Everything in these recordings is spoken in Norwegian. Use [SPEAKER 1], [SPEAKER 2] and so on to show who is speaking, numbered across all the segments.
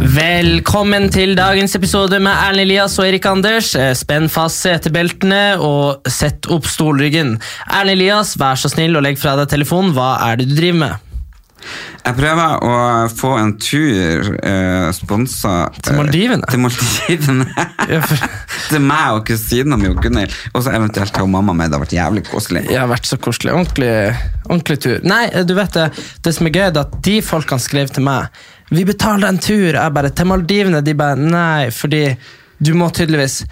[SPEAKER 1] Velkommen til dagens episode med Erlend Elias og Erik Anders. Eh, Spenn fast setebeltene og sett opp stolryggen. Erlend Elias, vær så snill og legg fra deg telefonen. Hva er det du driver med?
[SPEAKER 2] Jeg prøver å få en tur eh, sponsa eh,
[SPEAKER 1] Til Maldivene?
[SPEAKER 2] Til Maldivene.
[SPEAKER 1] Ja, for-
[SPEAKER 2] til meg og kusina mi og Gunhild. Og så eventuelt ta mamma med. Det har vært jævlig koselig.
[SPEAKER 1] Jeg har vært så koselig. Ordentlig, ordentlig tur. Nei, eh, du vet det, det som er gøy, det er at de folkene skrev til meg Vi betaler en tur. Jeg bare Til Maldivene? De bare Nei, fordi du må tydeligvis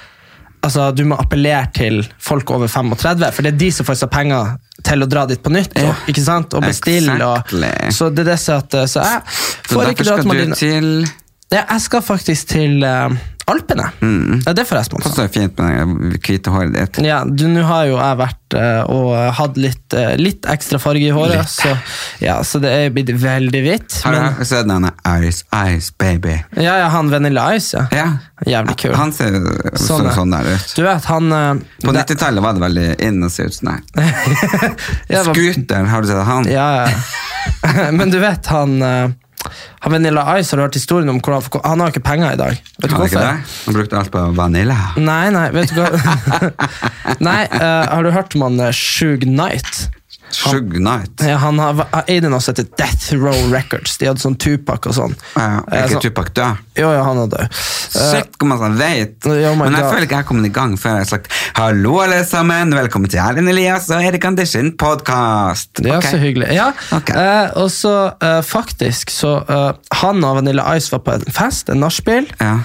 [SPEAKER 1] Altså, Du må appellere til folk over 35, for det er de som får seg penger til å dra dit på nytt. Og, ikke sant? Og bestille.
[SPEAKER 2] Exactly.
[SPEAKER 1] Og, så det er det som er at eh, Så jeg
[SPEAKER 2] Så
[SPEAKER 1] får ikke dra
[SPEAKER 2] derfor
[SPEAKER 1] til
[SPEAKER 2] skal du
[SPEAKER 1] Maldivene.
[SPEAKER 2] til
[SPEAKER 1] Ja, jeg skal faktisk til eh, Alpene.
[SPEAKER 2] Mm.
[SPEAKER 1] Ja, det får jeg sponsa.
[SPEAKER 2] Passer fint med det hvite håret ditt.
[SPEAKER 1] Ja, du, nå har jo jeg vært eh, og hatt litt, eh, litt ekstra farge i håret, så, ja, så det er blitt veldig hvitt.
[SPEAKER 2] Har
[SPEAKER 1] Men,
[SPEAKER 2] du sett denne Ice Ice Baby?
[SPEAKER 1] ja, ja, han Vanilla Ice, ja.
[SPEAKER 2] Ja.
[SPEAKER 1] Jævlig kul.
[SPEAKER 2] Han ser sånn,
[SPEAKER 1] er-
[SPEAKER 2] sånn der ut.
[SPEAKER 1] Du vet, han eh,
[SPEAKER 2] På
[SPEAKER 1] det-
[SPEAKER 2] 90-tallet var det veldig inn å se ut sånn her.
[SPEAKER 1] Ja, det var-
[SPEAKER 2] Scooter, har du sett han?
[SPEAKER 1] Ja, ja. Men du vet, han, eh, han Vanilla Ice har du hørt historien om hvordan for Han har jo ikke penger i dag. Vet du
[SPEAKER 2] Har du ikke
[SPEAKER 1] hvorfor? Mm.
[SPEAKER 2] det? Han brukte alt på vanilla.
[SPEAKER 1] Nei, nei, vet du hva Nei, eh, har du hørt om han eh, Shug Knight?
[SPEAKER 2] Shug Knight.
[SPEAKER 1] Ja, han har har eid noe som heter Death Row Records. De hadde sånn Tupac og sånn. Eh,
[SPEAKER 2] Ja, Er
[SPEAKER 1] sånn-
[SPEAKER 2] ikke Tupac død?
[SPEAKER 1] Jo, ja, han er død. Eh,
[SPEAKER 2] Sykt hvor man sånn vet.
[SPEAKER 1] Ja, oh my
[SPEAKER 2] Men jeg
[SPEAKER 1] God.
[SPEAKER 2] føler ikke jeg har kommet i gang før jeg har sagt hallo, alle sammen. Velkommen til Erlend Elias og Erik Andersen podkast.
[SPEAKER 1] det er så hyggelig. Ja,
[SPEAKER 2] Ok.
[SPEAKER 1] eh, og så eh, faktisk, så eh, han og Vanilla Ice var på en fest, en nachspiel,
[SPEAKER 2] Ja.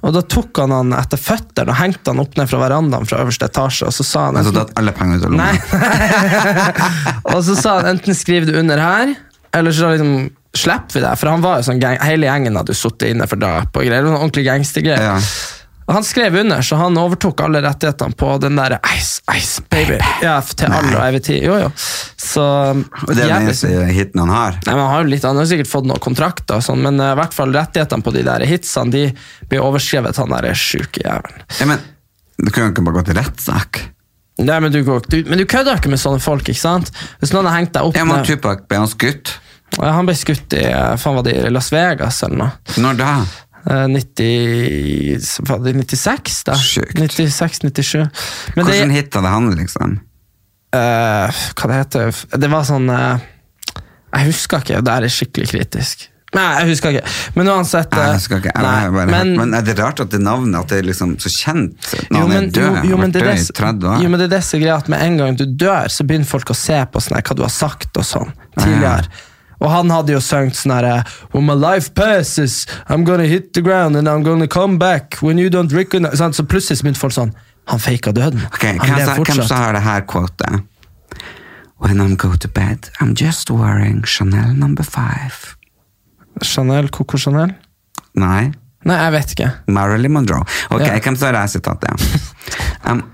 [SPEAKER 1] og da tok han han etter føttene og hengte han opp ned fra verandaen fra øverste etasje, og så sa han sånn-
[SPEAKER 2] Altså, du har hatt alle pengene ut av lomma.
[SPEAKER 1] Og så sa han enten skriv det under her, eller så liksom slipper vi det. For han var jo sånn gang, hele gjengen hadde jo sittet inne for drap og greier. Noen ordentlig gangstergreier.
[SPEAKER 2] Ja.
[SPEAKER 1] Og Han skrev under, så han overtok alle rettighetene på den der Ice Ice Baby. Ja, til alle og evig tid. Jo, jo. Så
[SPEAKER 2] Og det er den
[SPEAKER 1] jævlig-
[SPEAKER 2] eneste hiten han har.
[SPEAKER 1] Nei, men han har jo litt, han har jo sikkert fått noen kontrakter, og sånn, men eh, i hvert fall rettighetene på de der hitsene de blir overskrevet han der sjuke jævelen.
[SPEAKER 2] Ja, men, du kunne jo ikke bare gå til rettssak.
[SPEAKER 1] Nei, Men du, går ikke- du, men du kødder ikke med sånne folk, ikke sant? Hvis noen har hengt deg opp
[SPEAKER 2] Ja, men
[SPEAKER 1] ned-
[SPEAKER 2] Tupac ble han skutt.
[SPEAKER 1] Ja, Han ble skutt i eh, faen var det i Las Vegas eller noe.
[SPEAKER 2] Når da?
[SPEAKER 1] Eh, 90, var det 96, da.
[SPEAKER 2] Sjukt.
[SPEAKER 1] 96-97. Men det,
[SPEAKER 2] Hvordan hit hadde han, liksom?
[SPEAKER 1] eh, Hva det heter det? var sånn eh, Jeg husker ikke. Det her er skikkelig kritisk. Nei, jeg husker ikke. Men uansett
[SPEAKER 2] Nei,
[SPEAKER 1] eh,
[SPEAKER 2] jeg skal ikke, jeg,
[SPEAKER 1] nei,
[SPEAKER 2] har bare,
[SPEAKER 1] men,
[SPEAKER 2] hørt- men er det rart at det navnet at det er liksom så kjent
[SPEAKER 1] jo,
[SPEAKER 2] når han er
[SPEAKER 1] men,
[SPEAKER 2] død?
[SPEAKER 1] jo, jo,
[SPEAKER 2] han
[SPEAKER 1] men
[SPEAKER 2] har
[SPEAKER 1] det er
[SPEAKER 2] vært
[SPEAKER 1] det,
[SPEAKER 2] død i 30 år.
[SPEAKER 1] jo, men det er det som er greia, at med en gang du dør, så begynner folk å se på sånn her, hva du har sagt og sånn, tidligere. Og han hadde jo sunget sånn herre When my life passes, I'm gonna hit the ground and I'm gonna come back when you don't recognize sånn, Så plutselig så begynte folk sånn Han faka døden.
[SPEAKER 2] Ok,
[SPEAKER 1] han
[SPEAKER 2] hvem,
[SPEAKER 1] lever
[SPEAKER 2] sa- hvem
[SPEAKER 1] fortsatt.
[SPEAKER 2] som har det her quotet? When I'm go to bed, I'm just wearing Chanel number five.
[SPEAKER 1] Chanel, Coco Chanel?
[SPEAKER 2] Nei,
[SPEAKER 1] Nei, jeg vet ikke.
[SPEAKER 2] Marilyn Monroe. Ok,
[SPEAKER 1] Ja.
[SPEAKER 2] hvem som har det her sitatet? um,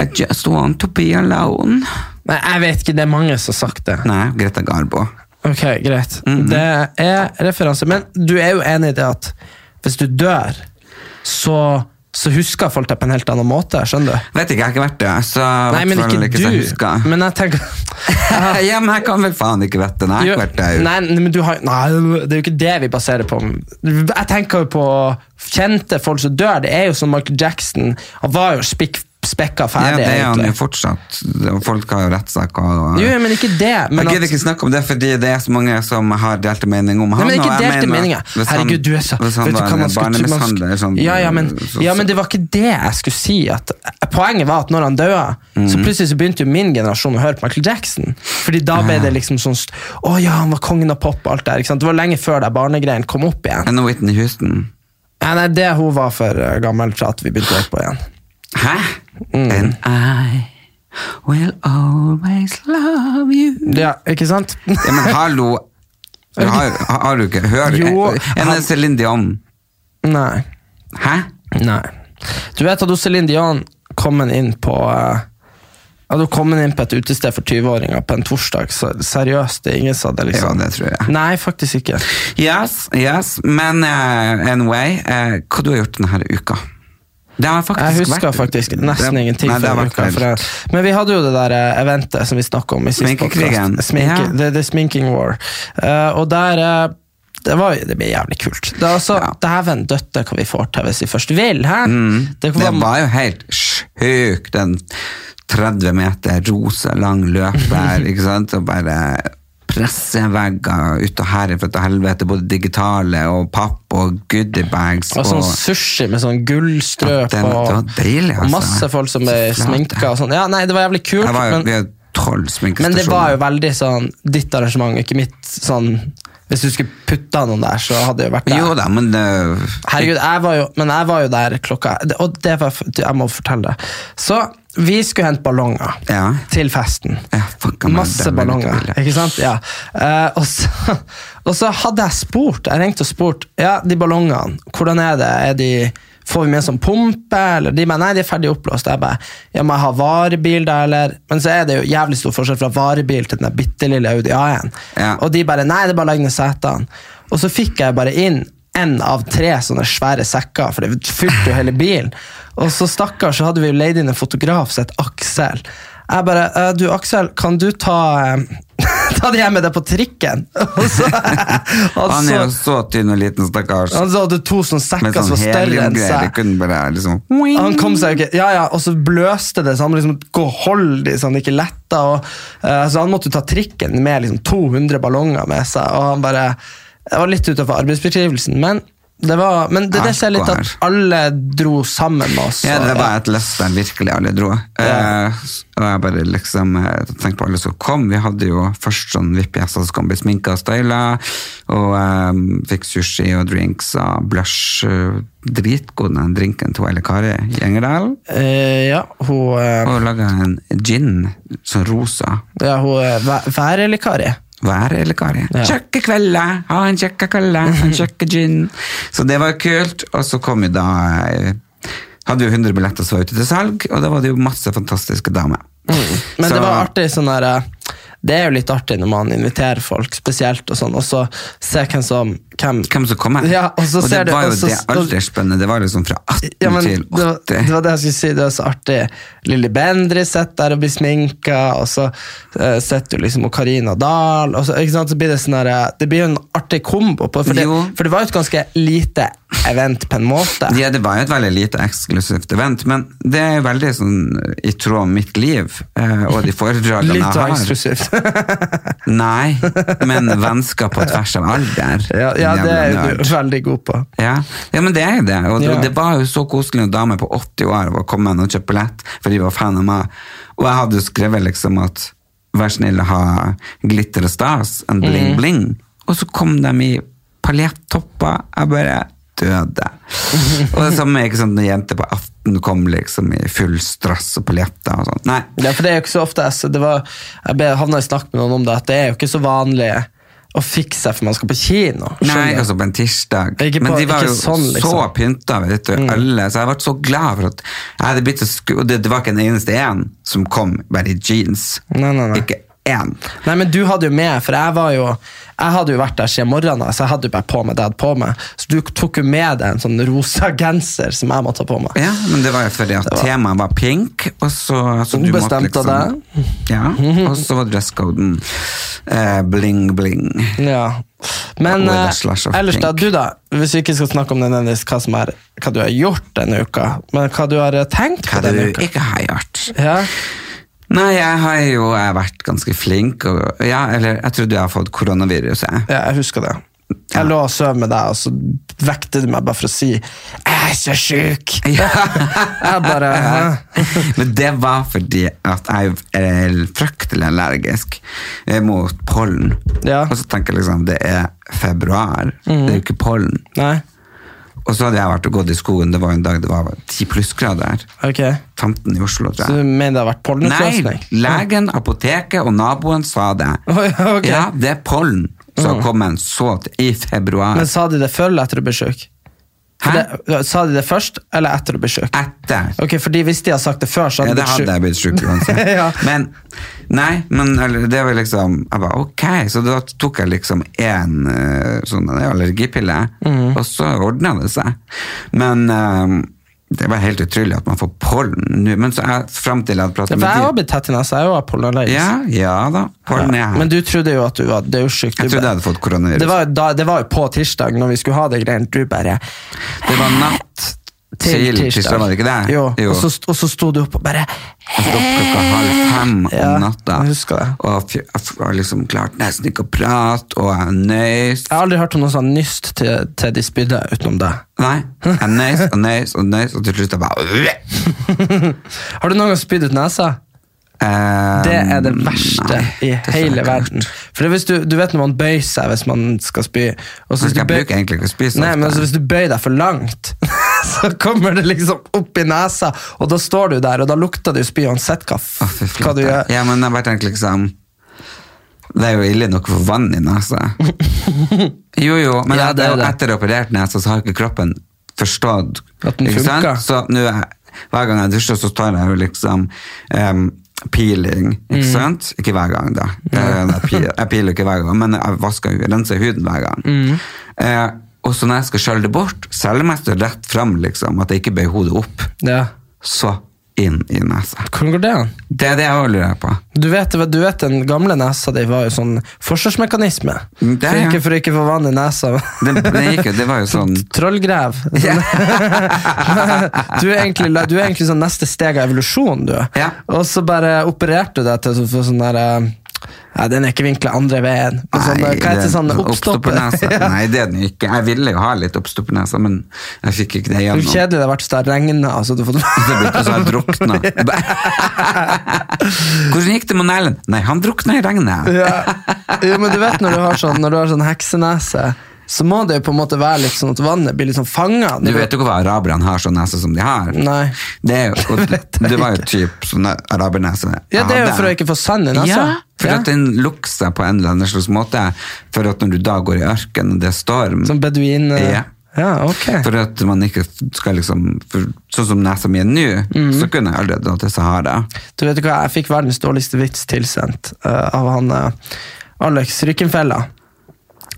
[SPEAKER 2] I just want to be alone.
[SPEAKER 1] Nei, jeg vet ikke, Det er mange som har sagt det.
[SPEAKER 2] Nei, Greta Garbo.
[SPEAKER 1] Ok, Greit.
[SPEAKER 2] Mhm.
[SPEAKER 1] Det er referanse. Men du er jo enig i det at hvis du dør, så, så husker folk deg på en helt annen måte. Skjønner du?
[SPEAKER 2] Vet ikke, jeg har ikke vært det, så
[SPEAKER 1] Nei, men
[SPEAKER 2] hvertfall
[SPEAKER 1] ikke
[SPEAKER 2] så jeg
[SPEAKER 1] du.
[SPEAKER 2] husker.
[SPEAKER 1] Men jeg tenker
[SPEAKER 2] ja, men jeg kan vel faen ikke vite det. Nei, Jeg har ikke vært det.
[SPEAKER 1] nei, nei, men du har, nei, det er jo ikke det vi baserer på. Jeg tenker jo på kjente folk som dør. Det er jo som Michael Jackson. Han var jo spikk spekka
[SPEAKER 2] Ja,
[SPEAKER 1] ferdig.
[SPEAKER 2] det er han jo
[SPEAKER 1] egentlig.
[SPEAKER 2] fortsatt. Folk har jo rettssaker og
[SPEAKER 1] Jo, men ikke det. Men
[SPEAKER 2] Jeg gidder
[SPEAKER 1] at,
[SPEAKER 2] ikke snakke om det, fordi det er så mange som har delte meninger om
[SPEAKER 1] Nei,
[SPEAKER 2] han.
[SPEAKER 1] men
[SPEAKER 2] og
[SPEAKER 1] ikke
[SPEAKER 2] jeg
[SPEAKER 1] delte
[SPEAKER 2] mener,
[SPEAKER 1] meninger.
[SPEAKER 2] hvis han-
[SPEAKER 1] Herregud, du er så
[SPEAKER 2] Hvis han
[SPEAKER 1] vet du
[SPEAKER 2] var
[SPEAKER 1] hva
[SPEAKER 2] en
[SPEAKER 1] man skulle- man skulle-
[SPEAKER 2] barnemishandler sånn,
[SPEAKER 1] ja, ja, men,
[SPEAKER 2] så-
[SPEAKER 1] ja, men det var ikke det jeg skulle si. At, poenget var at når han døde, så
[SPEAKER 2] Mm.
[SPEAKER 1] plutselig så begynte jo min generasjon å høre på Michael Jackson. Fordi da ble det liksom sånn st- Å ja, han var kongen av pop og alt det der. Ikke sant? Det var lenge før de barnegreiene kom opp igjen.
[SPEAKER 2] Enn Whitney Houston.
[SPEAKER 1] Nei, nei, det hun var for eh, gammel for at vi begynte å høre på igjen.
[SPEAKER 2] Hæ?
[SPEAKER 1] Mm.
[SPEAKER 2] And I will always love you.
[SPEAKER 1] Ja, ikke sant?
[SPEAKER 2] Ja, men hallo, du har, har du ikke eh, Hører
[SPEAKER 1] Jo,
[SPEAKER 2] En
[SPEAKER 1] han-
[SPEAKER 2] er Céline Dion.
[SPEAKER 1] Nei.
[SPEAKER 2] Hæ?
[SPEAKER 1] Nei. Du vet at hun Céline Dion kom inn på eh, At hun kom inn på et utested for 20-åringer på en torsdag. Så seriøst, det er ingen som hadde
[SPEAKER 2] Ja,
[SPEAKER 1] liksom
[SPEAKER 2] det tror jeg.
[SPEAKER 1] Nei, faktisk ikke.
[SPEAKER 2] Yes, yes. Men eh, anyway, eh, hva du har gjort denne uka? Det har faktisk
[SPEAKER 1] Jeg husker
[SPEAKER 2] vært-
[SPEAKER 1] faktisk
[SPEAKER 2] det-
[SPEAKER 1] nesten ingenting.
[SPEAKER 2] Nei, det
[SPEAKER 1] fra
[SPEAKER 2] har
[SPEAKER 1] den
[SPEAKER 2] vært
[SPEAKER 1] uka, for jeg, men vi hadde jo det der eh, eventet som vi snakka om i sist
[SPEAKER 2] Sminkekrigen.
[SPEAKER 1] podcast. Sminke,
[SPEAKER 2] Ja.
[SPEAKER 1] det, det er sminking war. Eh, og der eh, det, var, det ble jævlig kult. Det er altså,
[SPEAKER 2] Ja. Mm.
[SPEAKER 1] Dæven døtte hva vi får til hvis vi først vil, hæ? Det
[SPEAKER 2] Mhm. Det
[SPEAKER 1] var
[SPEAKER 2] var jo helt sjukt, den 30 meter rosa lang løp der, ikke sant? Og bare pressevegger ut og herifra til helvete, både digitale og papp og goodiebags.
[SPEAKER 1] Og sånn sushi med sånn
[SPEAKER 2] Ja,
[SPEAKER 1] gullstrø
[SPEAKER 2] det-
[SPEAKER 1] på.
[SPEAKER 2] det var deilig, altså.
[SPEAKER 1] Og masse folk som ble
[SPEAKER 2] Så flate.
[SPEAKER 1] sminka og sånn. Ja, nei, det var jævlig kult,
[SPEAKER 2] Jeg var jo
[SPEAKER 1] men,
[SPEAKER 2] ved tolv sminkestasjoner.
[SPEAKER 1] men det var jo veldig sånn ditt arrangement, ikke mitt sånn Hvis du skulle putta noen der, så hadde det jo vært der.
[SPEAKER 2] Jo da, men det...
[SPEAKER 1] Herregud, jeg var jo, men jeg var jo der klokka det- Og det var, du, jeg må fortelle det. Så vi skulle hente ballonger
[SPEAKER 2] Ja.
[SPEAKER 1] til festen.
[SPEAKER 2] Ja, fuck, men
[SPEAKER 1] Masse
[SPEAKER 2] det ble litt
[SPEAKER 1] ballonger,
[SPEAKER 2] billig.
[SPEAKER 1] ikke sant? Ja. Eh, og, så, og så hadde jeg spurt, jeg ringte og spurt, ja, de ballongene, hvordan er det? Er de, får vi med en sånn pumpe? Eller de bare, nei, de er ferdig oppblåst. Jeg bare, ja, må jeg ha varebil da, eller? Men så er det jo jævlig stor forskjell fra varebil til den der bitte lille Audi A1.
[SPEAKER 2] Ja.
[SPEAKER 1] Og de bare Nei, det er bare å legge ned setene. Og så fikk jeg bare inn én av tre sånne svære sekker, for det fylte jo hele bilen. Og så stakkars, så hadde vi jo leid inn en fotograf som het Aksel. Jeg bare «Eh, Du, Aksel, kan du ta eh, Ta det hjem med deg på trikken? Og så,
[SPEAKER 2] Han er jo
[SPEAKER 1] han, så,
[SPEAKER 2] så tynn og liten, stakkars.
[SPEAKER 1] han så hadde to sånne
[SPEAKER 2] Med
[SPEAKER 1] sekker som
[SPEAKER 2] sånn
[SPEAKER 1] var større enn
[SPEAKER 2] heliumgreier, det
[SPEAKER 1] seg.
[SPEAKER 2] kunne bare liksom...
[SPEAKER 1] Han kom seg jo ikke Ja, ja, og så bløste det, så han må liksom gå og holde de så han ikke letta. Og, eh, så han måtte jo ta trikken med liksom 200 ballonger med seg, og han bare Det var litt utenfor arbeidsbeskrivelsen, men det var Men det, det ser jeg litt at alle dro sammen med oss.
[SPEAKER 2] Ja,
[SPEAKER 1] og-
[SPEAKER 2] det var et løft der virkelig alle dro. Eh, og jeg bare liksom eh, tenkte på alle som kom. Vi hadde jo først sånn VIP-gjester som kom bli sminka og styla, og eh, fikk sushi og drinks og blush. eh, Dritgod den drinken til Elle Kari Gjengerdal.
[SPEAKER 1] Eh, ja, hun, eh,
[SPEAKER 2] Og laga en gin, sånn rosa.
[SPEAKER 1] ja, hun er væ- værelikarie.
[SPEAKER 2] Hva er Elle Kari?
[SPEAKER 1] Ja.
[SPEAKER 2] Kjøkke kvelder, ha en kjøkke kvelde, en kjøkke gin. Så det var jo kult, og så kom jo da eh, Hadde jo 100 billetter som var ute til salg, og da var det jo masse fantastiske damer.
[SPEAKER 1] Mm. Men
[SPEAKER 2] Så-
[SPEAKER 1] det var artig sånn der eh, Det er jo litt artig når man inviterer folk spesielt, og sånn, og så se hvem som hvem,
[SPEAKER 2] Hvem som kommer?
[SPEAKER 1] Ja, og så ser
[SPEAKER 2] det
[SPEAKER 1] du-
[SPEAKER 2] var jo
[SPEAKER 1] og så-
[SPEAKER 2] det aldersspennet. Det var liksom fra 18
[SPEAKER 1] Ja, men
[SPEAKER 2] til
[SPEAKER 1] det,
[SPEAKER 2] 80.
[SPEAKER 1] var, det var det jeg skulle si. Det var så artig. Lilly Bendriss sitter der og blir sminka, og så uh, sitter du liksom og Karina Dahl og så, ikke sant? så blir det sånn der, eh, Det blir jo en artig kombo, på, for, det,
[SPEAKER 2] Jo.
[SPEAKER 1] for det var jo et ganske lite event på en måte.
[SPEAKER 2] Ja, det var jo et veldig lite eksklusivt event, men det er jo veldig sånn i tråd med mitt liv eh, og de foredragene
[SPEAKER 1] Litt av
[SPEAKER 2] jeg har.
[SPEAKER 1] eksklusivt.
[SPEAKER 2] Nei, men vennskap på tvers av alder.
[SPEAKER 1] ja, ja,
[SPEAKER 2] din
[SPEAKER 1] det
[SPEAKER 2] jævla
[SPEAKER 1] er
[SPEAKER 2] nerd.
[SPEAKER 1] du veldig god på.
[SPEAKER 2] Ja. ja, men det er jo det. Og det,
[SPEAKER 1] Ja.
[SPEAKER 2] det var jo så koselig når damer på 80 år var kommet og kjøpte billett, for de var fan av meg. Og jeg hadde jo skrevet liksom at vær snill å ha glitter og stas, en bling bling. Og så kom de i paljettopper. Jeg bare døde. og det samme er ikke sånn når jenter på 18 kom liksom i full strass og paljetter og sånn. Nei.
[SPEAKER 1] Ja, for det er jo ikke så ofte jeg- det var, Jeg ble- havna i snakk med noen om det, at det er jo ikke så vanlig å fikse seg for man skal på kino.
[SPEAKER 2] Nei,
[SPEAKER 1] skjønner du?
[SPEAKER 2] altså på en tirsdag.
[SPEAKER 1] Ikke på-
[SPEAKER 2] Men de var
[SPEAKER 1] ikke
[SPEAKER 2] jo
[SPEAKER 1] sånn, liksom. Mm.
[SPEAKER 2] så pynta, vet du, alle. Så jeg ble så glad for at jeg hadde blitt så sku... Og det, det var ikke en eneste en som kom bare i jeans.
[SPEAKER 1] Nei, nei, nei.
[SPEAKER 2] Ikke én.
[SPEAKER 1] Nei, men du hadde jo med, for jeg var jo Jeg hadde jo vært der siden morgenen, så jeg hadde jo bare på meg det jeg hadde på meg. Så du tok jo med deg en sånn rosa genser som jeg måtte ta på meg.
[SPEAKER 2] Ja, men det var jo fordi at temaet var pink, og så, så
[SPEAKER 1] Hun bestemte
[SPEAKER 2] det. Ja, og så var dresskoden eh, bling, bling.
[SPEAKER 1] Ja. Men
[SPEAKER 2] Og det er
[SPEAKER 1] eh,
[SPEAKER 2] slash of
[SPEAKER 1] ellers, da,
[SPEAKER 2] pink.
[SPEAKER 1] du da, hvis vi ikke skal snakke om nødvendigvis hva, som er, hva du har gjort denne uka, men hva du har eh, tenkt på
[SPEAKER 2] Hva du
[SPEAKER 1] denne uka
[SPEAKER 2] ikke har gjort.
[SPEAKER 1] ja.
[SPEAKER 2] Nei, jeg har jo jeg har vært ganske flink, og ja, eller jeg trodde jeg har fått koronavirus, jeg.
[SPEAKER 1] ja, jeg husker det. Jeg lå og sov med deg, og så vekte du meg bare for å si 'Jeg er så sjuk'! jeg bare hæ?
[SPEAKER 2] Men det var fordi at jeg er fryktelig allergisk eh, mot pollen.
[SPEAKER 1] Ja.
[SPEAKER 2] Og så tenker jeg liksom, det er februar, det er jo ikke pollen.
[SPEAKER 1] Nei?
[SPEAKER 2] Og så hadde jeg vært og gått i skogen, det var en dag det var 10 plussgrader.
[SPEAKER 1] Ok.
[SPEAKER 2] 15 i Oslo,
[SPEAKER 1] Så
[SPEAKER 2] tror
[SPEAKER 1] du
[SPEAKER 2] jeg.
[SPEAKER 1] mener det har vært
[SPEAKER 2] Nei,
[SPEAKER 1] pollenutløsning?
[SPEAKER 2] legen, apoteket og naboen sa det.
[SPEAKER 1] Oi, ok. Mm.
[SPEAKER 2] Ja, det er pollen som kom en så til i februar.
[SPEAKER 1] Men sa de det før eller etter du ble sjuk? For
[SPEAKER 2] Hæ?
[SPEAKER 1] det- Sa de det først eller etter du ble sjuk?
[SPEAKER 2] Etter.
[SPEAKER 1] Ok, fordi hvis de hadde sagt det før, så
[SPEAKER 2] Ja,
[SPEAKER 1] hadde du
[SPEAKER 2] det
[SPEAKER 1] blitt
[SPEAKER 2] hadde
[SPEAKER 1] sjuk.
[SPEAKER 2] jeg blitt sjuk uansett.
[SPEAKER 1] Ja.
[SPEAKER 2] Men nei, men eller, det var liksom Jeg bare ok, så da tok jeg liksom én sånn allergipille,
[SPEAKER 1] Mhm.
[SPEAKER 2] og så ordna det seg. Men eh, det var helt utrolig at man får pollen nå. Men så jeg, fram til jeg hadde
[SPEAKER 1] Ja,
[SPEAKER 2] pratet
[SPEAKER 1] For jeg har
[SPEAKER 2] med de
[SPEAKER 1] blitt tett i nesa, jeg er jo pollenallergisk.
[SPEAKER 2] ja, ja da, pollen er
[SPEAKER 1] Ja,
[SPEAKER 2] her.
[SPEAKER 1] Men du trodde jo at du var Det er jo sjukt.
[SPEAKER 2] Jeg
[SPEAKER 1] du
[SPEAKER 2] trodde
[SPEAKER 1] bare-
[SPEAKER 2] jeg hadde fått koronavirus.
[SPEAKER 1] Det var, jo da, det var jo på tirsdag, når vi skulle ha det greiene. Du bare
[SPEAKER 2] Det var natt til tirsdag, var det ikke det?
[SPEAKER 1] Jo, Og, så, og så sto du opp og bare
[SPEAKER 2] Jeg sto opp klokka halv fem
[SPEAKER 1] Ja,
[SPEAKER 2] om natta
[SPEAKER 1] jeg husker det.
[SPEAKER 2] og fj- jeg var liksom klart nesten ikke å prate, og jeg nøys.
[SPEAKER 1] Jeg har aldri hørt om noe sånn nyst til, til de spydde utenom deg.
[SPEAKER 2] Nei, jeg nøys og nøys og nøys, og til slutt jeg bare
[SPEAKER 1] Har du noen gang spydd ut nesa?
[SPEAKER 2] Eh,
[SPEAKER 1] Det er Um, det verste
[SPEAKER 2] nei,
[SPEAKER 1] i
[SPEAKER 2] det tror jeg
[SPEAKER 1] hele
[SPEAKER 2] ikke.
[SPEAKER 1] verden. For det er hvis du, du vet når man bøyer seg hvis man skal spy og så hvis du
[SPEAKER 2] Jeg
[SPEAKER 1] bøy-
[SPEAKER 2] bruker egentlig ikke å spy så
[SPEAKER 1] Nei,
[SPEAKER 2] ofte.
[SPEAKER 1] men altså, Hvis du bøyer deg for langt, så kommer det liksom opp i nesa, og da står du der, og da lukter det jo spy uansett hva, f-
[SPEAKER 2] Å, fy
[SPEAKER 1] hva du
[SPEAKER 2] flate.
[SPEAKER 1] gjør.
[SPEAKER 2] Ja, men jeg bare tenker liksom Det er jo ille nok for vann i nesa. Jo, jo, men
[SPEAKER 1] Ja, det er
[SPEAKER 2] etter,
[SPEAKER 1] det.
[SPEAKER 2] etter operert nesa så har ikke kroppen forstått.
[SPEAKER 1] At den
[SPEAKER 2] ikke sant?
[SPEAKER 1] funker.
[SPEAKER 2] Så nå, er- hver gang jeg dusjer, så tar jeg jo liksom em, peeling,
[SPEAKER 1] Mm.
[SPEAKER 2] ikke sant? Ikke hver gang, da. Eh, Jeg, jeg, peeler, jeg peeler ikke hver gang, men jeg vasker, jeg renser huden hver gang.
[SPEAKER 1] Mm.
[SPEAKER 2] Eh, og så når jeg skal skjølle det bort, selv om jeg står rett fram, liksom, at jeg ikke bøyer hodet opp,
[SPEAKER 1] Ja.
[SPEAKER 2] så inn i nesa.
[SPEAKER 1] Hvordan går det an?
[SPEAKER 2] Det er det jeg også lurer på.
[SPEAKER 1] Du vet, du vet den gamle nesa di var jo sånn forsvarsmekanisme.
[SPEAKER 2] Mm, det,
[SPEAKER 1] for,
[SPEAKER 2] ja.
[SPEAKER 1] ikke, for ikke å få vann i nesa.
[SPEAKER 2] Det, det gikk jo, det var jo sånn
[SPEAKER 1] Trollgrev. Sånn. du, er egentlig, du er egentlig sånn neste steg av evolusjon, du.
[SPEAKER 2] Ja.
[SPEAKER 1] Og så bare opererte du deg til å få sånn der eh, Nei, den er ikke vinkla andre veien. Men Sånn,
[SPEAKER 2] Nei,
[SPEAKER 1] eh, hva heter
[SPEAKER 2] det-
[SPEAKER 1] sånn
[SPEAKER 2] oppstoppernese?
[SPEAKER 1] oppstopper? Ja.
[SPEAKER 2] Nei, det er den ikke. Jeg ville jo ha litt oppstoppernese, men jeg fikk ikke det
[SPEAKER 1] Det er jo
[SPEAKER 2] gjennom.
[SPEAKER 1] kjedelig det har vært hvis det har regna. Altså, du har fått-
[SPEAKER 2] Det ble ikke så jeg drukna. Hvordan gikk det med Erlend? Nei, han drukna i regnet.
[SPEAKER 1] ja. Jo, men du vet når du har sånn, når du har sånn heksenese, så må det jo på en måte være litt sånn at vannet blir litt sånn fanga.
[SPEAKER 2] Du vet jo ikke hva araberne har sånn nese som de har.
[SPEAKER 1] Nei.
[SPEAKER 2] Det, er jo, og, det var jo typ sånn arabernese.
[SPEAKER 1] Ja, det er jo for å ikke få sand i nesa.
[SPEAKER 2] Ja, for
[SPEAKER 1] Ja.
[SPEAKER 2] at den lukker seg på en eller annen slags måte. For at når du da går i ørken, og det er storm
[SPEAKER 1] Som beduin... eh,
[SPEAKER 2] Ja.
[SPEAKER 1] ja, ok.
[SPEAKER 2] For at man ikke skal liksom for, Sånn som nesa mi er nå,
[SPEAKER 1] Mhm.
[SPEAKER 2] så kunne jeg aldri dratt til Sahara.
[SPEAKER 1] Du vet jo hva, jeg fikk verdens dårligste vits tilsendt eh, av han eh, Alex Rykkenfella.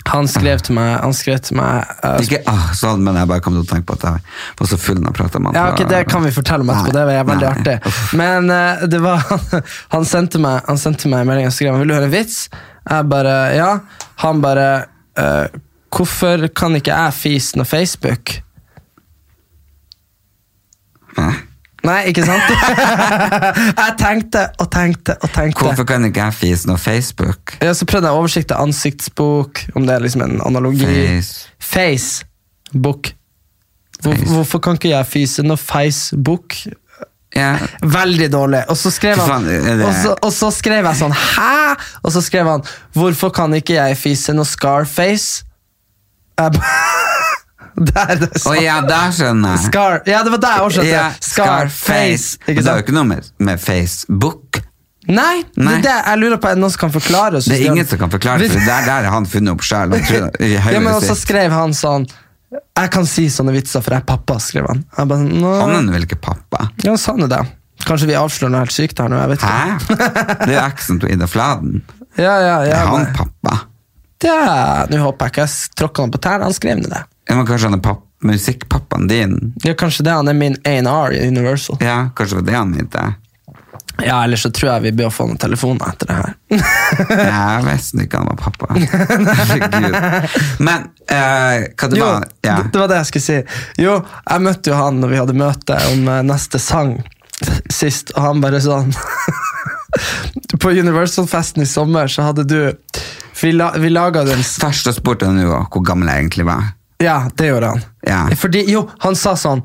[SPEAKER 1] Han skrev til meg, han skrev til meg eh,
[SPEAKER 2] Ikke ah, sånn, men jeg bare kom til å tenke på at jeg var så full når jeg prata med han.
[SPEAKER 1] Ja,
[SPEAKER 2] på-
[SPEAKER 1] ok, Det kan vi fortelle om etterpå.
[SPEAKER 2] Nei,
[SPEAKER 1] Det var veldig
[SPEAKER 2] nei,
[SPEAKER 1] artig.
[SPEAKER 2] uff.
[SPEAKER 1] Men eh, det var han sendte meg Han sendte meg en melding og skrev Vil du høre en vits. Jeg bare Ja. Han bare eh, Hvorfor kan ikke jeg fise når Facebook Nei, ikke sant? jeg tenkte og tenkte og tenkte.
[SPEAKER 2] Hvorfor kan ikke jeg fise noe Facebook?
[SPEAKER 1] Ja, så prøvde jeg å oversikte ansiktsbok, om det er liksom en analogi.
[SPEAKER 2] Face.
[SPEAKER 1] Facebook. Hvor,
[SPEAKER 2] Face.
[SPEAKER 1] Hvorfor kan ikke jeg fyse når Facebook
[SPEAKER 2] Ja.
[SPEAKER 1] Veldig dårlig. Og så skrev
[SPEAKER 2] Fy
[SPEAKER 1] han
[SPEAKER 2] faen, er det-
[SPEAKER 1] og så, og så skrev jeg sånn Hæ?! Og så skrev han Hvorfor kan ikke jeg fyse når Scarface Jeg ba- Der, det
[SPEAKER 2] Å
[SPEAKER 1] sa
[SPEAKER 2] ja, der skjønner jeg.
[SPEAKER 1] Scar Ja, det var der jeg oversatte.
[SPEAKER 2] Ja,
[SPEAKER 1] Scarface. Ikke
[SPEAKER 2] Og Det er jo
[SPEAKER 1] sant?
[SPEAKER 2] ikke noe med, med Facebook.
[SPEAKER 1] Nei, det
[SPEAKER 2] Nei.
[SPEAKER 1] er det jeg lurer på er det noen som kan forklare oss.
[SPEAKER 2] Det er
[SPEAKER 1] hvis
[SPEAKER 2] ingen som kan forklare det, for det der, der er han funnet opp sjøl.
[SPEAKER 1] Ja, men også
[SPEAKER 2] Han
[SPEAKER 1] skrev han sånn Jeg kan si sånne vitser, for jeg er pappa, skrev han. Jeg bare, Nå.
[SPEAKER 2] er vel ikke pappa?
[SPEAKER 1] Ja, han sa nå det. Kanskje vi avslører noe helt sykt her nå. jeg vet ikke.
[SPEAKER 2] Hæ? Det er jo eksen til Ida Fladen.
[SPEAKER 1] Ja, ja,
[SPEAKER 2] Det
[SPEAKER 1] ja.
[SPEAKER 2] er han
[SPEAKER 1] men-
[SPEAKER 2] pappa.
[SPEAKER 1] Ja, Nå håper jeg ikke jeg s- tråkka han på tærne. Han skrev ned det.
[SPEAKER 2] Ja, men kanskje han er papp, musikkpappaen din?
[SPEAKER 1] Ja, Kanskje det han er min A&R i Universal.
[SPEAKER 2] Ja, kanskje det var det han mente.
[SPEAKER 1] Ja, Eller så tror jeg vi bør få noen telefoner etter det her.
[SPEAKER 2] Jeg visste ikke han var pappa. Herregud. Men eh, hva det
[SPEAKER 1] Jo,
[SPEAKER 2] var ja.
[SPEAKER 1] det, det var det jeg skulle si. Jo, jeg møtte jo han når vi hadde møte om eh, neste sang sist, og han bare sånn På Universal-festen i sommer så hadde du Vi, la, vi laga den s-
[SPEAKER 2] Først så spurte han jo hvor gammel jeg egentlig var.
[SPEAKER 1] Ja, det gjorde han.
[SPEAKER 2] Ja.
[SPEAKER 1] Fordi, jo, han sa sånn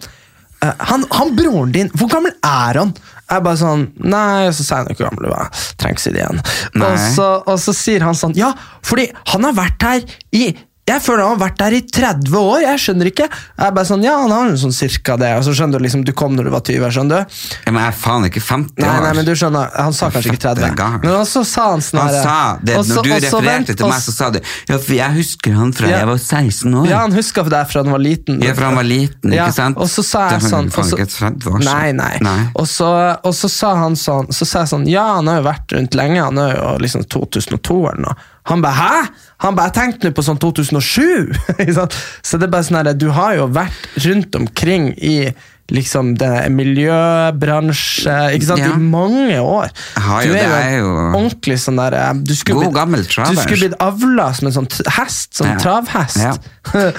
[SPEAKER 1] eh, han, han broren din, hvor gammel er han? Jeg bare sånn, nei, og så sa jeg hvor gammel du var. Trenger ikke si det igjen.
[SPEAKER 2] Nei.
[SPEAKER 1] Og så, og så sier han sånn, ja, fordi han har vært her i, jeg føler han har vært her i 30 år, jeg skjønner ikke. Jeg bare sånn, ja, han har jo sånn cirka det, og så skjønner du liksom, du kom når du var 20, skjønner du?
[SPEAKER 2] Ja, men jeg er faen ikke 50
[SPEAKER 1] Nei,
[SPEAKER 2] år.
[SPEAKER 1] nei, men du skjønner, han sa kanskje ikke 30.
[SPEAKER 2] Fette gal.
[SPEAKER 1] Men så sa han sånn
[SPEAKER 2] han
[SPEAKER 1] her,
[SPEAKER 2] sa det,
[SPEAKER 1] og så-
[SPEAKER 2] når du
[SPEAKER 1] og så vent,
[SPEAKER 2] refererte til
[SPEAKER 1] og
[SPEAKER 2] meg,
[SPEAKER 1] s-
[SPEAKER 2] så sa du Ja, for jeg husker han fra
[SPEAKER 1] Ja.
[SPEAKER 2] jeg var 16 år.
[SPEAKER 1] Ja, han huska deg fra han var liten.
[SPEAKER 2] Ja, for han var liten,
[SPEAKER 1] Ja,
[SPEAKER 2] ikke sant?
[SPEAKER 1] Og så sa jeg
[SPEAKER 2] Det var
[SPEAKER 1] sånn
[SPEAKER 2] jo faen
[SPEAKER 1] og så-
[SPEAKER 2] ikke 30 år siden.
[SPEAKER 1] Nei, nei.
[SPEAKER 2] Nei.
[SPEAKER 1] Og, så, og så sa han sånn, så sa jeg sånn Ja, han har jo vært rundt lenge, han er jo liksom 2002 eller noe. Han bare hæ?! Han bare, Jeg tenkte nå på sånn 2007! Ikke sant? så det er bare sånn her, du har jo vært rundt omkring i liksom det miljøbransje ikke sant?
[SPEAKER 2] Ja.
[SPEAKER 1] i mange år.
[SPEAKER 2] Jeg har jo-
[SPEAKER 1] du
[SPEAKER 2] det er
[SPEAKER 1] en
[SPEAKER 2] jo-
[SPEAKER 1] ordentlig sånn der eh, du skulle
[SPEAKER 2] God
[SPEAKER 1] blitt-
[SPEAKER 2] gammel traver.
[SPEAKER 1] Du skulle blitt avla som en sånn t- hest, sånn
[SPEAKER 2] Ja.
[SPEAKER 1] travhest.
[SPEAKER 2] Ja.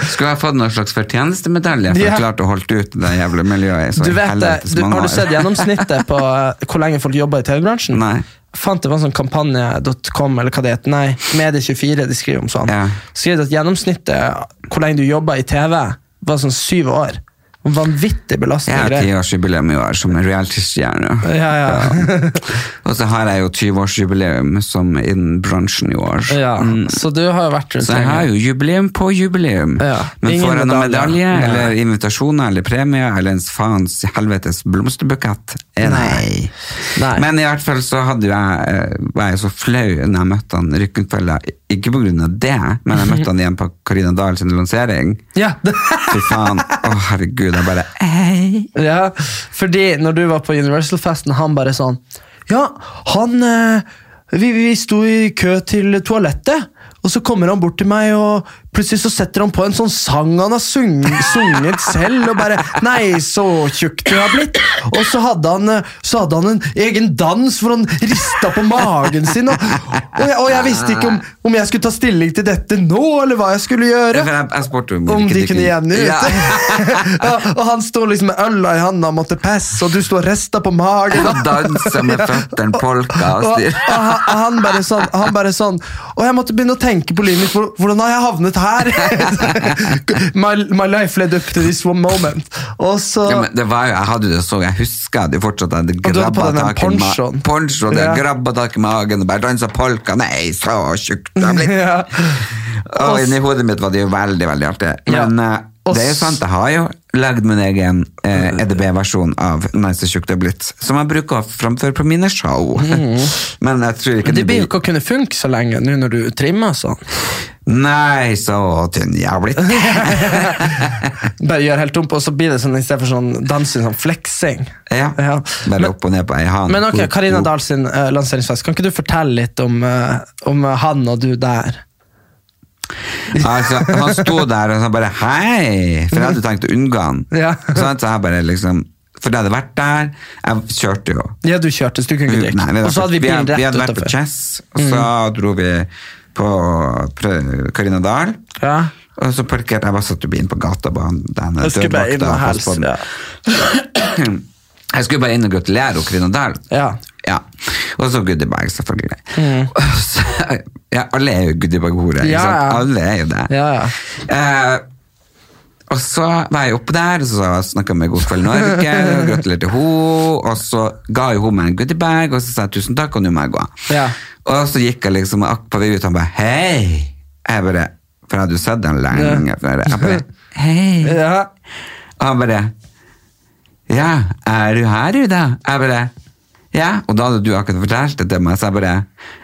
[SPEAKER 2] Skulle jeg fått noen slags fortjenestemedalje for
[SPEAKER 1] Ja.
[SPEAKER 2] å klart å holdt ut i det jævla miljøet i så
[SPEAKER 1] Du vet det,
[SPEAKER 2] helvetes
[SPEAKER 1] du,
[SPEAKER 2] mange
[SPEAKER 1] Har du
[SPEAKER 2] år.
[SPEAKER 1] sett gjennomsnittet på eh, hvor lenge folk jobber i TV-bransjen?
[SPEAKER 2] Nei.
[SPEAKER 1] Jeg Fant det var en sånn kampanje.com, eller hva det heter. Nei, Medie24 de skriver om sånn.
[SPEAKER 2] Ja.
[SPEAKER 1] Skriver at gjennomsnittet hvor lenge du jobber i TV, var sånn syv år. Vanvittig
[SPEAKER 2] Jeg
[SPEAKER 1] belastende
[SPEAKER 2] har
[SPEAKER 1] greier.
[SPEAKER 2] tiårsjubileum i år som en reality-stjerne.
[SPEAKER 1] Ja, ja.
[SPEAKER 2] Og så har jeg jo 20-årsjubileum som innen bransjen i år.
[SPEAKER 1] ja.
[SPEAKER 2] Mm.
[SPEAKER 1] Så du har jo vært rundt
[SPEAKER 2] Så jeg har jo jubileum på jubileum.
[SPEAKER 1] Ja.
[SPEAKER 2] Men
[SPEAKER 1] Ingen
[SPEAKER 2] får jeg noen
[SPEAKER 1] medalje.
[SPEAKER 2] medalje,
[SPEAKER 1] Nei.
[SPEAKER 2] eller invitasjoner, eller premie, eller ens faens helvetes blomsterbukett? Eh, Nei.
[SPEAKER 1] Nei.
[SPEAKER 2] Men i hvert fall så hadde jo jeg, eh, var jeg så flau når jeg møtte han Rykkenfella, ikke på grunn av det, men jeg møtte han igjen på Karina Dahl sin lansering.
[SPEAKER 1] Ja.
[SPEAKER 2] Fy faen, å herregud, jeg bare, hei.
[SPEAKER 1] Ja, fordi når du var på Universal-festen, han bare sånn Ja, han eh, vi, vi sto i kø til toalettet, og så kommer han bort til meg, og plutselig så setter han på en sånn sang han har sung, sunget selv, og bare Nei, så tjukk du har blitt! Og så hadde han, eh, så hadde han en egen dans hvor han rista på magen sin, og, og, jeg, og jeg visste ikke om, om jeg skulle ta stilling til dette nå, eller hva jeg skulle gjøre.
[SPEAKER 2] For jeg, jeg spurte om,
[SPEAKER 1] Om
[SPEAKER 2] ikke
[SPEAKER 1] de kunne jevne ut.
[SPEAKER 2] Ja.
[SPEAKER 1] ja, og han sto liksom med øla i handa og måtte pisse, og du sto og rista på magen.
[SPEAKER 2] Og dansa med føttene polka og
[SPEAKER 1] Og,
[SPEAKER 2] styr.
[SPEAKER 1] og han, han bare sånn han bare sånn, Og jeg måtte begynne å tenke på livet mitt. hvor- Hvordan har jeg havnet her? my, my life led up to this one moment. Og så
[SPEAKER 2] Ja, men det var jo, jeg hadde det så, jeg husker det fortsatt. Jeg
[SPEAKER 1] du hadde på
[SPEAKER 2] grabba
[SPEAKER 1] deg den
[SPEAKER 2] tak i ma-
[SPEAKER 1] ponchoen.
[SPEAKER 2] ponchoen, jeg
[SPEAKER 1] Ja.
[SPEAKER 2] grabba tak i magen og bare dansa polka. Nei, så tjukt det har blitt.
[SPEAKER 1] ja. Og
[SPEAKER 2] Og
[SPEAKER 1] s-
[SPEAKER 2] inni hodet mitt var det jo veldig, veldig artig.
[SPEAKER 1] Ja.
[SPEAKER 2] Men eh,
[SPEAKER 1] Og
[SPEAKER 2] det er jo
[SPEAKER 1] s-
[SPEAKER 2] sant, jeg har jo lagd min egen eh, EDB-versjon av Nice og tjukt det har blitt, som jeg bruker å framføre på mine show. Men jeg tror ikke
[SPEAKER 1] Det Mm. blir jo ikke å kunne funke så lenge nå når du trimmer sånn.
[SPEAKER 2] Nei, så tynn jeg har blitt.
[SPEAKER 1] Bare gjør helt om på, og så blir det sånn istedenfor sånn dansing, sånn fleksing.
[SPEAKER 2] Ja.
[SPEAKER 1] Ja.
[SPEAKER 2] Bare
[SPEAKER 1] Men-
[SPEAKER 2] opp og ned på ei hand.
[SPEAKER 1] Men ok, Karina
[SPEAKER 2] Opp, opp.
[SPEAKER 1] Dahl sin eh, lanseringsfest, kan ikke du fortelle litt om, eh, om eh, han og du der?
[SPEAKER 2] Altså, han sto der og sa bare hei, for jeg hadde tenkt å unngå han.
[SPEAKER 1] Ja.
[SPEAKER 2] Sånn, så jeg bare liksom, for jeg hadde vært der, jeg kjørte jo.
[SPEAKER 1] Ja, du kjørte, så du kunne ikke
[SPEAKER 2] Nei,
[SPEAKER 1] drikke. Og så hadde vi bil
[SPEAKER 2] vi
[SPEAKER 1] rett
[SPEAKER 2] hadde vært på
[SPEAKER 1] utenfor. Mm.
[SPEAKER 2] Chess, og så dro vi på Prø- Karina Dahl.
[SPEAKER 1] Ja.
[SPEAKER 2] Og så parkerte jeg bare satt jo bilen på gata og bare, den er
[SPEAKER 1] Jeg skulle bare
[SPEAKER 2] dørvakta,
[SPEAKER 1] inn og
[SPEAKER 2] pass
[SPEAKER 1] hilse,
[SPEAKER 2] på den.
[SPEAKER 1] ja.
[SPEAKER 2] Jeg skulle bare inn og gratulere og Karina Dahl.
[SPEAKER 1] Ja.
[SPEAKER 2] Ja. Og så goodiebag, selvfølgelig. Og så, ja, alle er jo goodiebag-horer.
[SPEAKER 1] Mm.
[SPEAKER 2] ikke
[SPEAKER 1] Ja,
[SPEAKER 2] sant?
[SPEAKER 1] ja.
[SPEAKER 2] Alle er jo det.
[SPEAKER 1] Ja,
[SPEAKER 2] Eh, og så var jeg oppe der, og så snakka jeg med God kveld Norge, og gratulerte henne. Og så ga jo hun meg en goodiebag, og så sa jeg tusen takk, og nå må jeg gå.
[SPEAKER 1] Ja.
[SPEAKER 2] Og så gikk jeg liksom akk på vei ut, og han bare hei! Jeg bare, For jeg hadde jo sett den lenge før. Jeg bare hei!
[SPEAKER 1] Ja.
[SPEAKER 2] Og han bare Ja, er du her, Ida? Jeg bare Ja. Og da hadde du akkurat fortalt det til meg, så jeg bare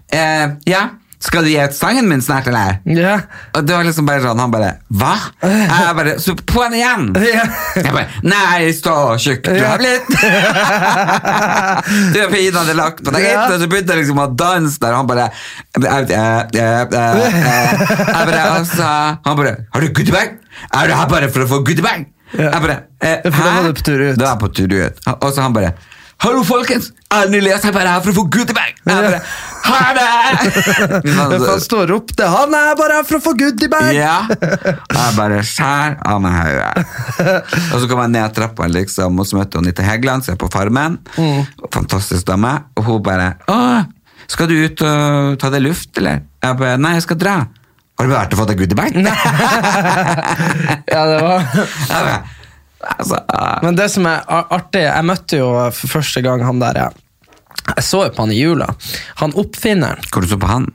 [SPEAKER 2] eh, Ja, Skal du gi ut sangen min snart, eller?
[SPEAKER 1] Ja.
[SPEAKER 2] Og det var liksom bare sånn, han bare Hva? Jeg bare Så på'n igjen!
[SPEAKER 1] Ja.
[SPEAKER 2] Jeg bare Nei, så tjukk du har blitt! du er pinadø lagt på deg
[SPEAKER 1] Ja.
[SPEAKER 2] etter, og så begynte jeg liksom å danse der, og han bare eh, eh, eh, eh. Jeg bare altså Han bare Har du goodiebag? Er du her bare for å få goodiebag?
[SPEAKER 1] Ja.
[SPEAKER 2] Jeg bare eh,
[SPEAKER 1] Ja, for da var du på tur ut.
[SPEAKER 2] Da var jeg på tur ut. Og så han bare Hallo, folkens! Erlend Elias er bare her for å få goodiebag! Jeg bare Ha det! sånn-
[SPEAKER 1] Men han står opp til Han er bare her for å få goodiebag!
[SPEAKER 2] Ja. Og jeg bare skjær av meg hodet. Og så kom jeg ned trappa, liksom, og så møtte hun Anita Heggeland, som er på Farmen.
[SPEAKER 1] Mm.
[SPEAKER 2] Fantastisk dame. Og hun bare Å, skal du ut og ta deg luft, eller? Jeg bare Nei, jeg skal dra. Har du vært og fått deg goodiebag?
[SPEAKER 1] Ja, det var...
[SPEAKER 2] Jeg bare, Altså, ah.
[SPEAKER 1] Men det som er a- artig Jeg møtte jo for første gang han der, ja. Jeg så jo på han i jula. Han oppfinneren
[SPEAKER 2] Hvor du så på han?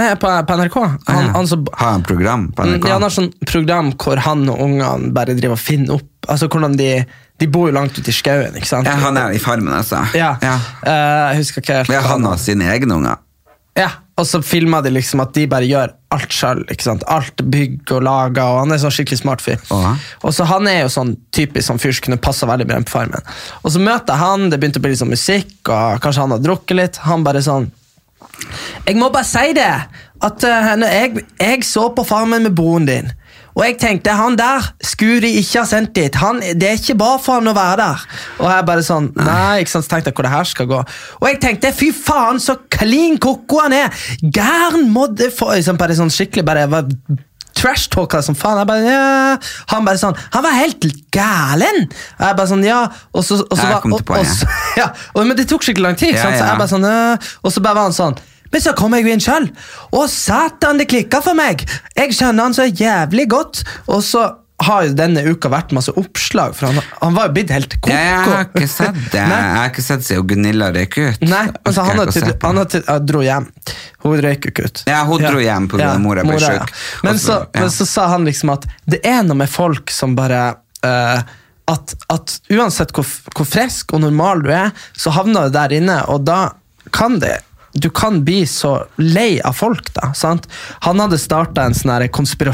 [SPEAKER 1] Nei, på, på NRK. Han, han som
[SPEAKER 2] Har han program på
[SPEAKER 1] Mm,
[SPEAKER 2] NRK?
[SPEAKER 1] Ja, han har sånn program hvor han og ungene bare driver og finner opp Altså hvordan de De bor jo langt ute i skauen, ikke sant?
[SPEAKER 2] ja, han er i Farmen, altså.
[SPEAKER 1] Ja.
[SPEAKER 2] Ja.
[SPEAKER 1] Eh, jeg husker ikke helt.
[SPEAKER 2] Ja,
[SPEAKER 1] hva
[SPEAKER 2] han har sine egne unger.
[SPEAKER 1] Ja, og så filma de liksom at de bare gjør alt sjøl. Alt bygg og lager, og han er sånn skikkelig smart fyr.
[SPEAKER 2] Ja.
[SPEAKER 1] Og så Han er jo sånn typisk sånn fyr som kunne passa veldig bra inn på Farmen. Og så møter jeg han, det begynte å bli litt sånn musikk, og kanskje han har drukket litt. Han bare sånn Jeg må bare si det! At eh, når jeg, jeg så på Farmen med broren din. Og jeg tenkte, han der skulle de ikke ha sendt dit. Han, det er ikke bra for han å være der. Og jeg bare sånn, nei, ikke sant, så tenkte jeg hvor det her skal gå. Og jeg tenkte, fy faen, så klin koko han er! Gæren måtte få liksom bare sånn skikkelig bare var trash-talka som faen. Jeg bare, ja. Han bare sånn, han var helt gæren! Og jeg bare sånn, ja. Og så, og så,
[SPEAKER 2] Jeg
[SPEAKER 1] var-
[SPEAKER 2] kom
[SPEAKER 1] og,
[SPEAKER 2] til
[SPEAKER 1] og,
[SPEAKER 2] poenget.
[SPEAKER 1] så- ja, og, men det tok skikkelig lang tid. ikke
[SPEAKER 2] Ja,
[SPEAKER 1] sant? Så
[SPEAKER 2] ja.
[SPEAKER 1] jeg bare sånn, øh, og så bare var han sånn Men så kom jeg jo inn sjøl, og satan, det klikka for meg! Jeg skjønner han så jævlig godt. Og så har jo denne uka vært masse oppslag, for han, han var jo blitt helt koko.
[SPEAKER 2] Ja, jeg har ikke sett det. Jeg
[SPEAKER 1] Nei.
[SPEAKER 2] har ikke sett siden Gunilla røyk ut.
[SPEAKER 1] Nei,
[SPEAKER 2] Jeg
[SPEAKER 1] altså han,
[SPEAKER 2] orker
[SPEAKER 1] har
[SPEAKER 2] ikke å se
[SPEAKER 1] tydelig-
[SPEAKER 2] på.
[SPEAKER 1] han har tydelig- ja, dro hjem. Hun røyk jo ikke ut.
[SPEAKER 2] Ja, hun dro hjem på grunn av mora ble syk.
[SPEAKER 1] ja. Men, så,
[SPEAKER 2] Og så- ja.
[SPEAKER 1] men så sa han liksom at det er noe med folk som bare eh, at, at uansett hvor, f- hvor frisk og normal du er, så havner du der inne, og da kan det du kan bli så lei av folk, da. sant? Han hadde starta en sånn her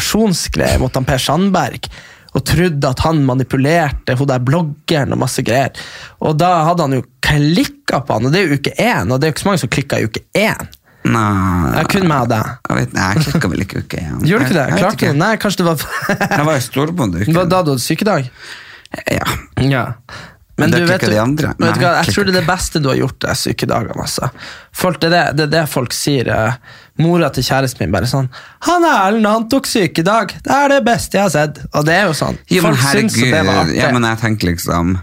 [SPEAKER 1] konspirasjonsgreie mot han Per Sandberg og trodde at han manipulerte hun der bloggeren og masse greier. Og da hadde han jo klikka på han, og det er jo uke én, og det er jo ikke så mange som klikker i uke én. Det
[SPEAKER 2] Nei,
[SPEAKER 1] er kun meg og deg.
[SPEAKER 2] jeg vet Nei, jeg klikka vel ikke uke igjen.
[SPEAKER 1] Gjorde du ikke
[SPEAKER 2] Jeg-
[SPEAKER 1] det?
[SPEAKER 2] jeg vet
[SPEAKER 1] Klarte du det? Nei, kanskje det var
[SPEAKER 2] Jeg var i
[SPEAKER 1] Det var
[SPEAKER 2] storbondeuken.
[SPEAKER 1] da du hadde sykedag?
[SPEAKER 2] Ja.
[SPEAKER 1] Ja. Men
[SPEAKER 2] Men
[SPEAKER 1] du
[SPEAKER 2] det
[SPEAKER 1] vet, jo-
[SPEAKER 2] klikker de andre.
[SPEAKER 1] vet du
[SPEAKER 2] Nei,
[SPEAKER 1] hva, jeg tror
[SPEAKER 2] klikker
[SPEAKER 1] det er det beste du har gjort, er sykedagene. Altså. Folk, det, er det, det er det folk sier. eh, Mora til kjæresten min bare sånn 'Han Erlend, han tok sykedag. Det er det beste jeg har sett.' Og det er jo sånn.
[SPEAKER 2] Jo, men
[SPEAKER 1] folk syns jo det var
[SPEAKER 2] herregud,
[SPEAKER 1] artig.
[SPEAKER 2] ja, men jeg tenker liksom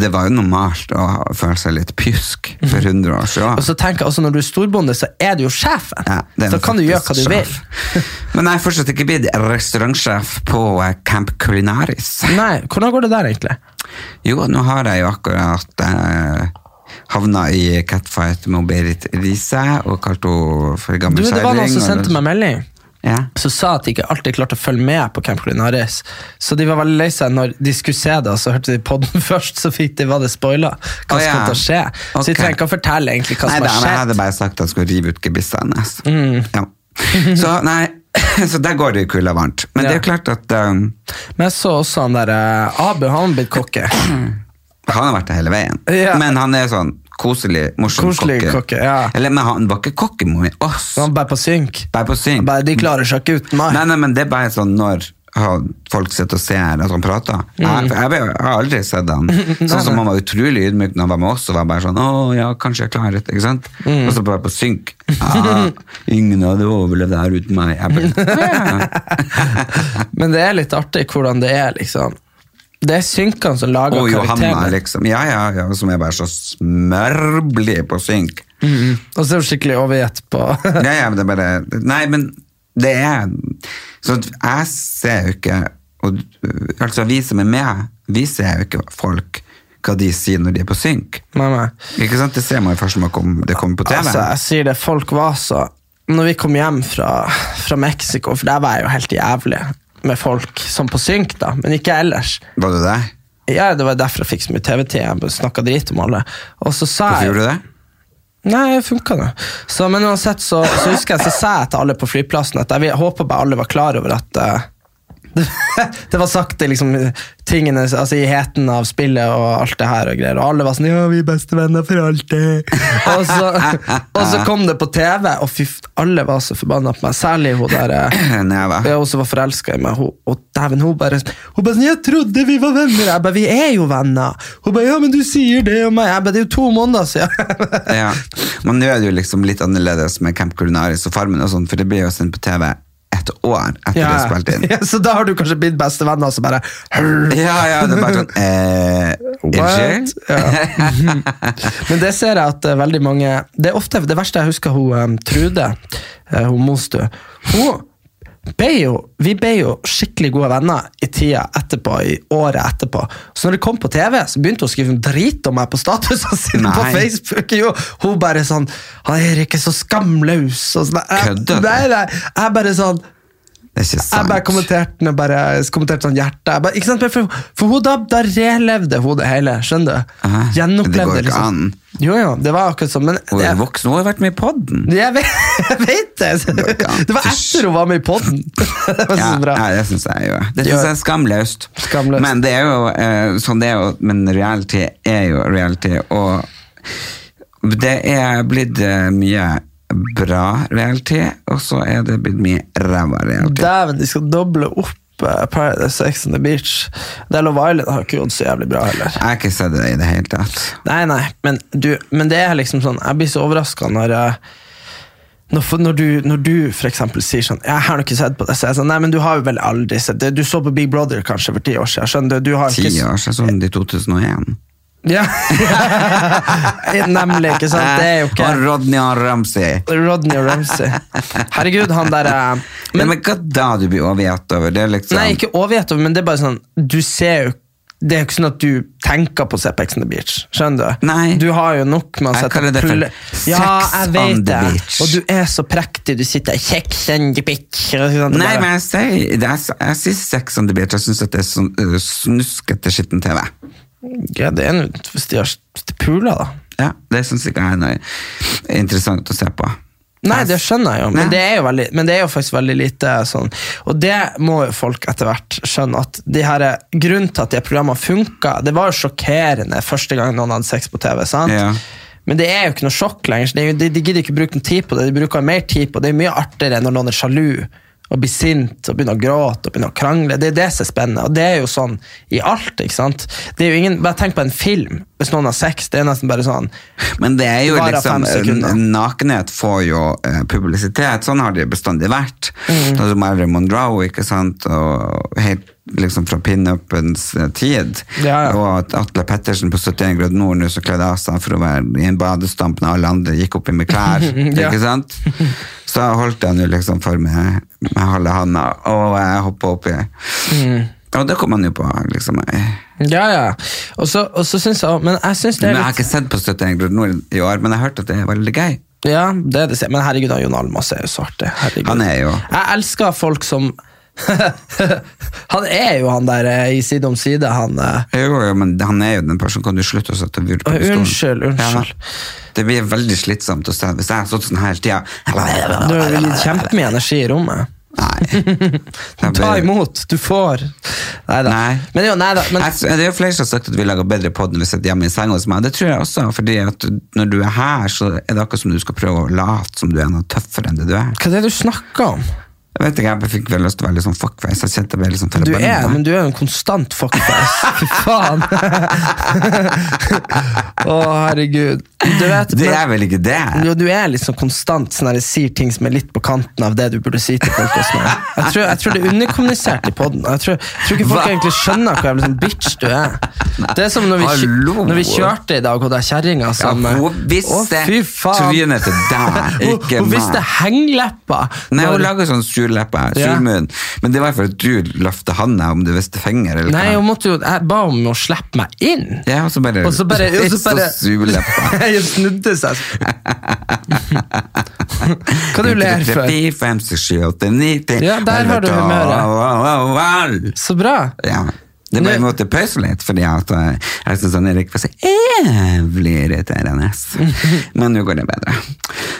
[SPEAKER 2] Det var jo normalt å føle seg litt pjusk
[SPEAKER 1] Mhm.
[SPEAKER 2] for 100 år
[SPEAKER 1] Og
[SPEAKER 2] siden.
[SPEAKER 1] så tenker jeg også Når du er storbonde, så er du jo sjefen.
[SPEAKER 2] Ja, det er
[SPEAKER 1] Altså, så kan du gjøre hva
[SPEAKER 2] faktisk
[SPEAKER 1] du vil.
[SPEAKER 2] sjef. Men jeg er fortsatt ikke blitt restaurantsjef på eh, Camp Culinaris.
[SPEAKER 1] Nei, Hvordan går det der, egentlig?
[SPEAKER 2] Jo, nå har jeg jo akkurat eh, havna i catfight med Berit Riise og kalt henne for
[SPEAKER 1] Du,
[SPEAKER 2] gammel
[SPEAKER 1] det var noen som
[SPEAKER 2] og-
[SPEAKER 1] sendte meg melding.
[SPEAKER 2] Ja.
[SPEAKER 1] som sa at de ikke alltid klarte å følge med på Camp Culinaris. Så de var veldig lei seg når de skulle se det, og så hørte de podden først, så fikk de hva det spoila. Hva
[SPEAKER 2] Å,
[SPEAKER 1] som
[SPEAKER 2] ja.
[SPEAKER 1] kom til å skje. Så de
[SPEAKER 2] Ok.
[SPEAKER 1] trenger ikke å fortelle egentlig hva
[SPEAKER 2] Nei,
[SPEAKER 1] som
[SPEAKER 2] da,
[SPEAKER 1] har
[SPEAKER 2] men jeg hadde
[SPEAKER 1] skjedd. Mm.
[SPEAKER 2] bare sagt at jeg skulle rive ut gebisset hennes. Ja. Så, nei, så der går det i kulda varmt. Men det er jo klart at um,
[SPEAKER 1] Men jeg så også han der eh, Abu, han blitt kokke.
[SPEAKER 2] han har vært der hele veien.
[SPEAKER 1] Ja.
[SPEAKER 2] Men han er sånn koselig, morsom
[SPEAKER 1] Koselig kokke, ja.
[SPEAKER 2] Eller, men han var ikke kokke med oss.
[SPEAKER 1] Så han bare på synk.
[SPEAKER 2] Bare på syng.
[SPEAKER 1] Bare, de klarer seg ikke uten meg.
[SPEAKER 2] Nei, nei, men det er bare sånn når har folk sitter og ser at han prater. Jeg, jeg, jeg har aldri sett han. Sånn som han var utrolig ydmyk når han var med oss og var bare sånn 'Å ja, kanskje jeg klarer det', ikke sant? Og så bare på synk. Ja, ingen hadde overlevd det her uten meg. Jeg bare,
[SPEAKER 1] Men det er litt artig hvordan det er, liksom. Det er synkene som lager
[SPEAKER 2] og Johanna,
[SPEAKER 1] karakterene.
[SPEAKER 2] liksom. Ja, ja, ja, som er bare så smørblid på synk.
[SPEAKER 1] Mm-hmm. Og så er det skikkelig overgitt på
[SPEAKER 2] Ja, ja, men det er bare Nei, men det er Så at jeg ser jo ikke og, Altså, vi som er med, vi ser jo ikke folk hva de sier når de er på synk.
[SPEAKER 1] Nei, nei.
[SPEAKER 2] Ikke sant? Det ser man jo først når man kom- det kommer på TV.
[SPEAKER 1] Altså, jeg sier det, folk var så Når vi kom hjem fra, fra Mexico, for der var jeg jo helt jævlig med folk som på synk, da, men ikke ellers.
[SPEAKER 2] Var det det?
[SPEAKER 1] Ja, Det var derfor jeg fikk så mye TV-tid. Jeg snakka drit om alle. Og så sa
[SPEAKER 2] Hvorfor
[SPEAKER 1] jeg
[SPEAKER 2] gjorde du det?
[SPEAKER 1] Nei, funka det. Så, men uansett så, så husker jeg så sa jeg til alle på flyplassen at jeg vil- håper bare alle var klar over at eh, det, det var sagt i liksom, tingene, altså, i heten av spillet og alt det her. Og greier Og alle var sånn 'ja, vi er bestevenner for alltid'. og, så, og så kom det på TV, og fy, f- alle var så forbanna på meg. Særlig hun der eh,
[SPEAKER 2] Neva.
[SPEAKER 1] ja, hun som var forelska i meg, hun, og dæven, hun bare Hun bare sånn 'Jeg trodde vi var venner.' Jeg bare 'Vi er jo venner'. Hun bare 'Ja, men du sier det om meg'. Jeg bare 'Det er jo to måneder siden'.
[SPEAKER 2] Ja. Men nå er det jo liksom litt annerledes med Camp Culinaris og Farmen, og sånn, for det blir jo sendt på TV et år etter det er spilt inn.
[SPEAKER 1] Ja, så da har du kanskje blitt bestevenn, og så bare
[SPEAKER 2] Ja, ja, det er bare sånn eh, Unnskyld?
[SPEAKER 1] What? Ja. Men det ser jeg at eh, veldig mange Det er ofte det verste jeg husker hun eh, Trude, eh, hun Monstu Hun ble jo, Vi ble jo skikkelig gode venner i tida etterpå, i året etterpå. Så når det kom på TV, så begynte hun å skrive drit om meg på statusene sine på
[SPEAKER 2] Nei.
[SPEAKER 1] Facebook. Jo, hun bare sånn 'Han Erik er så skamløs'. Og sånn. Jeg-
[SPEAKER 2] Kødder du?
[SPEAKER 1] Nei, nei. Jeg bare sånn
[SPEAKER 2] Det er ikke
[SPEAKER 1] Jeg bare
[SPEAKER 2] sant.
[SPEAKER 1] kommenterte den, bare kommenterte sånn hjerte. Jeg bare, ikke sant? For, for hun da, da relevde hun det hele, skjønner du?
[SPEAKER 2] Aha, det
[SPEAKER 1] Gjenopplevde
[SPEAKER 2] går ikke
[SPEAKER 1] liksom.
[SPEAKER 2] an.
[SPEAKER 1] Jo, jo, det var akkurat sånn, men...
[SPEAKER 2] Hun er
[SPEAKER 1] Jeg,
[SPEAKER 2] voksen, hun har vært med i podden.
[SPEAKER 1] jeg, vet, jeg vet det!
[SPEAKER 2] går ikke an.
[SPEAKER 1] Det var etter hun var med i podden. Det var så
[SPEAKER 2] Ja,
[SPEAKER 1] bra.
[SPEAKER 2] ja, det syns jeg jo. Det
[SPEAKER 1] Ja.
[SPEAKER 2] synes jeg er skamløst.
[SPEAKER 1] Skamløst.
[SPEAKER 2] Men det er jo eh, sånn det er jo, men reality er jo reality, og det er blitt eh, mye bra reality, og så er det blitt mye ræva reality.
[SPEAKER 1] Dæven, de skal doble opp eh, Paradise X on the Beach. Del of Island har ikke gått så jævlig bra heller.
[SPEAKER 2] Jeg har ikke sett det i det hele tatt.
[SPEAKER 1] Nei, nei, men, du, men det er liksom sånn Jeg blir så overraska når eh, når, for- når, du, når du for eksempel sier sånn Jeg har jo ikke sett på det. Så er jeg sånn, Nei, men du har jo vel aldri sett det. Du så på Big Brother kanskje for ti år siden. Skjønner du? du har
[SPEAKER 2] Ti
[SPEAKER 1] ikke, s-
[SPEAKER 2] år siden, sånn i 2001.
[SPEAKER 1] Ja. Nemlig, ikke sant? Det er jo ikke
[SPEAKER 2] Og Rodney og Ramsey.
[SPEAKER 1] Rodney og Ramsey. Herregud, han eh, derre
[SPEAKER 2] Men, men hva da du blir overgitt over? Det er liksom
[SPEAKER 1] Nei, ikke overgjett over, men det er bare sånn Du ser jo Det er jo ikke sånn at du tenker på CPX on the beach. Skjønner du?
[SPEAKER 2] Nei.
[SPEAKER 1] Du har jo nok med å
[SPEAKER 2] Jeg
[SPEAKER 1] sette
[SPEAKER 2] kaller det for
[SPEAKER 1] pulle-
[SPEAKER 2] sex
[SPEAKER 1] ja, jeg
[SPEAKER 2] on
[SPEAKER 1] vet
[SPEAKER 2] the
[SPEAKER 1] det.
[SPEAKER 2] beach.
[SPEAKER 1] Og du er så prektig. Du sitter Kjeks on the beach. og sånn,
[SPEAKER 2] Nei,
[SPEAKER 1] bare-
[SPEAKER 2] men jeg sier, det er, jeg sier sex on the beach. Jeg syns det er sånn eh, snuskete skitten TV.
[SPEAKER 1] ja, Det er nå hvis de har s- de puler, da.
[SPEAKER 2] Ja, Det syns ikke jeg er noe interessant å se på.
[SPEAKER 1] Nei, det skjønner jeg jo, men
[SPEAKER 2] Nei.
[SPEAKER 1] det er jo, veldig, men det er jo faktisk veldig lite sånn. Og det må jo folk etter hvert skjønne, at de her, grunnen til at de programmene funka Det var jo sjokkerende første gang noen hadde sex på TV, sant?
[SPEAKER 2] Ja.
[SPEAKER 1] Men det er jo ikke noe sjokk lenger. Så det er jo, de, de gidder ikke bruke noe tid på det. De bruker mer tid på det. Det er mye artigere når noen er sjalu og blir sint og begynner å gråte og begynner å krangle. Det er det som er spennende, og det er jo sånn i alt. ikke sant? Det er jo ingen, Bare tenk på en film. Hvis noen har sex, det er nesten bare sånn
[SPEAKER 2] Men det er jo
[SPEAKER 1] Det varer fem
[SPEAKER 2] liksom
[SPEAKER 1] sekunder.
[SPEAKER 2] n- Nakenhet får jo eh, publisitet. Sånn har det bestandig vært.
[SPEAKER 1] Mm.
[SPEAKER 2] Sånn som Marilyn Monroe, ikke sant. Og helt liksom fra pinnupens eh, tid.
[SPEAKER 1] Ja, ja.
[SPEAKER 2] Og at Atle Pettersen på 71 grad nord nå som kledde av seg for å være i en badestamp når alle andre gikk oppi med klær.
[SPEAKER 1] Ja.
[SPEAKER 2] ikke sant? Så holdt jeg nå liksom for meg med halve handa, og jeg hoppa oppi.
[SPEAKER 1] Mm.
[SPEAKER 2] Og det kom han jo på, liksom.
[SPEAKER 1] Ja, ja. Og så, og så syns jeg Men jeg syns det
[SPEAKER 2] Men
[SPEAKER 1] er
[SPEAKER 2] jeg har
[SPEAKER 1] litt
[SPEAKER 2] ikke sett på 71 grader nord i år, men jeg har hørt at det er veldig gøy.
[SPEAKER 1] Ja, det er det som- Men herregud, han Jon Almaas er jo så artig. Herregud.
[SPEAKER 2] Han er jo-
[SPEAKER 1] Jeg elsker folk som Han er jo han der eh, i Side om side, han eh.
[SPEAKER 2] Jo, jo, men han er jo den personen. Kan du slutte å sette vur på
[SPEAKER 1] Oi,
[SPEAKER 2] pistolen?
[SPEAKER 1] unnskyld, unnskyld.
[SPEAKER 2] Ja, det blir veldig slitsomt å se. Hvis jeg hadde stått sånn hele tida
[SPEAKER 1] Du har jo gitt kjempemye energi i rommet.
[SPEAKER 2] Nei. Da
[SPEAKER 1] Ta
[SPEAKER 2] blir-
[SPEAKER 1] imot, du får. Neida.
[SPEAKER 2] Nei.
[SPEAKER 1] Men jo, neida, Men,
[SPEAKER 2] Jeg- Det er jo flere som har sagt at vi lager bedre pod når vi sitter hjemme i senga hos meg. Det tror jeg også, fordi at når du er her, så er det akkurat som du skal prøve å late som du er noe tøffere enn det du er.
[SPEAKER 1] hva er det du snakker om?
[SPEAKER 2] Jeg vet ikke, jeg fikk vel lyst til å være litt sånn fuckface. Jeg kjente jeg ble litt sånn
[SPEAKER 1] Du er,
[SPEAKER 2] telebandet.
[SPEAKER 1] men du er jo en konstant fuckface. Fy faen. Å, herregud. Du vet,
[SPEAKER 2] Det
[SPEAKER 1] men-
[SPEAKER 2] er vel ikke det?
[SPEAKER 1] Jo, du er liksom konstant sånn her, sier ting som er litt på kanten av det du burde si til folk. og sånn. Jeg tror, jeg tror det er underkommunisert i poden. Jeg, tror- jeg tror ikke folk
[SPEAKER 2] Hva?
[SPEAKER 1] egentlig skjønner hvor jævlig sånn bitch du er. Det er som når vi, kjø-
[SPEAKER 2] Hallo.
[SPEAKER 1] når vi kjørte i dag, og det er kjerringa
[SPEAKER 2] Ja,
[SPEAKER 1] som
[SPEAKER 2] hun
[SPEAKER 1] Å,
[SPEAKER 2] visste
[SPEAKER 1] fy faen.
[SPEAKER 2] trynet til deg,
[SPEAKER 1] Hun,
[SPEAKER 2] ikke
[SPEAKER 1] hun
[SPEAKER 2] meg.
[SPEAKER 1] visste hengleppa!
[SPEAKER 2] Nei, hun
[SPEAKER 1] Når-
[SPEAKER 2] lager sånn surleppe,
[SPEAKER 1] Ja.
[SPEAKER 2] surmunn. Men det var for at du løfte handa om du visste finger eller
[SPEAKER 1] Nei,
[SPEAKER 2] hva.
[SPEAKER 1] hun måtte jo, jeg ba om å slippe meg inn.
[SPEAKER 2] Ja, og så bare,
[SPEAKER 1] Og så bare, og så bare
[SPEAKER 2] surleppa.
[SPEAKER 1] Jeg snudde seg. Hva du ler for?
[SPEAKER 2] 4, 5, 6, 7, 8, 9, 10
[SPEAKER 1] Ja, der har du humøret. Så bra.
[SPEAKER 2] Ja. Det ble
[SPEAKER 1] Nå-
[SPEAKER 2] måtte pause litt, fordi at eh, jeg syns Erik var så jævlig irriterende. Men nå går det bedre.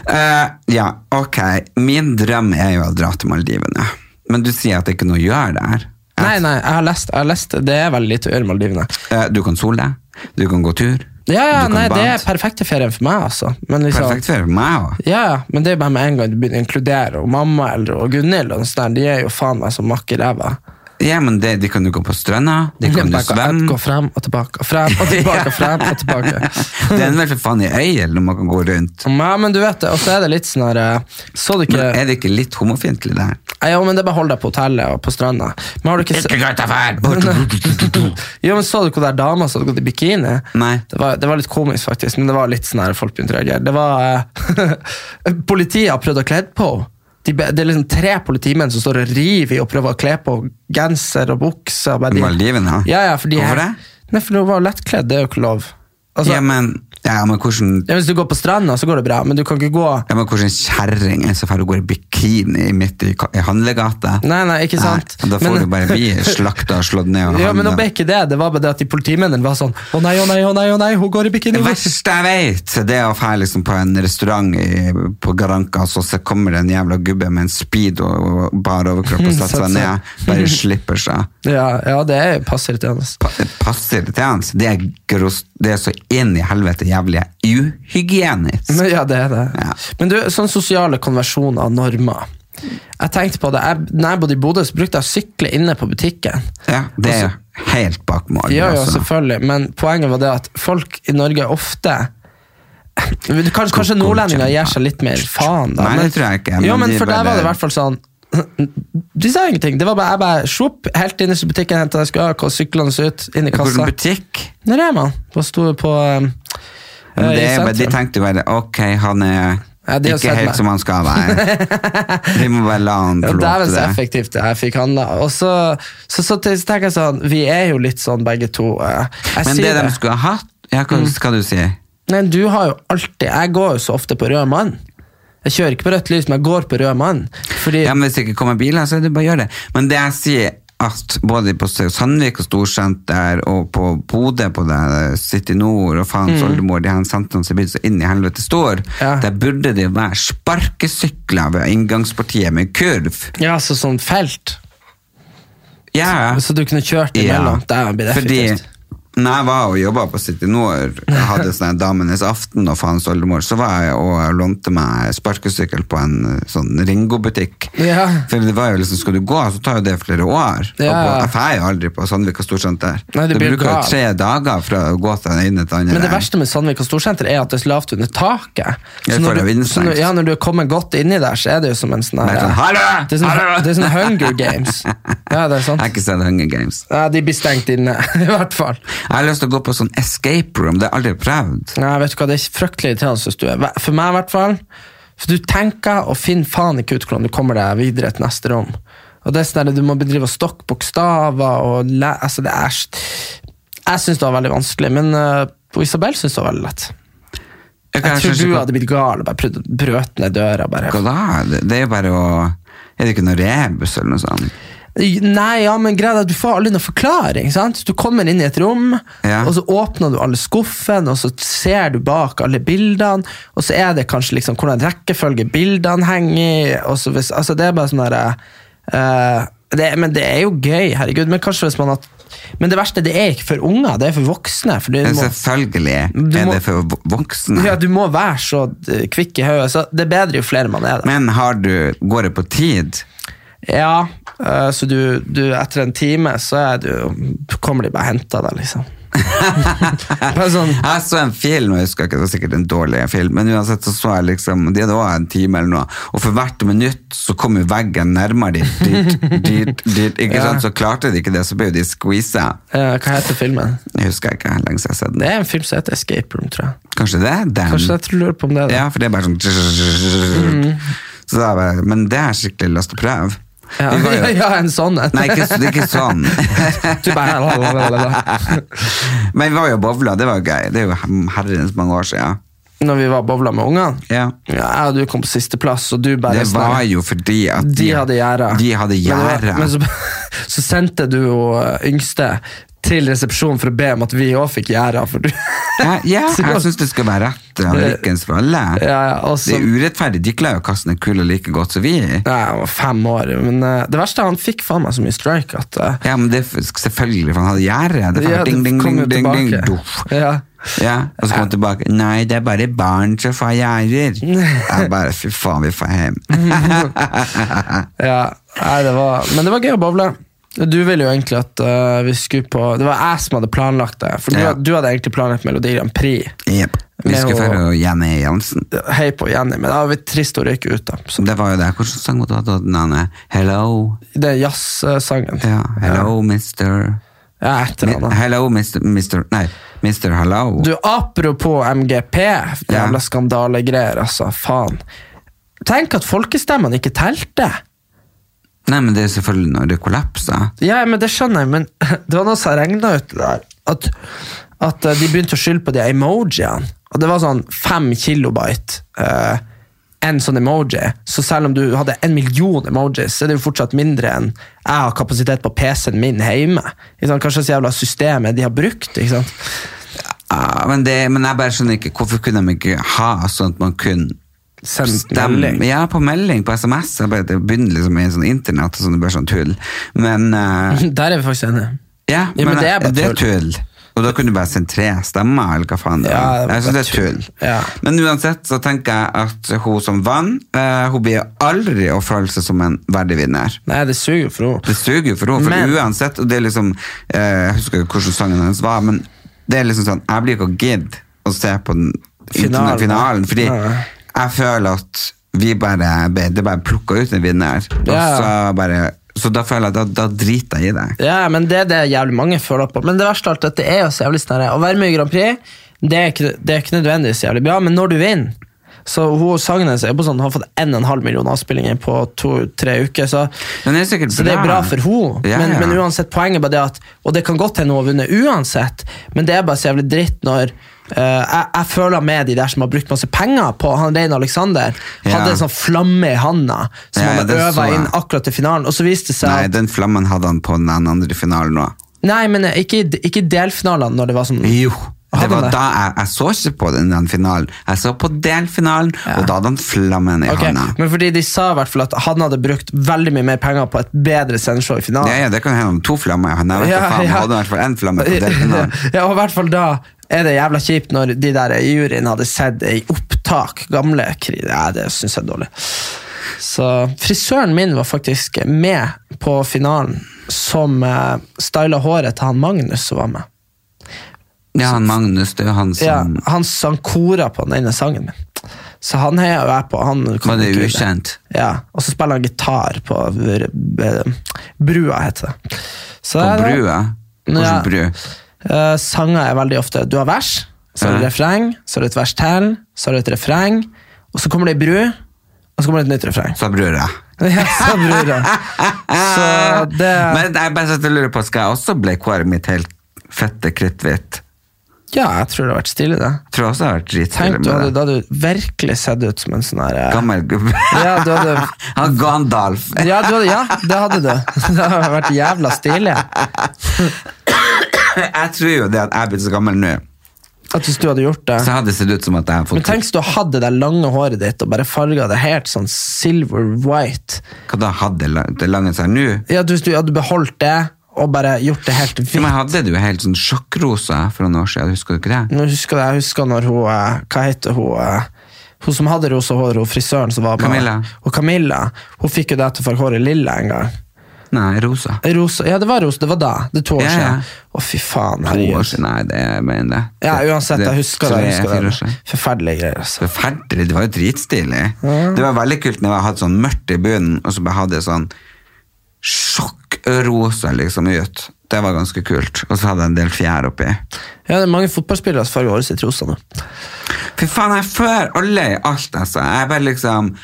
[SPEAKER 2] Eh, ja, ok. Min drøm er jo å dra til Maldivene. Men du sier at det ikke er noe å gjøre der.
[SPEAKER 1] Nei, nei, jeg har lest, jeg har lest det er veldig lite å gjøre i Maldivene.
[SPEAKER 2] Eh, du kan sole deg, du kan gå tur.
[SPEAKER 1] Ja, ja,
[SPEAKER 2] Du kan
[SPEAKER 1] nei, det
[SPEAKER 2] bade.
[SPEAKER 1] er perfekte ferien for meg, altså. Men liksom,
[SPEAKER 2] Perfekt for meg òg.
[SPEAKER 1] Ja, ja, men det er bare med en gang du begynner å inkludere og mamma eller, og Gunhild, og sånn der, de er jo faen meg som makk i ræva.
[SPEAKER 2] Ja, men det, de kan jo gå på stranda, de kan jo
[SPEAKER 1] Bare gå- Gå
[SPEAKER 2] svømme.
[SPEAKER 1] frem og tilbake og frem og tilbake. og frem og tilbake.
[SPEAKER 2] Det er vel for faen i øyel når man kan gå rundt.
[SPEAKER 1] Ja, men du vet det, og så er det litt sånn her eh, Så du ikke
[SPEAKER 2] Er det ikke litt homofiendtlig der?
[SPEAKER 1] Ja, men det er bare hold deg på hotellet og på stranda. Men har du ikke, se-
[SPEAKER 2] gå til affæren!
[SPEAKER 1] Jo, men Så du ikke hun der dama som hadde gått i bikini?
[SPEAKER 2] Nei.
[SPEAKER 1] Det var, det var litt komisk, faktisk, men det var litt sånn her folk begynte å reagere. Det var, eh, Politiet har prøvd å kle på henne. De, be- det er liksom tre politimenn som står og river i og prøver å kle på genser og bukser. Bare de-
[SPEAKER 2] Maldivene?
[SPEAKER 1] Ja, ja, for de
[SPEAKER 2] Hvorfor det?
[SPEAKER 1] Nei, for hun var lettkledd, det er jo ikke lov. Altså,
[SPEAKER 2] Ja, men, ja, men hvordan
[SPEAKER 1] ja, hvis du går på stranda, så går det bra, men du kan ikke gå
[SPEAKER 2] Ja, men hvordan kjerring er så fæl å gå i bikini midt i, ka- i handlegata?
[SPEAKER 1] Nei, nei, ikke sant.
[SPEAKER 2] Nei, da får
[SPEAKER 1] Men-
[SPEAKER 2] du bare bli slakta og slått ned. Og
[SPEAKER 1] Ja, men nå
[SPEAKER 2] handlet.
[SPEAKER 1] ble ikke det. Det var bare det at de politimennene var sånn Å nei, å nei, å nei, å nei, hun går i bikini.
[SPEAKER 2] Det
[SPEAKER 1] hun går-
[SPEAKER 2] verste jeg vet, det er å dra liksom på en restaurant i, på Garanca, så, så kommer det en jævla gubbe med en speedo og bar overkropp og setter seg
[SPEAKER 1] Satt seg.
[SPEAKER 2] ned. Bare slipper seg.
[SPEAKER 1] Ja, ja, det er pass irriterende.
[SPEAKER 2] Pa- Passer til hans. Det er, gross, det er så inn i helvete jævlig uhygienisk.
[SPEAKER 1] Men, ja, det er det.
[SPEAKER 2] Ja.
[SPEAKER 1] Men du, sånn sosiale konversjoner og normer. Jeg tenkte på det, jeg, når jeg bodde i Bodø, så brukte jeg å sykle inne på butikken.
[SPEAKER 2] Ja, det er
[SPEAKER 1] Altså,
[SPEAKER 2] jo helt bak mål.
[SPEAKER 1] Ja, ja,
[SPEAKER 2] altså.
[SPEAKER 1] selvfølgelig, men poenget var det at folk i Norge ofte Kanskje, kanskje
[SPEAKER 2] Kom- kom
[SPEAKER 1] nordlendinger
[SPEAKER 2] igjen,
[SPEAKER 1] gir seg litt mer faen, da.
[SPEAKER 2] Nei, det tror jeg ikke,
[SPEAKER 1] Men,
[SPEAKER 2] men
[SPEAKER 1] jo, men
[SPEAKER 2] de
[SPEAKER 1] for der
[SPEAKER 2] bare-
[SPEAKER 1] var det i hvert fall sånn De sa ingenting. Det var bare, jeg bare sjopp, helt innerst i butikken, henta jeg skulle ha, og syklende ut, inn i kassa.
[SPEAKER 2] Hvordan butikk?
[SPEAKER 1] Nei, det er man. På, sto på eh, eh,
[SPEAKER 2] Men det
[SPEAKER 1] i
[SPEAKER 2] er jo bare, de
[SPEAKER 1] sentrum.
[SPEAKER 2] tenkte jo bare ok, han er
[SPEAKER 1] Ja, de har
[SPEAKER 2] ikke
[SPEAKER 1] sett
[SPEAKER 2] helt
[SPEAKER 1] meg.
[SPEAKER 2] som han skal være. Vi må bare la han
[SPEAKER 1] Ja,
[SPEAKER 2] få lov
[SPEAKER 1] Dæven
[SPEAKER 2] til
[SPEAKER 1] så
[SPEAKER 2] det.
[SPEAKER 1] effektivt det jeg fikk handla. Og så, så, så til- så tenker jeg sånn Vi er jo litt sånn begge to. eh. Jeg
[SPEAKER 2] Men
[SPEAKER 1] sier
[SPEAKER 2] det
[SPEAKER 1] det. Mm.
[SPEAKER 2] de skulle ha hatt ja, Hva skal du si?
[SPEAKER 1] Nei, du har jo alltid Jeg går jo så ofte på rød mann. Jeg kjører ikke på rødt lys, men jeg går på rød mann. Fordi
[SPEAKER 2] Ja, men Hvis det ikke kommer biler, så er det bare å gjøre det. Men det jeg sier at både på Sandvik og Storsenter og på Bodø, på det City Nord og faen Soldemor, de her sentrene som er blitt så inn i helvete store,
[SPEAKER 1] Ja.
[SPEAKER 2] der burde det jo være sparkesykler ved inngangspartiet med kurv.
[SPEAKER 1] Ja, så sånn felt.
[SPEAKER 2] Ja,
[SPEAKER 1] Så du kunne kjørt
[SPEAKER 2] Ja,
[SPEAKER 1] imellom. Dæven, blir det
[SPEAKER 2] fordi
[SPEAKER 1] effektivt.
[SPEAKER 2] når jeg var og jobba på City Nord, jeg hadde sånn her Damenes aften og faens oldemor, så var jeg og lånte meg sparkesykkel på en eh, sånn Ringo-butikk.
[SPEAKER 1] Ja.
[SPEAKER 2] For det var jo liksom, skal du gå, så tar jo det flere år. Og
[SPEAKER 1] Ja.
[SPEAKER 2] på, jeg drar jo aldri på Sandvika Storsenter.
[SPEAKER 1] Nei, du
[SPEAKER 2] det
[SPEAKER 1] blir
[SPEAKER 2] bruker
[SPEAKER 1] gal.
[SPEAKER 2] jo tre dager fra å gå til den ene til den andre.
[SPEAKER 1] Men det verste med Sandvik og Storsenter er at det er så lavt under taket. Så
[SPEAKER 2] Ja, for
[SPEAKER 1] når
[SPEAKER 2] det
[SPEAKER 1] du,
[SPEAKER 2] er jo
[SPEAKER 1] så når,
[SPEAKER 2] innstengt.
[SPEAKER 1] ja, når du er kommet godt inni der, så er det jo som en sånn
[SPEAKER 2] Det er sånn,
[SPEAKER 1] her-
[SPEAKER 2] Hallo!
[SPEAKER 1] Det er sånn,
[SPEAKER 2] Hallo!
[SPEAKER 1] det er sånn Hunger Games. Ja, det er sånn.
[SPEAKER 2] Jeg
[SPEAKER 1] sant.
[SPEAKER 2] har ikke sett Hunger Games.
[SPEAKER 1] Ja, de blir stengt inne, i hvert fall.
[SPEAKER 2] Jeg har lyst til å gå på sånn escape room, det har jeg aldri prøvd.
[SPEAKER 1] Nei, vet du hva, Det er fryktelig irriterende, synes du. Hva- For meg, i hvert fall. For du tenker og finner faen ikke ut hvordan du kommer deg videre til neste rom. Og det er sånn der, Du må bedrive og stokke bokstaver og læ... Altså, det er s- Jeg syns det var veldig vanskelig, men eh, på Isabel syns det var veldig lett.
[SPEAKER 2] Jeg,
[SPEAKER 1] Jeg tror
[SPEAKER 2] kanskje
[SPEAKER 1] du
[SPEAKER 2] ikke-
[SPEAKER 1] hadde blitt gal og bare prøvd å brøt ned døra. bare.
[SPEAKER 2] Hva da? Det det er jo bare å Er det ikke noe rebus eller noe sånt?
[SPEAKER 1] Nei, ja, men greia er at du får aldri noen forklaring. sant? Du kommer inn i et rom,
[SPEAKER 2] Ja.
[SPEAKER 1] og så åpner du alle skuffene, og så ser du bak alle bildene, og så er det kanskje liksom hvordan rekkefølge bildene henger i. og så hvis, altså Det er bare sånn derre eh, det- Men det er jo gøy, herregud. Men kanskje hvis man har Men det verste, det er ikke for unger, det er for voksne. For du
[SPEAKER 2] Men
[SPEAKER 1] må,
[SPEAKER 2] Selvfølgelig
[SPEAKER 1] Du
[SPEAKER 2] er
[SPEAKER 1] må-
[SPEAKER 2] det for vo- voksne.
[SPEAKER 1] ja, du må være så eh, kvikk i hodet, så det er bedre jo flere man er. da.
[SPEAKER 2] Men har du, går det på tid?
[SPEAKER 1] Ja, eh, så du, du etter en time så er du, kommer de bare og henter deg, liksom. bare sånn
[SPEAKER 2] Jeg så en film, jeg husker ikke, det var sikkert en dårlig film, men uansett så så jeg liksom, de hadde også en time eller noe, og for hvert minutt så kom jo veggen nærmere dit, dit, dit, dit ikke sant? Så klarte de ikke det, så ble jo de squeezet.
[SPEAKER 1] eh, Hva heter filmen?
[SPEAKER 2] Jeg husker ikke lenge siden jeg har sett
[SPEAKER 1] Det
[SPEAKER 2] den.
[SPEAKER 1] er en film som heter Escape Room, tror jeg.
[SPEAKER 2] Kanskje det? er Den?
[SPEAKER 1] Kanskje jeg tror- lurer på om det er det.
[SPEAKER 2] Mm. Ja, for det er bare sånn
[SPEAKER 1] Mm.
[SPEAKER 2] så da er jeg bare, Men det har jeg skikkelig lyst til å prøve.
[SPEAKER 1] Ja,
[SPEAKER 2] Vi var
[SPEAKER 1] ja,
[SPEAKER 2] jo-
[SPEAKER 1] en sånn en.
[SPEAKER 2] Nei, ikke, det er ikke sånn.
[SPEAKER 1] Du bare, la, la, la, la, la.
[SPEAKER 2] Men vi var jo bowla, det var gøy. Det er jo herrens mange år siden.
[SPEAKER 1] når vi var og bowla med ungene.
[SPEAKER 2] Ja.
[SPEAKER 1] Ja, jeg og du kom på sisteplass, og du bare
[SPEAKER 2] Det
[SPEAKER 1] sånn
[SPEAKER 2] var
[SPEAKER 1] her-
[SPEAKER 2] jo fordi at
[SPEAKER 1] De hadde gjerda.
[SPEAKER 2] De
[SPEAKER 1] Men,
[SPEAKER 2] hadde
[SPEAKER 1] det
[SPEAKER 2] gjerda.
[SPEAKER 1] var- men så, så sendte du jo eh, yngste til resepsjonen for å be om at vi òg fikk gjerda. For du.
[SPEAKER 2] Ja, ja,
[SPEAKER 1] Så-
[SPEAKER 2] jeg syns det skal være rett og likens for alle.
[SPEAKER 1] Ja, ja, og
[SPEAKER 2] Det
[SPEAKER 1] så-
[SPEAKER 2] er urettferdig. De klarer jo å kaste en kule like godt som vi.
[SPEAKER 1] Nei, han var fem år, men eh, det verste han fikk faen meg så mye strike at eh,
[SPEAKER 2] Ja, men det er f- selvfølgelig, for han hadde gjerde. Det er
[SPEAKER 1] ja,
[SPEAKER 2] ja, ding,
[SPEAKER 1] det
[SPEAKER 2] ding,
[SPEAKER 1] kom
[SPEAKER 2] ding,
[SPEAKER 1] jo
[SPEAKER 2] ding, ding,
[SPEAKER 1] tilbake.
[SPEAKER 2] doff.
[SPEAKER 1] Ja.
[SPEAKER 2] Ja, og så kom han tilbake. Nei, det er bare barn som får gjerder. Jeg bare, fy faen, vi får hjem.
[SPEAKER 1] Ja, nei, det var, men det var gøy å bowle. Du ville jo egentlig at eh, vi skulle på Det var jeg som hadde planlagt det. For du,
[SPEAKER 2] Ja.
[SPEAKER 1] had- du hadde egentlig planlagt Melodi Grand Prix.
[SPEAKER 2] Jep. Vi
[SPEAKER 1] Men
[SPEAKER 2] skulle
[SPEAKER 1] hun-
[SPEAKER 2] føre Jenny Jensen.
[SPEAKER 1] Hei på Jenny, men det var litt trist å røyke ut. da så
[SPEAKER 2] Det var jo det. Hvilken sang var det? da? Den andre, Hello.
[SPEAKER 1] Det er jazzsangen.
[SPEAKER 2] Ja, hello, mister.
[SPEAKER 1] Ja, et eller
[SPEAKER 2] Mi-
[SPEAKER 1] annet.
[SPEAKER 2] Hello, mister, mister. Nei, mister hello.
[SPEAKER 1] Du, apropos MGP,
[SPEAKER 2] Ja.
[SPEAKER 1] jævla skandalegreier, altså. Faen. Tenk at folkestemmene ikke telte!
[SPEAKER 2] Nei, men det er selvfølgelig når det kollapser.
[SPEAKER 1] Ja, men det skjønner jeg, men det var noe som regna ut det der. At, at eh, de begynte å skylde på de emojiene. Og det var sånn fem kilobyte eh, en sånn emoji. Så selv om du hadde en million emojis, så er det jo fortsatt mindre enn jeg har kapasitet på PC-en min hjemme. Ikke sant? Kanskje det jævla systemet de har brukt. ikke sant?
[SPEAKER 2] Ja, Ah, men, det, men jeg bare skjønner ikke, hvorfor kunne de ikke ha sånn at man kunne
[SPEAKER 1] Sendt
[SPEAKER 2] Stem-
[SPEAKER 1] melding.
[SPEAKER 2] Ja, på melding, på SMS. Jeg bare, det begynner liksom i sånn internett og sånn, det blir sånn tull. Men eh,
[SPEAKER 1] Der er vi faktisk enige.
[SPEAKER 2] ja,
[SPEAKER 1] Ja, men det er bare
[SPEAKER 2] tull. Og da kunne du bare sendt tre stemmer, eller hva faen det
[SPEAKER 1] Ja,
[SPEAKER 2] var.
[SPEAKER 1] det var
[SPEAKER 2] jeg synes det
[SPEAKER 1] bare
[SPEAKER 2] er tull.
[SPEAKER 1] tull. Ja.
[SPEAKER 2] Men uansett så tenker jeg at hun som vant, eh, hun blir aldri å føle seg som en verdig vinner.
[SPEAKER 1] Nei, det suger jo for henne.
[SPEAKER 2] Det suger jo for henne, for
[SPEAKER 1] Men-
[SPEAKER 2] uansett, og det er liksom eh, Jeg husker ikke hvordan sangen hennes var, men det er liksom sånn Jeg blir ikke å gidde å se på den
[SPEAKER 1] Finalen.
[SPEAKER 2] finalen, finalen fordi
[SPEAKER 1] Nei.
[SPEAKER 2] jeg føler at vi bare Det bare plukka ut en vinner, og
[SPEAKER 1] Ja.
[SPEAKER 2] så bare Så da føler jeg at da, da driter jeg i det.
[SPEAKER 1] Ja, men det er det jævlig mange føler på. Men det verste av alt dette er jo så jævlig snarere. Å være med i Grand Prix, det er ikke, det er ikke nødvendigvis jævlig bra, men når du vinner så hun sangen hennes er på sånn, har fått 1,5 million avspillinger på to-tre uker. Så,
[SPEAKER 2] Men det er sikkert
[SPEAKER 1] så det er bra
[SPEAKER 2] bra.
[SPEAKER 1] for henne.
[SPEAKER 2] Ja,
[SPEAKER 1] men,
[SPEAKER 2] ja.
[SPEAKER 1] men uansett, poenget er bare det at Og det kan godt hende hun har vunnet uansett, men det er bare så jævlig dritt når eh, jeg, jeg føler med de der som har brukt masse penger på han Rein Alexander.
[SPEAKER 2] Ja.
[SPEAKER 1] Hadde en sånn flamme i handa som
[SPEAKER 2] Ja, ja,
[SPEAKER 1] han
[SPEAKER 2] det så
[SPEAKER 1] øva
[SPEAKER 2] jeg.
[SPEAKER 1] inn akkurat til finalen, og så viste det seg
[SPEAKER 2] Nei,
[SPEAKER 1] at
[SPEAKER 2] den flammen hadde han på den andre finalen nå.
[SPEAKER 1] Nei, men ikke, i- ikke i delfinalene når det var sånn
[SPEAKER 2] Jo. Det
[SPEAKER 1] Hadde han
[SPEAKER 2] var
[SPEAKER 1] det?
[SPEAKER 2] da jeg, jeg så ikke på den, den finalen. Jeg så på delfinalen, og da hadde han flammen i
[SPEAKER 1] Ok,
[SPEAKER 2] handa.
[SPEAKER 1] Men fordi de sa i hvert fall at han hadde brukt veldig mye mer penger på et bedre sendeshow i finalen.
[SPEAKER 2] Ja, ja, det kan hende om to flammer. Han vet ikke faen, hadde i hvert fall én flamme på delfinalen.
[SPEAKER 1] ja, og i hvert fall da er det jævla kjipt når de der i juryen hadde sett i opptak gamle krig. Nei, det syns jeg er dårlig. Så frisøren min var faktisk med på finalen, som uh, styla håret til han Magnus som var med.
[SPEAKER 2] Ja, han Magnus, det er jo han som
[SPEAKER 1] Ja, han sang kora på den ene sangen min. Så han heier jo jeg på. Han kan
[SPEAKER 2] Var det
[SPEAKER 1] ikke-
[SPEAKER 2] ukjent?
[SPEAKER 1] Ja, og så spiller han gitar på br- br- Brua, heter det. Så
[SPEAKER 2] På
[SPEAKER 1] det er det.
[SPEAKER 2] brua. Hvordan
[SPEAKER 1] Ja.
[SPEAKER 2] bru?
[SPEAKER 1] Eh, sanger er veldig ofte Du har vers, så er det
[SPEAKER 2] Ja.
[SPEAKER 1] refreng, så er det et vers til, så er det et refreng, og så kommer det ei bru, og så kommer det et nytt refreng.
[SPEAKER 2] Sa brura.
[SPEAKER 1] Ja, så brura. Så det
[SPEAKER 2] Men jeg bare satt og lurer på, skal jeg også bleke håret mitt helt fette kritthvitt?
[SPEAKER 1] Ja, jeg tror det har vært stilig, det.
[SPEAKER 2] Tror jeg også jeg har vært dritstille
[SPEAKER 1] Tenk, du hadde,
[SPEAKER 2] med det.
[SPEAKER 1] da hadde du virkelig sett ut som en sånn her eh,
[SPEAKER 2] Gammel gubbe.
[SPEAKER 1] Ja, du hadde-
[SPEAKER 2] Han Gandalf.
[SPEAKER 1] Ja, du hadde, ja, det hadde du. Det hadde vært jævla stilig.
[SPEAKER 2] Jeg tror jo det at jeg er blitt så gammel nå,
[SPEAKER 1] At hvis du hadde gjort det.
[SPEAKER 2] så jeg hadde det sett ut som at jeg har
[SPEAKER 1] Men
[SPEAKER 2] fått
[SPEAKER 1] tenk hvis du hadde det der lange håret ditt og bare farga det helt sånn silver white.
[SPEAKER 2] Hva da hadde la- det lange seg nå?
[SPEAKER 1] Ja, at Hvis du hadde beholdt det og bare gjort det helt
[SPEAKER 2] Men jeg
[SPEAKER 1] hvitt.
[SPEAKER 2] hadde det jo helt sånn sjokkrosa for noen år siden, husker du ikke det?
[SPEAKER 1] Nå husker jeg, jeg husker når hun eh, Hva heter hun? eh, Hun som hadde rosa hår, hun frisøren som var med.
[SPEAKER 2] Camilla.
[SPEAKER 1] Og Camilla. Hun fikk jo det til å få håret lilla en gang.
[SPEAKER 2] Nei, rosa.
[SPEAKER 1] Rosa, ja, det var rosa. Det var da. Det er to år
[SPEAKER 2] Ja, ja.
[SPEAKER 1] siden. Å, fy faen.
[SPEAKER 2] To år
[SPEAKER 1] Herregud.
[SPEAKER 2] siden, nei, det jeg mener jeg.
[SPEAKER 1] Ja, uansett,
[SPEAKER 2] Det-
[SPEAKER 1] jeg husker det.
[SPEAKER 2] tre,
[SPEAKER 1] Jeg husker
[SPEAKER 2] fire år
[SPEAKER 1] det.
[SPEAKER 2] siden.
[SPEAKER 1] Forferdelige greier. altså.
[SPEAKER 2] Forferdelig, det var jo dritstilig. Det var veldig kult når jeg hadde sånn mørkt i bunnen, og så bare hadde jeg sånn sjokkrosa liksom ut. Det var ganske kult. Og så hadde jeg en del fjær oppi.
[SPEAKER 1] Ja, det er mange fotballspillere som farger håret sitt rosa nå.
[SPEAKER 2] Fy faen, jeg før alle i alt, altså. Jeg er bare liksom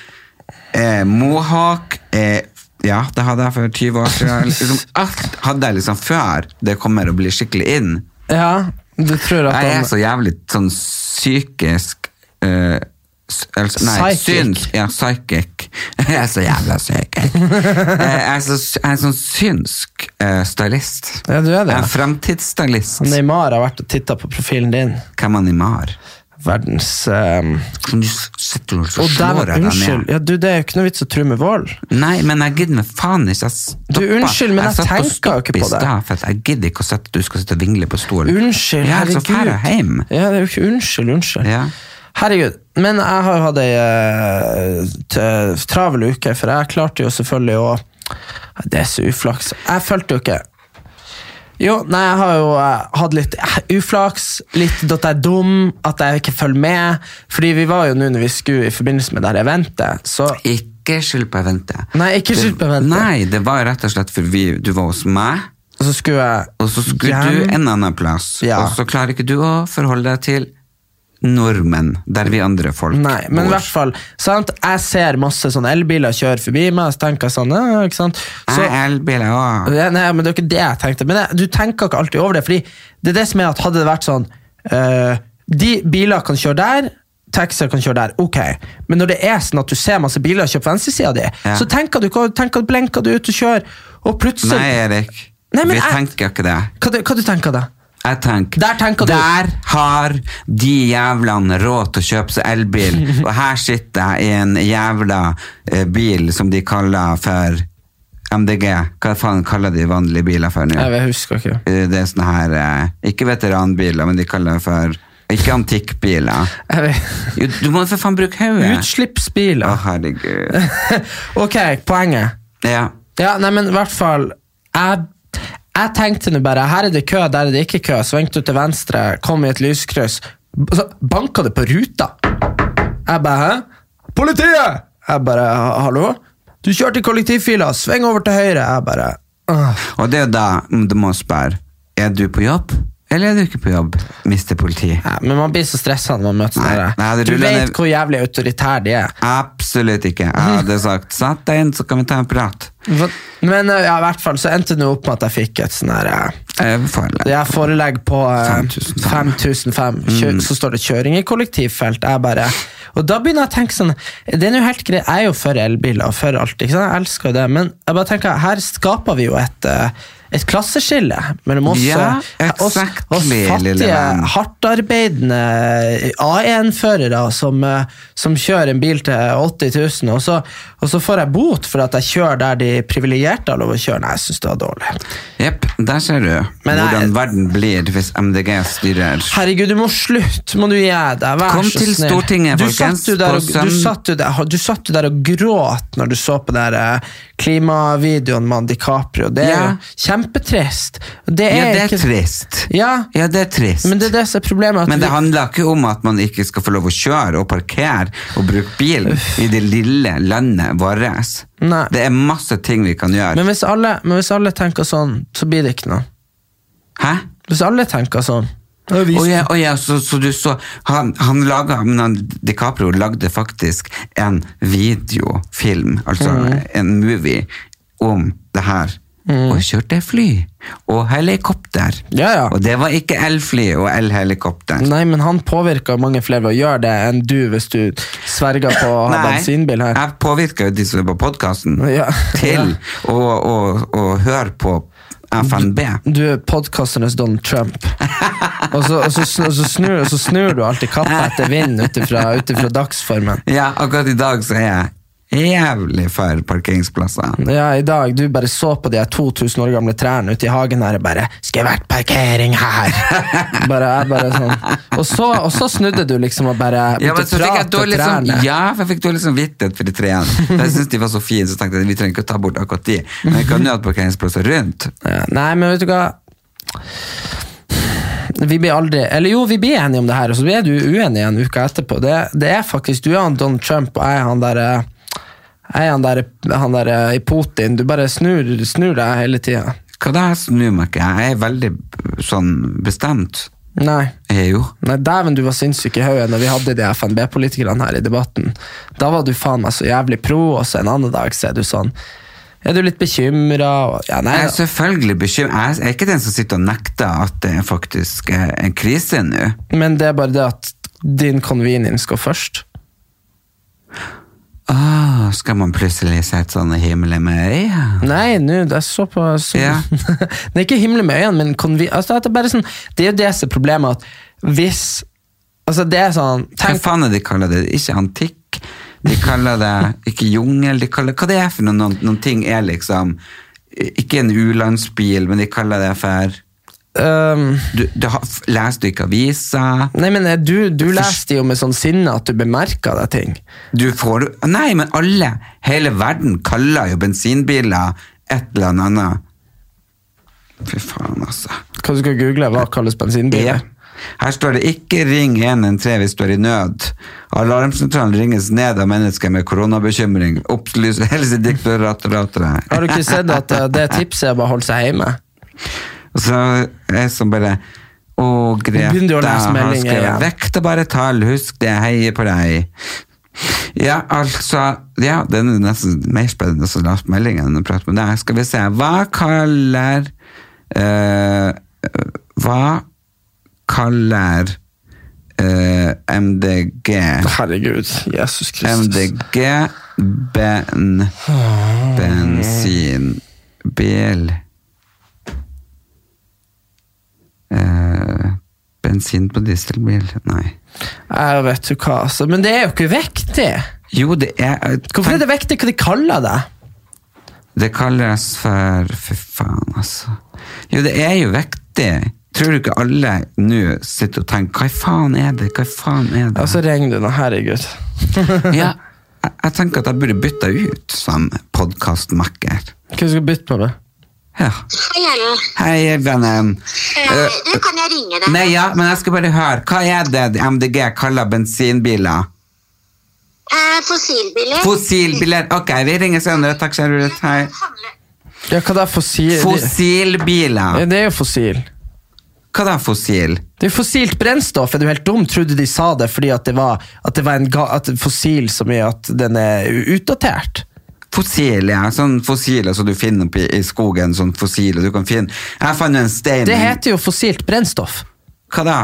[SPEAKER 2] eh, Mohawk eh, Ja, det hadde jeg for 20 år siden. Liksom, alt hadde jeg liksom før det kommer å bli skikkelig inn.
[SPEAKER 1] Ja, du tror at
[SPEAKER 2] Jeg er
[SPEAKER 1] han
[SPEAKER 2] så jævlig sånn psykisk eh, eh, s- altså, Nei,
[SPEAKER 1] Psychic.
[SPEAKER 2] syns. Ja, psychic. Jeg er så jævla psychic. Eh, jeg, er så, jeg er en sånn synsk eh, stylist.
[SPEAKER 1] Ja, du er det.
[SPEAKER 2] Jeg er en framtidsstylist.
[SPEAKER 1] Neymar har vært og titta på profilen din.
[SPEAKER 2] Hvem er Neymar?
[SPEAKER 1] Verdens ehm,
[SPEAKER 2] Som du s- sitter og så
[SPEAKER 1] Og
[SPEAKER 2] slår
[SPEAKER 1] dæven,
[SPEAKER 2] jeg deg
[SPEAKER 1] unnskyld!
[SPEAKER 2] ned.
[SPEAKER 1] Ja, du, det er jo ikke noe vits å true med vold.
[SPEAKER 2] Nei, men jeg gidder meg faen ikke. Jeg stoppa.
[SPEAKER 1] Du, unnskyld, men jeg
[SPEAKER 2] satt og
[SPEAKER 1] tenker jo ikke
[SPEAKER 2] stoppet i
[SPEAKER 1] på det.
[SPEAKER 2] stad, for at Jeg gidder ikke å sette, du skal sitte og vingle på stolen.
[SPEAKER 1] Unnskyld,
[SPEAKER 2] Ja, så
[SPEAKER 1] herregud.
[SPEAKER 2] drar jeg hjem.
[SPEAKER 1] Ja, det er jo ikke unnskyld, unnskyld.
[SPEAKER 2] Ja.
[SPEAKER 1] Herregud. Men jeg har jo hatt ei eh, t- travel uke, for jeg klarte jo selvfølgelig å Det er så uflaks. Jeg fulgte jo ikke jo, nei, jeg har jo eh, hatt litt eh, uflaks, litt at jeg er dum, at jeg ikke følger med. Fordi vi var jo nå når vi skulle i forbindelse med det her eventet, så
[SPEAKER 2] Ikke skyld på eventet.
[SPEAKER 1] Nei, ikke
[SPEAKER 2] Det-
[SPEAKER 1] skyld på eventet.
[SPEAKER 2] Nei, det var rett og slett for vi, du var hos meg,
[SPEAKER 1] så skulle jeg
[SPEAKER 2] og så skulle
[SPEAKER 1] hjem.
[SPEAKER 2] du en annen plass.
[SPEAKER 1] Ja.
[SPEAKER 2] Og så klarer ikke du å forholde deg til nordmenn, der vi andre folk
[SPEAKER 1] Nei, men i
[SPEAKER 2] bor.
[SPEAKER 1] hvert fall sant? Jeg ser masse sånne elbiler kjøre forbi meg, og så tenker jeg sånn ja, ikke sant? Så,
[SPEAKER 2] Nei, elbiler også.
[SPEAKER 1] Ja, nei, men det er jo ikke det jeg tenkte. Men jeg, du tenker ikke alltid over det, Fordi det er det som er at hadde det vært sånn eh, De biler kan kjøre der, taxier kan kjøre der, ok. Men når det er sånn at du ser masse biler kjøre på venstresida di,
[SPEAKER 2] Ja.
[SPEAKER 1] så tenker du ikke tenker, blenker du ut og kjører, og plutselig
[SPEAKER 2] Nei, Erik.
[SPEAKER 1] Nei, men
[SPEAKER 2] vi
[SPEAKER 1] jeg-
[SPEAKER 2] tenker ikke det.
[SPEAKER 1] Hva, du- hva du tenker du da?
[SPEAKER 2] Jeg tenker,
[SPEAKER 1] Der tenker du-
[SPEAKER 2] Der har de jævlene råd til å kjøpe seg elbil, og her sitter jeg i en jævla eh, bil som de kaller for MDG. Hva faen kaller de vanlige biler for nå?
[SPEAKER 1] Jeg husker ikke.
[SPEAKER 2] Eh, Det er sånne her eh, Ikke veteranbiler, men de kaller det for Ikke antikkbiler.
[SPEAKER 1] Jeg vet.
[SPEAKER 2] Jo, du må jo for faen bruke hodet! Å,
[SPEAKER 1] Utslippsbiler.
[SPEAKER 2] herregud.
[SPEAKER 1] ok, poenget.
[SPEAKER 2] Ja.
[SPEAKER 1] Ja, nei, men i hvert fall Jeg, jeg tenkte nå bare Her er det kø, der er det ikke kø. Svingte ut til venstre, kom i et lyskryss. b- Så banka det på ruta. Jeg bare Hæ? Politiet! Jeg bare «Ha- Hallo? Du kjørte i kollektivfila, sving over til høyre. Jeg bare «Åh».
[SPEAKER 2] Og det er jo da mm, du må spørre Er du på jobb, eller er du ikke på jobb, mister politi?
[SPEAKER 1] Nei, Men man blir så stressa når man møter
[SPEAKER 2] Nei,
[SPEAKER 1] sånne.
[SPEAKER 2] nei,
[SPEAKER 1] der.
[SPEAKER 2] det
[SPEAKER 1] Du
[SPEAKER 2] ruller
[SPEAKER 1] vet
[SPEAKER 2] ned-
[SPEAKER 1] hvor jævlig autoritære de er.
[SPEAKER 2] Absolutt ikke. Jeg hadde sagt sett deg inn, så kan vi ta en prat.
[SPEAKER 1] Hva- Men eh, ja, i hvert fall så endte det nå opp med at jeg fikk et sånn her eh,
[SPEAKER 2] Eh, foreløpig.
[SPEAKER 1] Det er forelegg på eh,
[SPEAKER 2] 5500.
[SPEAKER 1] 5005,
[SPEAKER 2] Mm.
[SPEAKER 1] så står det 'kjøring i kollektivfelt'. Jeg bare, og da begynner jeg å tenke sånn Det er nå helt greit, jeg er jo for elbiler og for alt, ikke sant? jeg elsker jo det, men jeg bare tenker, her skaper vi jo et eh, et klasseskille mellom oss,
[SPEAKER 2] Ja,
[SPEAKER 1] eh, oss,
[SPEAKER 2] exactly,
[SPEAKER 1] oss
[SPEAKER 2] lille
[SPEAKER 1] fattige,
[SPEAKER 2] venn.
[SPEAKER 1] hardtarbeidende eh, A1-førere som, eh, som kjører en bil til 80 000, og så, og så får jeg bot for at jeg kjører der de privilegerte har lov å kjøre. Nei, jeg syns det var dårlig.
[SPEAKER 2] Jepp, der ser du
[SPEAKER 1] Men jeg-
[SPEAKER 2] hvordan verden blir hvis MDG styrer.
[SPEAKER 1] Herregud, du må slutte, må du gjøre deg. Vær
[SPEAKER 2] Kom
[SPEAKER 1] så
[SPEAKER 2] til
[SPEAKER 1] snill.
[SPEAKER 2] Stortinget,
[SPEAKER 1] du
[SPEAKER 2] folkens,
[SPEAKER 1] Satt jo der
[SPEAKER 2] på
[SPEAKER 1] og,
[SPEAKER 2] søn-
[SPEAKER 1] du, satt jo der, du satt jo der og gråt når du så på den der, eh, klimavideoen med han DiCaprio. Det er
[SPEAKER 2] Ja.
[SPEAKER 1] jo kjempetrist. Det er
[SPEAKER 2] Ja, det er
[SPEAKER 1] ikke,
[SPEAKER 2] trist.
[SPEAKER 1] Ja,
[SPEAKER 2] Ja, det er trist.
[SPEAKER 1] men det er det som er problemet. At
[SPEAKER 2] Men det
[SPEAKER 1] vi-
[SPEAKER 2] handler ikke om at man ikke skal få lov å kjøre og parkere og bruke bil i det lille landet vårt.
[SPEAKER 1] Nei.
[SPEAKER 2] Det er masse ting vi kan gjøre.
[SPEAKER 1] men, hvis alle, men hvis alle tenker sånn, så blir det ikke noe.
[SPEAKER 2] Hæ?
[SPEAKER 1] Hvis alle tenker sånn
[SPEAKER 2] Å ja, å ja, så, så du så Han, han laga men han, DiCaprio lagde faktisk en videofilm, altså
[SPEAKER 1] Mm.
[SPEAKER 2] en movie, om det her. Og kjørte fly og helikopter.
[SPEAKER 1] Ja, ja.
[SPEAKER 2] Og det var ikke elfly og elhelikopter.
[SPEAKER 1] Nei, men han påvirker mange flere ved å gjøre det enn du hvis du sverger på å ha bensinbil her.
[SPEAKER 2] jeg påvirka jo de som er på podkasten,
[SPEAKER 1] Ja.
[SPEAKER 2] til å, å, å høre på FNB.
[SPEAKER 1] Du er podkasternes Donald Trump. Og så, og så, sn- og så, snur, og så snur du alltid kappa etter vinden ut ifra dagsformen.
[SPEAKER 2] Ja, akkurat i dag så er jeg jævlig for parkeringsplasser.
[SPEAKER 1] Ja, I dag du bare så på de her 2000 år gamle trærne ute i hagen her og bare 'Skal vært parkering her?' Bare, jeg bare sånn. og, så, og så snudde du liksom og bare
[SPEAKER 2] Ja, men
[SPEAKER 1] begynte
[SPEAKER 2] så
[SPEAKER 1] å
[SPEAKER 2] fikk jeg
[SPEAKER 1] prate
[SPEAKER 2] dårlig sånn,
[SPEAKER 1] trærne.
[SPEAKER 2] ja, for jeg fikk dårlig samvittighet for de trærne. For Jeg syntes de var så fine, så tenkte jeg vi trenger ikke å ta bort akkurat de. Men vi kan jo ha parkeringsplasser rundt.
[SPEAKER 1] Ja, Nei, men vet du hva vi blir aldri, eller jo, vi blir enige om det her, og så blir du uenig en uke etterpå. Det, det er faktisk, Du er han Donald Trump, og jeg er han der, eh, jeg er han der, han der eh, i Putin. Du bare snur, snur deg hele tida.
[SPEAKER 2] Hva da? Jeg snur meg ikke. Jeg er veldig sånn bestemt.
[SPEAKER 1] Nei.
[SPEAKER 2] Jeg er jo.
[SPEAKER 1] Nei, Dæven, du var sinnssyk i hodet da vi hadde de FNB-politikerne her i debatten. Da var du faen meg så jævlig pro, og så en annen dag så er du sånn Er du litt bekymra? Ja, nei,
[SPEAKER 2] Jeg er selvfølgelig bekymret. Jeg er ikke den som sitter og nekter at det er faktisk eh, en krise nå.
[SPEAKER 1] men det er bare det at din convenience går først.
[SPEAKER 2] Åh, Ah, skal man plutselig sette sånne himler med øya?
[SPEAKER 1] Nei, nå, det er såpass
[SPEAKER 2] Ja.
[SPEAKER 1] Det er ikke himmelen med øynene, men konvi... Altså, det, er bare sånn, det er jo det som er problemet, at hvis Altså, det er sånn
[SPEAKER 2] Hva
[SPEAKER 1] Tenk
[SPEAKER 2] faen er det de kaller det? Ikke antikk. De kaller det ikke jungel. De kaller, hva det er for noe? Noen, noen ting er liksom Ikke en u-landsbil, men de kaller det for
[SPEAKER 1] øhm,
[SPEAKER 2] du, du har, Leser du ikke aviser?
[SPEAKER 1] Nei, men eh, du, du leser det jo med sånn sinne at du bemerker deg ting.
[SPEAKER 2] Du får Nei, men alle, hele verden, kaller jo bensinbiler et eller annet. Fy faen, altså.
[SPEAKER 1] Hva du skal google, hva kalles bensinbil?
[SPEAKER 2] Ja. Her står det 'ikke ring 113 hvis du er i nød'. Alarmsentralen ringes ned av mennesker med koronabekymring. Opplyser Helsedirektoratet
[SPEAKER 1] Har du ikke sett at eh, det tipset er bare å holde seg hjemme?
[SPEAKER 2] Så jeg som bare Å,
[SPEAKER 1] Begynner du
[SPEAKER 2] Grete,
[SPEAKER 1] å lese
[SPEAKER 2] har
[SPEAKER 1] meldinger
[SPEAKER 2] skrevet
[SPEAKER 1] igjen?
[SPEAKER 2] vekt og bare tall, husk det, jeg heier på deg. Ja, altså Ja, den er nesten mer spennende å lese meldingen enn å prate med deg. Skal vi se. Hva kaller eh, Hva kaller eh, MDG
[SPEAKER 1] Herregud, Jesus Kristus.
[SPEAKER 2] MDG ben, bensin bil eh, bensin på dieselbil nei
[SPEAKER 1] Jeg vet jo hva, altså. Men det er jo ikke viktig!
[SPEAKER 2] jo det er
[SPEAKER 1] Hvorfor er det viktig hva de kaller det?
[SPEAKER 2] det kalles for fy faen altså jo det er jo viktig tror du ikke alle nå sitter og tenker hva faen er det hva faen er det
[SPEAKER 1] Og så ringer Altså, du nå, herregud.
[SPEAKER 2] ja, jeg, jeg tenker at jeg burde bytte ut som podcastmakker
[SPEAKER 1] Hva skal du bytte på det?
[SPEAKER 2] ja
[SPEAKER 3] Hei, Ellen.
[SPEAKER 2] Hei, vennen.
[SPEAKER 3] Eh, Du, kan jeg ringe deg?
[SPEAKER 2] Nei, ja, men jeg skal bare høre. Hva er det de MDG kaller bensinbiler?
[SPEAKER 3] Eh, fossilbiler.
[SPEAKER 2] Fossilbiler. Ok, vi ringer senere. Takk, kjære Ruth. Hei.
[SPEAKER 3] Handler-
[SPEAKER 1] Ja, hva da, fossil... Ja,
[SPEAKER 2] Fossilbiler.
[SPEAKER 1] det er jo fossil.
[SPEAKER 2] Hva da, fossil?
[SPEAKER 1] Det er jo fossilt brennstoff. Er du helt dum? Trodde de sa det fordi at det var, at det var en ga at fossil så mye at den er u- utdatert?
[SPEAKER 2] Fossil, ja. Sånn fossile som du finner på i, i skogen. Sånn fossile du kan finne. Jeg fant jo en stein.
[SPEAKER 1] Det heter jo fossilt brennstoff.
[SPEAKER 2] Hva da?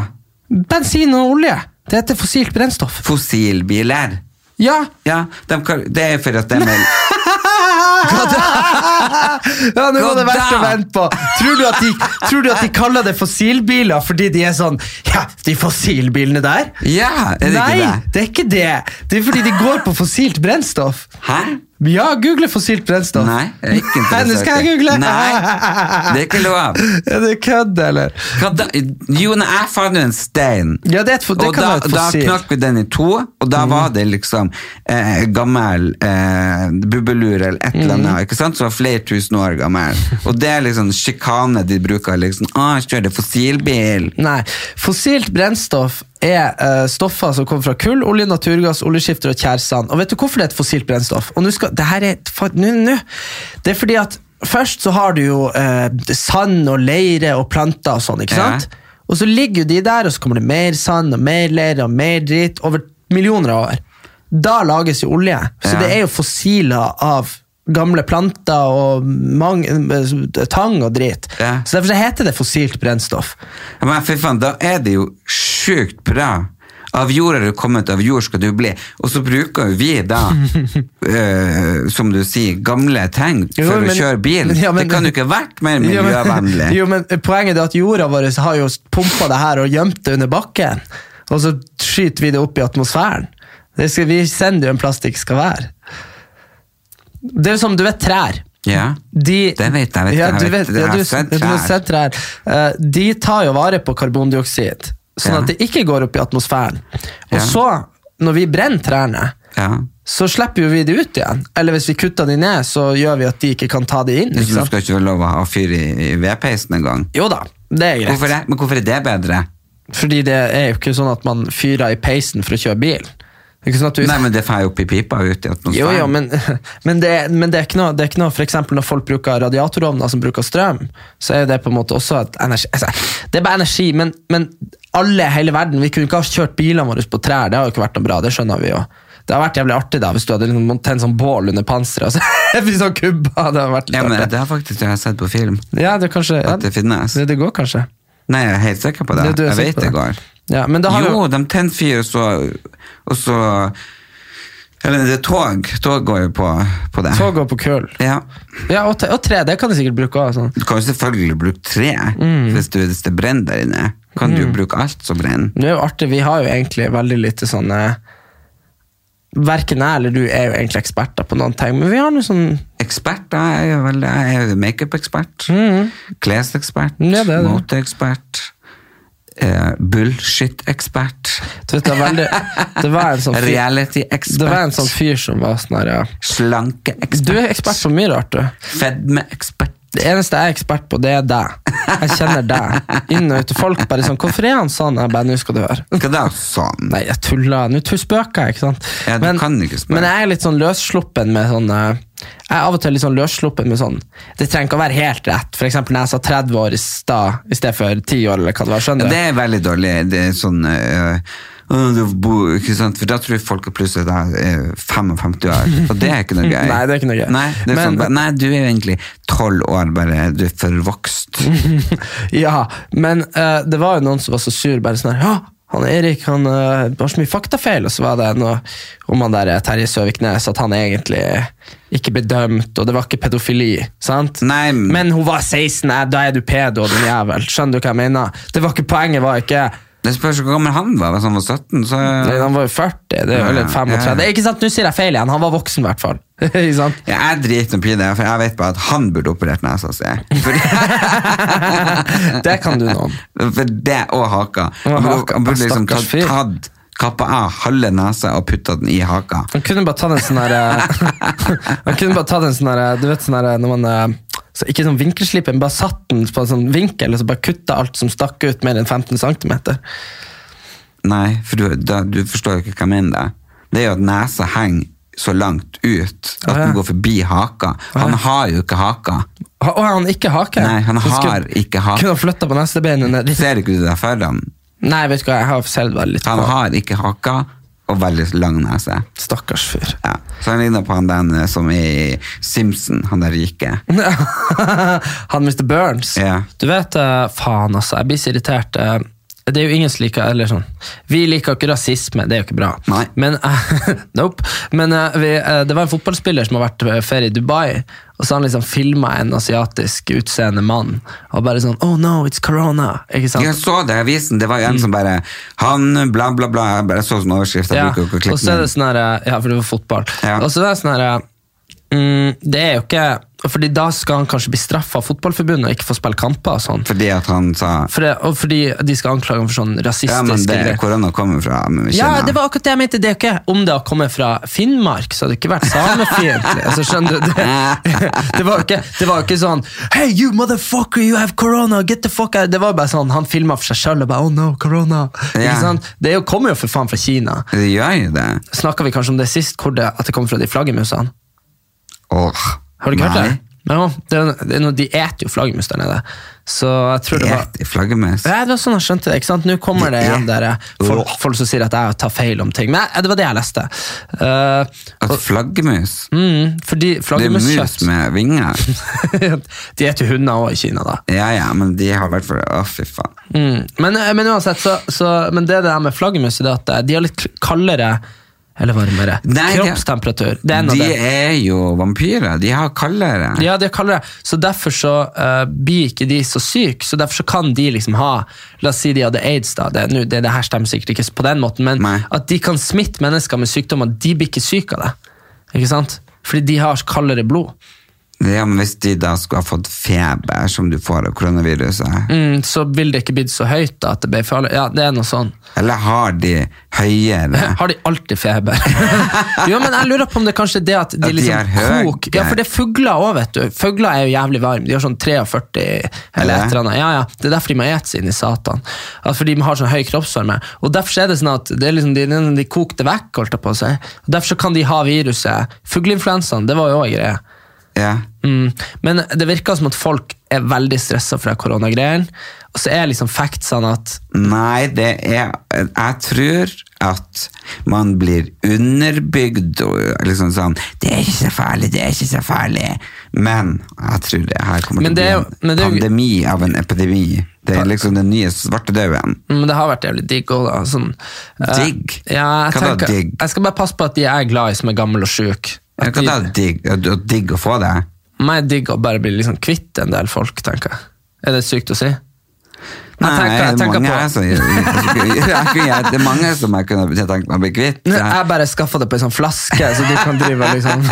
[SPEAKER 1] Bensin og olje. Det heter fossilt brennstoff.
[SPEAKER 2] Fossilbiler.
[SPEAKER 1] Ja!
[SPEAKER 2] Ja, de, kall- det er for at de er
[SPEAKER 1] Ja, nå var det
[SPEAKER 2] Hva
[SPEAKER 1] verst å
[SPEAKER 2] da?
[SPEAKER 1] vente på. Tror du, at de, tror du at de kaller det fossilbiler fordi de er sånn Ja, de fossilbilene der?
[SPEAKER 2] Ja, er det
[SPEAKER 1] Nei,
[SPEAKER 2] ikke det?
[SPEAKER 1] det er ikke det. Det er fordi de går på fossilt brennstoff.
[SPEAKER 2] Hæ?
[SPEAKER 1] Ja, google fossilt brennstoff.
[SPEAKER 2] Nei, jeg er ikke interessert.
[SPEAKER 1] Nå skal jeg google.
[SPEAKER 2] Nei, det er ikke lov.
[SPEAKER 1] Er det kødd, eller?
[SPEAKER 2] Hva da? Jo, nei, jeg fant jo en stein.
[SPEAKER 1] Ja, det, er et, fo- det
[SPEAKER 2] og
[SPEAKER 1] kan
[SPEAKER 2] da,
[SPEAKER 1] være et
[SPEAKER 2] da
[SPEAKER 1] fossil. Mm.
[SPEAKER 2] knakk vi den i to, og da var det liksom eh, gammel eh, bubbelur eller et eller annet,
[SPEAKER 1] Mm.
[SPEAKER 2] ikke sant? som var flere tusen år gammel. Og det er liksom sjikane de bruker. liksom, Å, jeg kjører fossilbil.
[SPEAKER 1] Nei. Fossilt brennstoff er eh, stoffer som kommer fra kull, olje, naturgass, oljeskifter og tjæresand. Og vet du hvorfor det er et fossilt brennstoff? Og nå skal, det her er et fa- nå, nå. Det er fordi at først så har du jo eh, sand og leire og planter og sånn, ikke
[SPEAKER 2] Ja.
[SPEAKER 1] sant? Og så ligger jo de der, og så kommer det mer sand og mer leire og mer dritt over millioner av år. Da lages jo olje. Så
[SPEAKER 2] Ja.
[SPEAKER 1] det er jo fossiler av gamle planter og mang, eh, tang og drit.
[SPEAKER 2] Ja.
[SPEAKER 1] Så derfor så heter det fossilt brennstoff.
[SPEAKER 2] Ja, Men fy faen, da er det jo sjukt bra. Av jord er du kommet, av jord skal du bli. Og så bruker jo vi da, eh, som du sier, gamle ting
[SPEAKER 1] Jo,
[SPEAKER 2] for
[SPEAKER 1] men-
[SPEAKER 2] å kjøre bil.
[SPEAKER 1] Ja, men-
[SPEAKER 2] det kan jo ikke ha vært mer
[SPEAKER 1] Jo, men-
[SPEAKER 2] miljøvennlig.
[SPEAKER 1] Jo, men poenget er at jorda vår har jo pumpa det her og gjemt det under bakken. Og så skyter vi det opp i atmosfæren. Det skal, vi sender jo en plass det ikke skal være. Det er jo som, du vet, trær.
[SPEAKER 2] Ja,
[SPEAKER 1] De,
[SPEAKER 2] Det vet jeg, vet
[SPEAKER 1] ja,
[SPEAKER 2] jeg,
[SPEAKER 1] du vet,
[SPEAKER 2] vet det. Jeg
[SPEAKER 1] ja,
[SPEAKER 2] har
[SPEAKER 1] du,
[SPEAKER 2] sett
[SPEAKER 1] du har
[SPEAKER 2] trær.
[SPEAKER 1] sett trær. Eh, De tar jo vare på karbondioksid, sånn
[SPEAKER 2] Ja.
[SPEAKER 1] at det ikke går opp i atmosfæren. Og
[SPEAKER 2] Ja.
[SPEAKER 1] så, når vi brenner trærne,
[SPEAKER 2] ja.
[SPEAKER 1] så slipper jo vi det ut igjen. Eller hvis vi kutter de ned, så gjør vi at de ikke kan ta det inn.
[SPEAKER 2] Du
[SPEAKER 1] Ikke sant?
[SPEAKER 2] skal ikke få lov å ha fyr i, i vedpeisen engang.
[SPEAKER 1] Jo da, det er greit.
[SPEAKER 2] Hvorfor det? Men hvorfor er det bedre?
[SPEAKER 1] Fordi det er jo ikke sånn at man fyrer i peisen for å kjøre bil. Det er ikke sånn at du...
[SPEAKER 2] Nei, men det får jeg opp i pipa ut i atmosfæren.
[SPEAKER 1] jo, jo, men, men, det, men det er ikke noe, det er ikke noe for eksempel når folk bruker radiatorovner som bruker strøm, så er jo det på en måte også et energi, altså, det er bare energi, men, men alle i hele verden, vi kunne ikke ha kjørt bilene våre på trær, det har jo ikke vært noe bra, det skjønner vi jo. Det har vært jævlig artig da, hvis du hadde liksom tent sånn bål under panseret, og så er vi sånn kubba, det har vært litt
[SPEAKER 2] Ja, men
[SPEAKER 1] artig.
[SPEAKER 2] det har faktisk jeg sett på film.
[SPEAKER 1] Ja, det er kanskje... Ja,
[SPEAKER 2] At det finnes.
[SPEAKER 1] det, det går kanskje.
[SPEAKER 2] Nei, jeg er helt sikker på det.
[SPEAKER 1] Det du er sikker
[SPEAKER 2] jeg vet
[SPEAKER 1] på
[SPEAKER 2] det
[SPEAKER 1] det.
[SPEAKER 2] går.
[SPEAKER 1] Ja, men det har
[SPEAKER 2] Jo,
[SPEAKER 1] jo
[SPEAKER 2] de tenner fyr, og så, og så Eller det er tog. Tog går jo på, på det.
[SPEAKER 1] tog og på kull.
[SPEAKER 2] Ja.
[SPEAKER 1] Ja, og, te, og tre, det kan du sikkert bruke òg. Sånn.
[SPEAKER 2] Du kan jo selvfølgelig bruke tre.
[SPEAKER 1] Mm.
[SPEAKER 2] Hvis, du, hvis det brenner der inne, kan du jo bruke alt som brenner.
[SPEAKER 1] Det er jo artig, vi har jo egentlig veldig lite sånne Verken jeg eller du er jo egentlig eksperter på noen ting, men vi har noe sånn
[SPEAKER 2] Ekspert, da. Jeg er jo veldig- jeg er jo makeup-ekspert. Klesekspert.
[SPEAKER 1] Mm. Ja, det er det.
[SPEAKER 2] Moteekspert. Eh, Bullshit-ekspert.
[SPEAKER 1] du vet, det, er veldig, det var en sånn fyr, Det var en
[SPEAKER 2] Reality-ekspert.
[SPEAKER 1] sånn fyr som var sånn her, ja.
[SPEAKER 2] Slanke-ekspert.
[SPEAKER 1] Du er ekspert på mye rart, du.
[SPEAKER 2] Fedme-ekspert.
[SPEAKER 1] Det eneste jeg er ekspert på, det er deg. Jeg kjenner deg. Inn og ut. Folk bare sånn 'Hvorfor er han sånn?' Jeg bare 'Nå skal du høre'.
[SPEAKER 2] Hva da? Sånn.
[SPEAKER 1] Nei, jeg tuller. Nå tull spøker jeg, ikke sant?
[SPEAKER 2] Ja, du kan ikke spøke.
[SPEAKER 1] Men jeg er litt sånn løssluppen med sånn eh, Jeg er av og til litt sånn løssluppen med sånn Det trenger ikke å være helt rett. For eksempel når jeg sa 30 år i stad i stedet for 10 år, eller hva det var. Skjønner du?
[SPEAKER 2] Det er veldig dårlig. Det er sånn øh, øh, du bor- ikke sant? For da tror jeg folk er plutselig da, øh, 55 år, og det er ikke noe gøy.
[SPEAKER 1] Nei, det er ikke noe gøy.
[SPEAKER 2] Nei, det er
[SPEAKER 1] Men-
[SPEAKER 2] sånn, ba- nei du er jo egentlig 12 år, bare du er forvokst.
[SPEAKER 1] ja, men eh, det var jo noen som var så sur, bare sånn her «Hå, han Erik han eh, har så mye faktafeil, og så var det noe om han der eh, Terje Søviknes, at han egentlig ikke ble dømt, og det var ikke pedofili, sant?
[SPEAKER 2] Nei, men-
[SPEAKER 1] Men hun var 16, eh, da er du pedo, din jævel. Skjønner du hva jeg mener? Det var ikke poenget, var ikke
[SPEAKER 2] Det spørs hvor gammel han var, hvis han var 17, så
[SPEAKER 1] Nei, Han var jo 40, det er jo litt
[SPEAKER 2] Ja,
[SPEAKER 1] 35.
[SPEAKER 2] ja, ja.
[SPEAKER 1] Ikke sant, nå sier jeg feil igjen, han var voksen i hvert fall. ikke sant?
[SPEAKER 2] ja, jeg driter opp i det, for jeg vet bare at han burde operert nesa si. For-
[SPEAKER 1] Det kan du noe om.
[SPEAKER 2] For det og haka.
[SPEAKER 1] Og
[SPEAKER 2] Han burde,
[SPEAKER 1] haka, Ah,
[SPEAKER 2] han burde liksom
[SPEAKER 1] stakkars
[SPEAKER 2] tatt,
[SPEAKER 1] fyr.
[SPEAKER 2] tatt kappa av halve nesa og putta den i haka.
[SPEAKER 1] Han kunne bare tatt en sånn der Han kunne bare tatt en sånn der Du vet sånn der når man eh, så Ikke sånn vinkelslipp, men bare satt den på en sånn vinkel, og så bare kutta alt som stakk ut mer enn 15 cm.
[SPEAKER 2] Nei, for du, da, du forstår jo ikke hva jeg mener. da. Det er jo at nesa henger så langt ut at
[SPEAKER 1] Ah, ja.
[SPEAKER 2] den går forbi haka. Han har jo ikke haka.
[SPEAKER 1] Og han ikke hake.
[SPEAKER 2] Nei, han
[SPEAKER 1] Så
[SPEAKER 2] har
[SPEAKER 1] skulle-
[SPEAKER 2] ikke hake.
[SPEAKER 1] Kunne ha flytta på neste bein ned litt.
[SPEAKER 2] Ser ikke du det foran?
[SPEAKER 1] Nei, vet du hva, jeg har selv vært litt
[SPEAKER 2] Han har ikke haka og veldig lang nese.
[SPEAKER 1] Stakkars fyr.
[SPEAKER 2] Ja. Så han ligner på han den eh, som i Simpson, han der rike.
[SPEAKER 1] han Mr. Burns.
[SPEAKER 2] Ja.
[SPEAKER 1] Du vet, eh, faen altså, jeg blir så irritert. eh, det er jo ingen som liker eller sånn. Vi liker ikke rasisme, det er jo ikke bra.
[SPEAKER 2] Nei.
[SPEAKER 1] Men, eh, nope. Men eh, vi, eh, det var en fotballspiller som har vært på ferie i Dubai, og så har han liksom filma en asiatisk utseende mann, og bare sånn Oh no, it's corona. Ikke sant?
[SPEAKER 2] Jeg så det i avisen, det var jo en som bare Han bla, bla, bla. Jeg bare så sånn overskrift. Jeg
[SPEAKER 1] Mm. Ja,
[SPEAKER 2] bruker jo ikke å
[SPEAKER 1] og
[SPEAKER 2] klikke
[SPEAKER 1] så er det
[SPEAKER 2] den.
[SPEAKER 1] sånn her Ja, for det var fotball.
[SPEAKER 2] Ja.
[SPEAKER 1] Og så er det sånn her mm, Det er jo ikke Fordi da skal han kanskje bli straffa av Fotballforbundet og ikke få spille kamper og sånn.
[SPEAKER 2] Fordi at han sa
[SPEAKER 1] For det, og fordi de skal anklage ham for sånn
[SPEAKER 2] Ja,
[SPEAKER 1] rasistiske
[SPEAKER 2] men det er
[SPEAKER 1] greier.
[SPEAKER 2] korona kommer fra men
[SPEAKER 1] Ja,
[SPEAKER 2] vi kjenner
[SPEAKER 1] det
[SPEAKER 2] han.
[SPEAKER 1] var akkurat det jeg mente. Det er jo ikke Om det hadde kommet fra Finnmark, så hadde det ikke vært samefiendtlig. Altså, skjønner du? Det, det, var ikke, det var ikke sånn Hey, you motherfucker, you have corona, get the fuck out. Det var bare sånn, han filma for seg sjøl og bare Oh no, corona.
[SPEAKER 2] Ja.
[SPEAKER 1] Ikke sant? Det er jo, kommer jo for faen fra Kina.
[SPEAKER 2] Det gjør jo det.
[SPEAKER 1] Snakka vi kanskje om det sist, hvor det, at det kom fra de flaggermusene?
[SPEAKER 2] Åh.
[SPEAKER 1] Har du ikke
[SPEAKER 2] Nei.
[SPEAKER 1] hørt det? Ja, det er, det er noe, de eter jo flaggermus der nede. Så jeg tror det var
[SPEAKER 2] Et i flaggermus.
[SPEAKER 1] Nei, det var sånn jeg skjønte det. ikke sant? Nå kommer det igjen der eh, folk, folk som sier at jeg tar feil om ting. Men eh, det var det jeg leste. Eh,
[SPEAKER 2] At flaggermus
[SPEAKER 1] mm, fordi
[SPEAKER 2] Det er mus
[SPEAKER 1] flaggermuskjøtt
[SPEAKER 2] med vinger.
[SPEAKER 1] De spiser jo hunder òg i Kina, da.
[SPEAKER 2] Ja, ja, men de har vært for Å, fy faen.
[SPEAKER 1] Mm. Men, eh, men uansett, så, så Men det der med flaggermus det er at eh, de har litt kaldere eller varmere
[SPEAKER 2] Nei, de-
[SPEAKER 1] kroppstemperatur. Det er noe
[SPEAKER 2] De
[SPEAKER 1] det.
[SPEAKER 2] er jo vampyrer. De har kaldere.
[SPEAKER 1] Ja, de er kaldere. Så derfor så eh, blir ikke de så syke. Så derfor så kan de liksom ha La oss si de hadde aids, da. Det, nå- det, det her stemmer sikkert ikke på den måten, men
[SPEAKER 2] Nei.
[SPEAKER 1] at de kan smitte mennesker med sykdommer, de blir ikke syke av det. Ikke sant? Fordi de har kaldere blod.
[SPEAKER 2] Ja, men Hvis de da skulle ha fått feber, som du får av koronaviruset,
[SPEAKER 1] Mm, så ville det ikke blitt så høyt da at det ble farlig. Ja, det er noe sånn.
[SPEAKER 2] eller har de høyere
[SPEAKER 1] Har de alltid feber? jo, men jeg lurer på om det kanskje er det at de
[SPEAKER 2] At de er
[SPEAKER 1] liksom
[SPEAKER 2] høy-
[SPEAKER 1] kok Ja, for det er fugler òg, vet du. Fugler er jo jævlig varme. De har sånn 43 eller et eller annet. Ja, ja. Det er derfor de må ete seg inn i satan. At fordi de har sånn høy kroppsvarme. Og derfor så er det sånn at det er liksom de, de, de kokte vekk, holdt jeg på å si. Og derfor så kan de ha viruset. Fugleinfluensaen, det var jo òg greia.
[SPEAKER 2] Ja.
[SPEAKER 1] Mm. Men det virker som at folk er veldig stressa for koronagreiene. Og så er liksom factsene at
[SPEAKER 2] Nei, det er Jeg tror at man blir underbygd og liksom sånn Det er ikke så farlig, det er ikke så farlig. Men jeg tror det her kommer
[SPEAKER 1] Men
[SPEAKER 2] til
[SPEAKER 1] det er
[SPEAKER 2] å
[SPEAKER 1] jo-
[SPEAKER 2] bli
[SPEAKER 1] men
[SPEAKER 2] en
[SPEAKER 1] det er jo-
[SPEAKER 2] pandemi av en epidemi. Det er liksom den nye svartedauden.
[SPEAKER 1] Mm, Men det har vært jævlig digg òg, da. Sånn, eh,
[SPEAKER 2] Digg?
[SPEAKER 1] Ja, jeg,
[SPEAKER 2] Hva da,
[SPEAKER 1] tenker,
[SPEAKER 2] digg?
[SPEAKER 1] jeg skal bare passe på at de jeg er glad i, som er gammel og sjuk.
[SPEAKER 2] Ja,
[SPEAKER 1] At
[SPEAKER 2] Hva da,
[SPEAKER 1] de-
[SPEAKER 2] digg, og- og digg å få det?
[SPEAKER 1] meg er digg å bare bli liksom kvitt en del folk, tenker jeg. Er det sykt å si?
[SPEAKER 2] Nei,
[SPEAKER 1] tenker- jeg tenker
[SPEAKER 2] mange
[SPEAKER 1] på-
[SPEAKER 2] er som, jeg, jeg, jeg, det er mange som jeg kunne tenkt meg å bli kvitt.
[SPEAKER 1] Nei,
[SPEAKER 2] Jeg,
[SPEAKER 1] Jeg bare skaffa det på ei sånn flaske, så du kan drive og liksom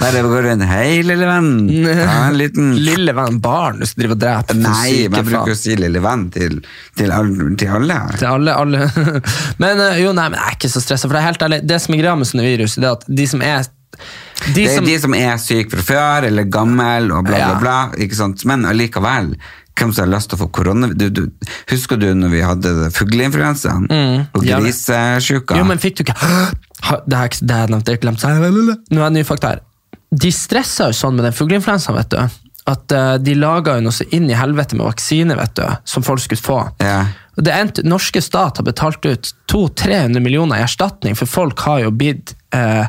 [SPEAKER 2] Nei, det går rundt Hei, lille venn. Ta en liten
[SPEAKER 1] Lille venn, barn, du skal drive og drepe. du
[SPEAKER 2] Nei,
[SPEAKER 1] syke
[SPEAKER 2] men jeg bruker å
[SPEAKER 1] faen.
[SPEAKER 2] si lille venn til, til, alle- til alle.
[SPEAKER 1] til alle, alle. Men eh, jo, nei, men jeg er ikke så stressa, for det er helt ærlig. Det som er greia med sånne virus, det er at de som er de
[SPEAKER 2] Det er
[SPEAKER 1] som,
[SPEAKER 2] de som er syke fra før, eller gammel, og bla, bla,
[SPEAKER 1] Ja.
[SPEAKER 2] bla. Ikke sant? Men allikevel, hvem som har lyst til å få korona du, du, Husker du når vi hadde det fugleinfluensaen? og
[SPEAKER 1] ja, men-
[SPEAKER 2] grisesjuka?
[SPEAKER 1] Mm, Jo, men fikk du ikke Ha, Det har jeg ikke- det har jeg nevnt, jeg har glemt. Nå er det nye fakta her. De stressa jo sånn med den fugleinfluensaen, vet du. At eh, de laga jo noe så inn i helvete med vaksine, vet du, som folk skulle få.
[SPEAKER 2] Ja.
[SPEAKER 1] Og det endte, norske stat har betalt ut 200-300 millioner i erstatning, for folk har jo blitt eh,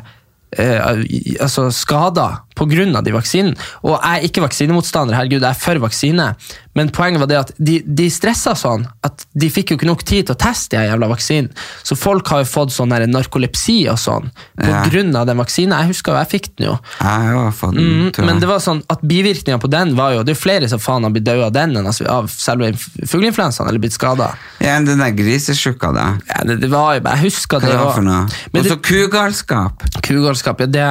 [SPEAKER 1] eh, i- altså skader pga. de vaksinene. Og jeg er ikke vaksinemotstander, herregud, jeg er for vaksine. Men poenget var det at de, de stressa sånn at de fikk jo ikke nok tid til å teste de her jævla vaksinen. Så folk har jo fått sånn her narkolepsi og sånn
[SPEAKER 2] Ja.
[SPEAKER 1] pga. av den vaksinen. Jeg husker jo, jeg fikk den jo.
[SPEAKER 2] Jeg har også fått den,
[SPEAKER 1] Mm,
[SPEAKER 2] tror jeg.
[SPEAKER 1] men det var sånn at bivirkningene på den var jo Det er jo flere som faen har blitt døde av den enn altså av selve inf- fugleinfluensaen eller blitt skada.
[SPEAKER 2] Ja, den der grisesjuka, da.
[SPEAKER 1] Ja, det, det var jo Jeg husker
[SPEAKER 2] Hva
[SPEAKER 1] det
[SPEAKER 2] er det
[SPEAKER 1] var-
[SPEAKER 2] for noe?
[SPEAKER 1] Men
[SPEAKER 2] Og
[SPEAKER 1] det,
[SPEAKER 2] så kugalskap!
[SPEAKER 1] kugalskap, ja, det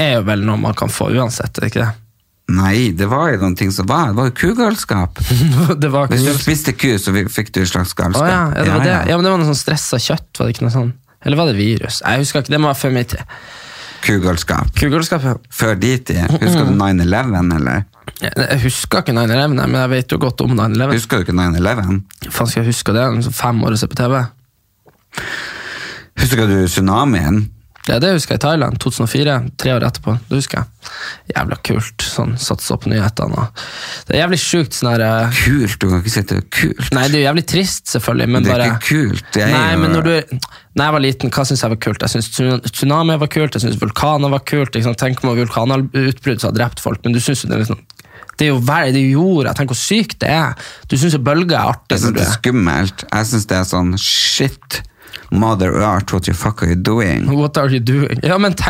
[SPEAKER 1] er jo vel noe man kan få uansett, er det ikke det?
[SPEAKER 2] Nei, det var jo noen ting som var. Det var jo kugalskap.
[SPEAKER 1] det var
[SPEAKER 2] Hvis du
[SPEAKER 1] kugalskap.
[SPEAKER 2] spiste ku, så fikk du et slags galskap.
[SPEAKER 1] Å ja, ja, det var
[SPEAKER 2] Ja,
[SPEAKER 1] det.
[SPEAKER 2] ja.
[SPEAKER 1] Ja, men det var noe sånn stressa kjøtt, var det ikke noe sånn? Eller var det virus? Jeg husker ikke, det må være før min tid.
[SPEAKER 2] Kugalskap.
[SPEAKER 1] Kugalskap, ja.
[SPEAKER 2] Før de tid. Husker du 9-11, eller?
[SPEAKER 1] Jeg- Jeg husker ikke 9-11, nei, men jeg vet jo godt om 9-11.
[SPEAKER 2] Husker du ikke 9-11?
[SPEAKER 1] Faen, skal jeg huske det? Det er sånn Fem år å se på TV.
[SPEAKER 2] Husker du tsunamien?
[SPEAKER 1] Ja, det husker jeg i Thailand. 2004, tre år etterpå. Det husker jeg. Jævla kult. sånn, Satse opp nyhetene. og- Det er jævlig sjukt. sånn her, eh,
[SPEAKER 2] Kult, du kan ikke si at det er kult.
[SPEAKER 1] Nei, det er jo jævlig trist, selvfølgelig. Men
[SPEAKER 2] Det er
[SPEAKER 1] bare,
[SPEAKER 2] ikke kult, det er
[SPEAKER 1] nei,
[SPEAKER 2] jo-
[SPEAKER 1] men når du, når jeg var liten, hva syntes jeg var kult? Jeg syntes tsunami var kult, jeg syntes vulkaner var kult. Ikke sant? Tenk om vulkanutbrudd som har drept folk, men du syns jo det er litt sånn det er jo vær, det er jo jorda, tenk hvor sykt det er. Du syns jo bølger er artig.
[SPEAKER 2] Jeg
[SPEAKER 1] når
[SPEAKER 2] syns
[SPEAKER 1] du
[SPEAKER 2] det
[SPEAKER 1] er-
[SPEAKER 2] er skummelt. Jeg syns det er sånn shit. Mother Earth, what you fuck are you doing?
[SPEAKER 1] What are you doing? Ja, men te,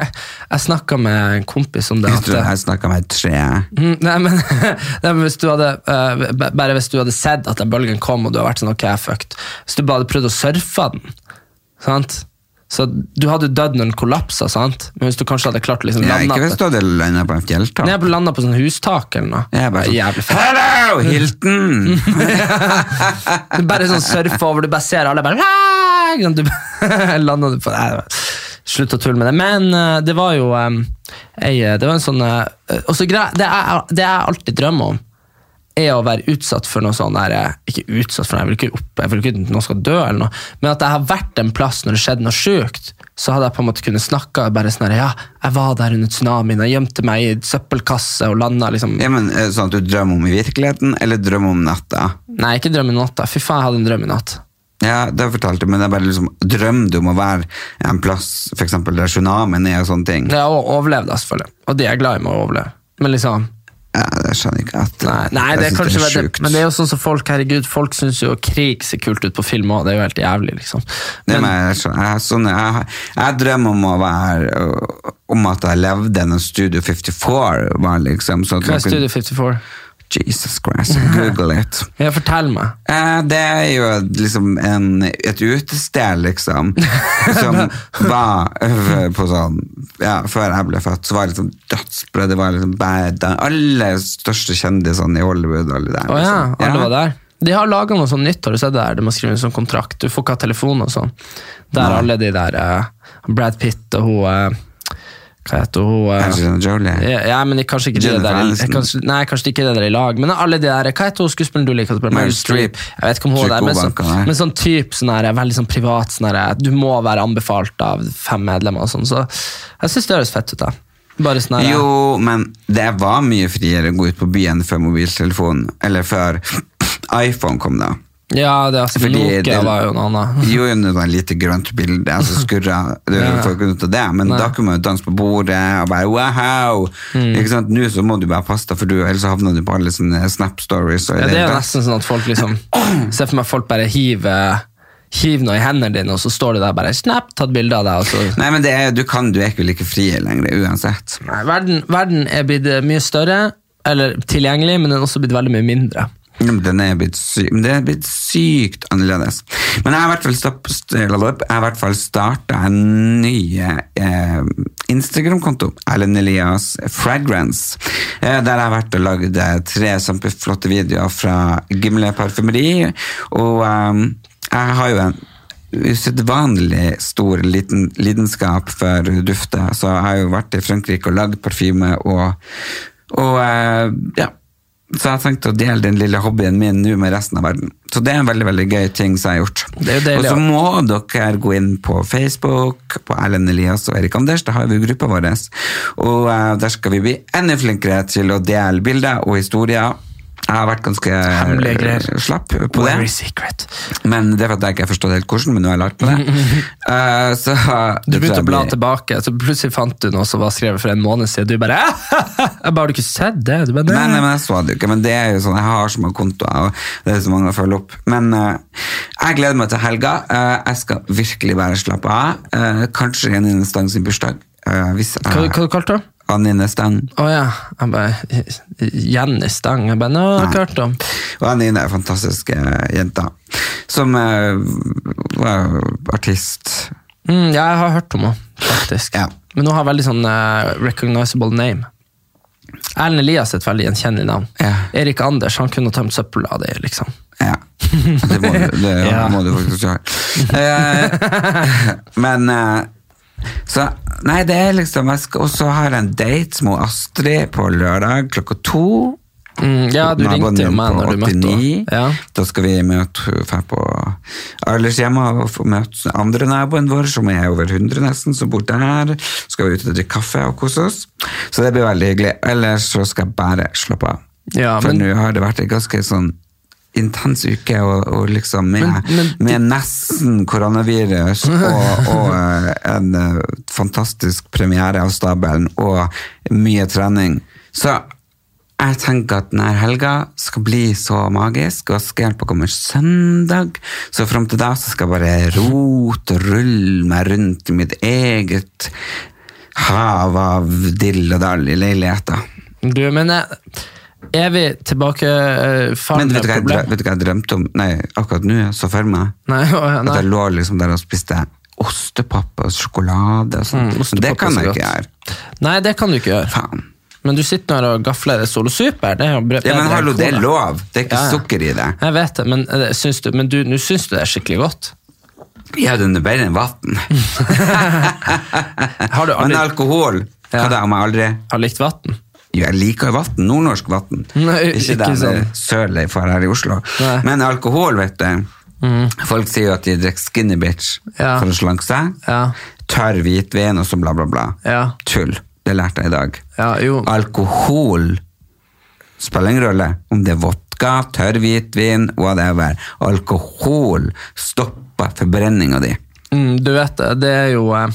[SPEAKER 1] jeg snakka med en kompis om det.
[SPEAKER 2] Jeg
[SPEAKER 1] at-
[SPEAKER 2] tror jeg snakka med et tre.
[SPEAKER 1] Mm, Nei, men, nei, men hvis du hadde, eh, b- bare hvis du hadde sett at den bølgen kom, og du hadde vært sånn, ok, jeg er fucked. Hvis du bare hadde prøvd å surfe den, sant? Så du hadde jo dødd når den kollapsa, sant? Men hvis du kanskje hadde klart å liksom,
[SPEAKER 2] Ja,
[SPEAKER 1] lande
[SPEAKER 2] ikke hvis du hadde landa på en fjelltopp.
[SPEAKER 1] Når jeg ble landet på sånn hustak eller noe.
[SPEAKER 2] Jeg er bare
[SPEAKER 1] Jævlig
[SPEAKER 2] sånn
[SPEAKER 1] fett.
[SPEAKER 2] Hello, Hilton!
[SPEAKER 1] Du bare sånn surfer over, du bare ser alle bare «Ah!» ikke sant? Du lander du på nei, det var- Slutt å tulle med det. Men eh, det var jo eh, ei, eh, Det var en sånn eh, og så greia- det, jeg- det jeg alltid drømmer om, er å være utsatt for noe sånn der eh, Ikke utsatt for noe, jeg vil ikke opp, jeg vil ikke at noen skal dø, eller noe, men at jeg har vært en plass når det skjedde noe sjukt. Så hadde jeg på en måte kunnet snakke bare sånn her, Ja, jeg var der under tsunamien, jeg gjemte meg i søppelkasse og landa liksom
[SPEAKER 2] Ja, men er det Sånn at du drømmer om i virkeligheten, eller drømmer om natta?
[SPEAKER 1] Nei, ikke drøm i natt, da. Fy faen, jeg hadde en drøm i natt.
[SPEAKER 2] Ja, det har jeg fortalt, men det er bare liksom drømmer du om å være en plass, for eksempel der tsunamien er og sånne ting.
[SPEAKER 1] Ja, og overleve da, selvfølgelig. Og det er jeg glad i med å overleve. Men liksom,
[SPEAKER 2] Ja, det skjønner jeg ikke at
[SPEAKER 1] nei, nei
[SPEAKER 2] jeg
[SPEAKER 1] det er
[SPEAKER 2] synes
[SPEAKER 1] kanskje det
[SPEAKER 2] sjukt.
[SPEAKER 1] Men det er jo sånn som folk, herregud, folk syns jo krig ser kult ut på film òg, det er jo helt jævlig, liksom.
[SPEAKER 2] Nei,
[SPEAKER 1] Men,
[SPEAKER 2] men jeg, skjønner- jeg, sånn, jeg, jeg drømmer om å være øh, Om at jeg levde når Studio 54 var liksom sånn at
[SPEAKER 1] hva
[SPEAKER 2] man
[SPEAKER 1] er
[SPEAKER 2] kunne-
[SPEAKER 1] Studio 54?
[SPEAKER 2] Jesus Christ, google it.
[SPEAKER 1] Ja, fortell meg.
[SPEAKER 2] Eh, Det er jo liksom en, et utested, liksom, som var eh, på sånn ja, Før jeg ble født, så var det liksom dødsbra. Det var liksom bare de alle største kjendisene i Hollywood. Alle der,
[SPEAKER 1] Å ja,
[SPEAKER 2] liksom.
[SPEAKER 1] alle var der. De har laga noe sånn nytt, har du sett det der? Du må skrive en sånn kontrakt, du får ikke ha telefon og sånn. Der alle de der eh, Brad Pitt og hun eh, Hva heter hun? eh,
[SPEAKER 2] Angelina Jolie.
[SPEAKER 1] ja, ja, men de- kanskje ikke de
[SPEAKER 2] Jennifer
[SPEAKER 1] der i-
[SPEAKER 2] Aniston.
[SPEAKER 1] kanskje, Nei, kanskje ikke de der i lag Men alle de der, hva heter hun skuespilleren du liker? Meryl
[SPEAKER 2] Meryl
[SPEAKER 1] Streep.
[SPEAKER 2] Streep.
[SPEAKER 1] Jeg vet ikke om hun er der, men
[SPEAKER 2] Psykobank,
[SPEAKER 1] sånn,
[SPEAKER 2] nei.
[SPEAKER 1] men sånn typ sånn her, Veldig sånn privat sånn her, Du må være anbefalt av fem medlemmer og sånn Så jeg synes det høres fett ut da Bare sånn her
[SPEAKER 2] Jo, men det var mye friere å gå ut på byen før mobiltelefon, eller før iPhone kom, da.
[SPEAKER 1] Ja, det er altså,
[SPEAKER 2] Fordi
[SPEAKER 1] Nokia
[SPEAKER 2] det-
[SPEAKER 1] var jo noe annet.
[SPEAKER 2] Jo, jo, det var et lite grønt bilde, altså skurra det er
[SPEAKER 1] Ja.
[SPEAKER 2] jo folk ut av det, men da kunne man jo danse på bordet og bare wow!
[SPEAKER 1] Mm.
[SPEAKER 2] Ikke sant? Nå så må du bare passe deg, for du, ellers så havner du på alle sånne Snap stories. Og i
[SPEAKER 1] Ja, det er jo
[SPEAKER 2] hele tatt.
[SPEAKER 1] nesten sånn at folk liksom Se for meg folk bare hiver Hiver noe i hendene dine, og så står det der bare Snap, tatt bilde av deg, og så
[SPEAKER 2] Nei, men det er, du, kan, du er ikke like fri lenger, uansett.
[SPEAKER 1] Nei, verden, verden er blitt eh, mye større, eller tilgjengelig, men den er også blitt veldig mye mindre.
[SPEAKER 2] Ja, men Mm, Den er blitt syk, men det er blitt sykt annerledes. Men jeg har i hvert fall, stopp, jeg har i hvert fall starta en ny eh, Instagram-konto, Erlend Elias Fragrance, eh, der jeg har vært og lagd eh, tre kjempeflotte videoer fra Gimle parfymeri. Og eh, jeg har jo en usedvanlig stor liten, lidenskap for dufter, så jeg har jo vært i Frankrike og lagd parfyme og, og eh, ja. Så jeg tenkte å dele den lille hobbyen min nå med resten av verden. Så det er en veldig veldig gøy ting som jeg har gjort.
[SPEAKER 1] Det er jo deilig,
[SPEAKER 2] og så
[SPEAKER 1] ja.
[SPEAKER 2] må dere gå inn på Facebook, på Erlend Elias og Erik Anders, da har vi gruppa vår. Og eh, der skal vi bli enda flinkere til å dele bilder og historier. Jeg har vært ganske
[SPEAKER 1] Hemmelige greier.
[SPEAKER 2] eh, slapp på det.
[SPEAKER 1] Very secret.
[SPEAKER 2] Men det er fordi jeg ikke forstår helt hvordan, men nå har jeg lært på det. Eh, så,
[SPEAKER 1] Du
[SPEAKER 2] det tror
[SPEAKER 1] begynte
[SPEAKER 2] jeg
[SPEAKER 1] å bla
[SPEAKER 2] blir-
[SPEAKER 1] tilbake, så plutselig fant du noe som var skrevet for en måned siden. Du bare Jeg bare, Har du ikke sett det? Du bare,
[SPEAKER 2] Nei, nei,
[SPEAKER 1] nei.
[SPEAKER 2] men jeg så det jo ikke, men det er jo sånn, jeg har så mange kontoer, og det er så mange å følge opp. Men eh, jeg gleder meg til helga. Eh, jeg skal virkelig bare slappe av. Eh, kanskje Anine Stang sin bursdag. Eh, hvis jeg,
[SPEAKER 1] Hva, hva du kalte du det?
[SPEAKER 2] Anine Stang.
[SPEAKER 1] Å ja. Jeg bare Jenny Stang. Jeg bare, nå har jeg ikke hørt om.
[SPEAKER 2] Og Anine er en fantastisk eh, jente, som eh, var artist.
[SPEAKER 1] Mm, ja, jeg har hørt om henne, faktisk.
[SPEAKER 2] Ja.
[SPEAKER 1] Men hun har veldig sånn eh, recognizable name. Erlend Elias er et veldig gjenkjennelig navn.
[SPEAKER 2] Ja.
[SPEAKER 1] Erik Anders han kunne tømt søpla di, liksom.
[SPEAKER 2] Ja. Det må du, det
[SPEAKER 1] Ja.
[SPEAKER 2] må du faktisk gjøre. Eh, men eh, så, Nei, det er liksom jeg skal, Og så har jeg en date med Astrid på lørdag klokka to.
[SPEAKER 1] Mm, ja, du
[SPEAKER 2] Naboen
[SPEAKER 1] ringte jo
[SPEAKER 2] min
[SPEAKER 1] meg
[SPEAKER 2] på
[SPEAKER 1] når du møtte
[SPEAKER 2] 89.
[SPEAKER 1] henne. Ja.
[SPEAKER 2] Da skal vi møte dra på Arlers hjemme og få møte andre naboen vår, som er over 100 nesten, som bor der. Så skal vi ut og drikke kaffe og kose oss. Så det blir veldig hyggelig. Ellers så skal jeg bare slappe av.
[SPEAKER 1] Ja,
[SPEAKER 2] For
[SPEAKER 1] men-
[SPEAKER 2] nå har det vært en ganske sånn intens uke, og, og liksom med,
[SPEAKER 1] Men-
[SPEAKER 2] med nesten koronavirus og, og eh, en eh, fantastisk premiere av stabelen og mye trening. Så jeg tenker at denne helga skal bli så magisk, og skjelpa kommer søndag, så fram til da så skal jeg bare rote og rulle meg rundt i mitt eget hav av dill og dall i leiligheter.
[SPEAKER 1] Du, men eh, er vi
[SPEAKER 2] Men
[SPEAKER 1] tilbakefallende
[SPEAKER 2] vet du, hva jeg, drø-
[SPEAKER 1] problem?
[SPEAKER 2] vet du hva jeg drømte om? Nei, akkurat nå så for meg
[SPEAKER 1] Nei, å, ja,
[SPEAKER 2] at
[SPEAKER 1] nei.
[SPEAKER 2] jeg lå liksom der og spiste ostepop og sjokolade og sånt.
[SPEAKER 1] Mm, ostepop
[SPEAKER 2] det kan
[SPEAKER 1] er så
[SPEAKER 2] jeg ikke
[SPEAKER 1] godt.
[SPEAKER 2] gjøre.
[SPEAKER 1] nei, det kan du ikke gjøre.
[SPEAKER 2] Faen.
[SPEAKER 1] Men du sitter nå her og gafler Solo Super. Det er jo bre-
[SPEAKER 2] Ja, men
[SPEAKER 1] bedre enn
[SPEAKER 2] hallo, det er
[SPEAKER 1] cola.
[SPEAKER 2] lov. Det er ikke
[SPEAKER 1] Ja, ja.
[SPEAKER 2] sukker i det.
[SPEAKER 1] Jeg vet det, men, eh, syns du, men du, nå syns du det er skikkelig godt.
[SPEAKER 2] Ja, den er bedre enn vann.
[SPEAKER 1] Har du
[SPEAKER 2] Men
[SPEAKER 1] aldri
[SPEAKER 2] alkohol hva
[SPEAKER 1] Ja.
[SPEAKER 2] da om jeg aldri
[SPEAKER 1] har likt vann?
[SPEAKER 2] Jo, jeg liker jo vann. Nordnorsk vann.
[SPEAKER 1] Nei,
[SPEAKER 2] Ikke
[SPEAKER 1] ikke
[SPEAKER 2] den
[SPEAKER 1] sånn.
[SPEAKER 2] sånn. sølet jeg får her i Oslo.
[SPEAKER 1] Nei. Mm.
[SPEAKER 2] Men alkohol, vet du. Folk sier jo at de drikker skinny bitch
[SPEAKER 1] Ja.
[SPEAKER 2] for å slanke seg.
[SPEAKER 1] Ja.
[SPEAKER 2] Tørr hvitvin og så bla, bla, bla.
[SPEAKER 1] Ja.
[SPEAKER 2] Tull. Det lærte jeg i dag.
[SPEAKER 1] Ja, jo.
[SPEAKER 2] Alkohol spiller ingen rolle om det er vodka, tørr hvitvin, whatever. Alkohol stopper forbrenninga di.
[SPEAKER 1] Mm, du vet det, det er jo eh,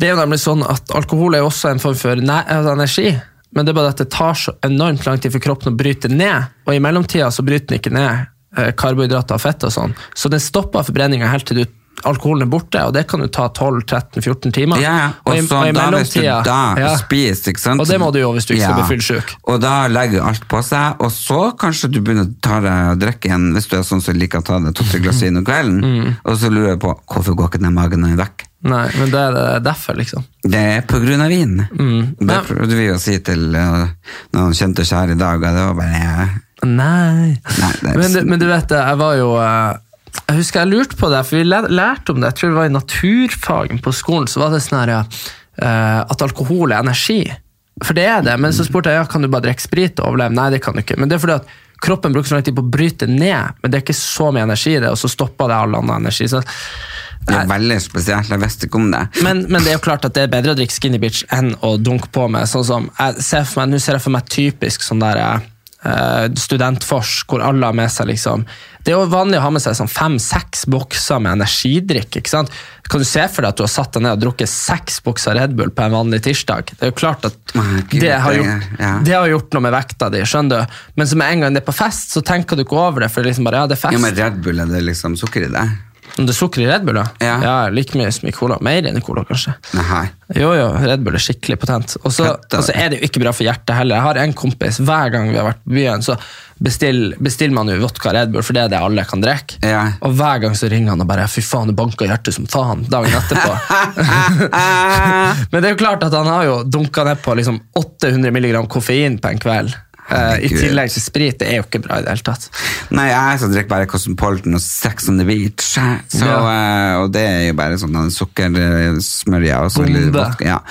[SPEAKER 1] Det er jo nemlig sånn at alkohol er jo også en form for næ- altså energi. Men det er bare at det tar så enormt lang tid for kroppen å bryte ned, og i mellomtida så bryter den ikke ned eh, karbohydrater og fett og sånn. Så den stopper forbrenninga helt til du, alkoholen er borte, og det kan jo ta 12-13-14 timer.
[SPEAKER 2] Ja, ja. Og,
[SPEAKER 1] i-
[SPEAKER 2] så
[SPEAKER 1] og i
[SPEAKER 2] da, hvis du
[SPEAKER 1] mellomtida-
[SPEAKER 2] da
[SPEAKER 1] ja.
[SPEAKER 2] spiser, ikke sant?
[SPEAKER 1] Og det må du jo hvis du ikke skal
[SPEAKER 2] Ja.
[SPEAKER 1] bli fyllesyk.
[SPEAKER 2] Og da legger alt på seg, og så kanskje du begynner å ta deg og drikke igjen, hvis du er sånn som liker å ta deg to-tre glass vin om kvelden,
[SPEAKER 1] Mm.
[SPEAKER 2] og så lurer jeg på, hvorfor går ikke den magen din vekk?
[SPEAKER 1] Nei, men det er eh, derfor, liksom.
[SPEAKER 2] Det er på grunn av vin. Det
[SPEAKER 1] Mm. Ja.
[SPEAKER 2] prøvde vi å si til eh, noen kjente og kjære i dag, og det var bare... eh,
[SPEAKER 1] Nei.
[SPEAKER 2] Nei, det er-
[SPEAKER 1] men, du- men du vet, det, jeg var jo eh, Jeg husker jeg lurte på det, for vi læ- lærte om det. Jeg tror det var i naturfagen på skolen. Så var det sånn her eh, at alkohol er energi. For det er det. Men så spurte jeg ja, kan du bare drikke sprit og overleve. Nei, det kan du ikke. Men det er fordi at kroppen bruker så lang tid på å bryte ned, men det er ikke så mye energi i det, og så stopper det all annen energi. Så,
[SPEAKER 2] Det er veldig spesielt, jeg visste ikke om det.
[SPEAKER 1] men, men det er jo klart at det er bedre å drikke skinny bitch enn å dunke på med sånn som jeg ser for meg, Nå ser jeg for meg typisk sånn der eh, eh, studentfors, hvor alle har med seg liksom Det er jo vanlig å ha med seg sånn fem-seks bokser med energidrikk. ikke sant? Kan du se for deg at du har satt deg ned og drukket seks bokser Red Bull på en vanlig tirsdag? Det er jo klart at
[SPEAKER 2] Nei, gud,
[SPEAKER 1] det har
[SPEAKER 2] det-
[SPEAKER 1] gjort,
[SPEAKER 2] ja.
[SPEAKER 1] det har gjort noe med vekta di, skjønner du? Men så med en gang det er på fest, så tenker du ikke over det, for det er liksom bare, ja, det er fest.
[SPEAKER 2] Ja, men Red Bull er det liksom sukker i det?
[SPEAKER 1] Om det er sukker i Red Bull, da?
[SPEAKER 2] Ja.
[SPEAKER 1] like mye som i cola. Mer enn i cola, kanskje.
[SPEAKER 2] Nei.
[SPEAKER 1] Jo, jo, Red Bull er skikkelig potent. Og så
[SPEAKER 2] Fett, da.
[SPEAKER 1] og så er det jo ikke bra for hjertet heller. Jeg har en kompis, hver gang vi har vært på byen, så bestiller bestill man jo vodka Red Bull, for det er det alle kan drikke.
[SPEAKER 2] Ja.
[SPEAKER 1] Og hver gang så ringer han og bare 'fy faen, det banker hjertet som faen' dagen
[SPEAKER 2] Ah,
[SPEAKER 1] etterpå. Men det er jo klart at han har jo dunka ned på liksom 800 milligram koffein på en kveld. Eh, I
[SPEAKER 2] Herregud.
[SPEAKER 1] tillegg til sprit. Det er jo ikke bra i det hele tatt.
[SPEAKER 2] Nei, jeg som drikker bare Cosmopolitan og Sex on the Beach. Så, eh, og det er jo bare sånn den sukkersmørja og sånn. litt
[SPEAKER 1] Bombe.
[SPEAKER 2] vodka, Ja.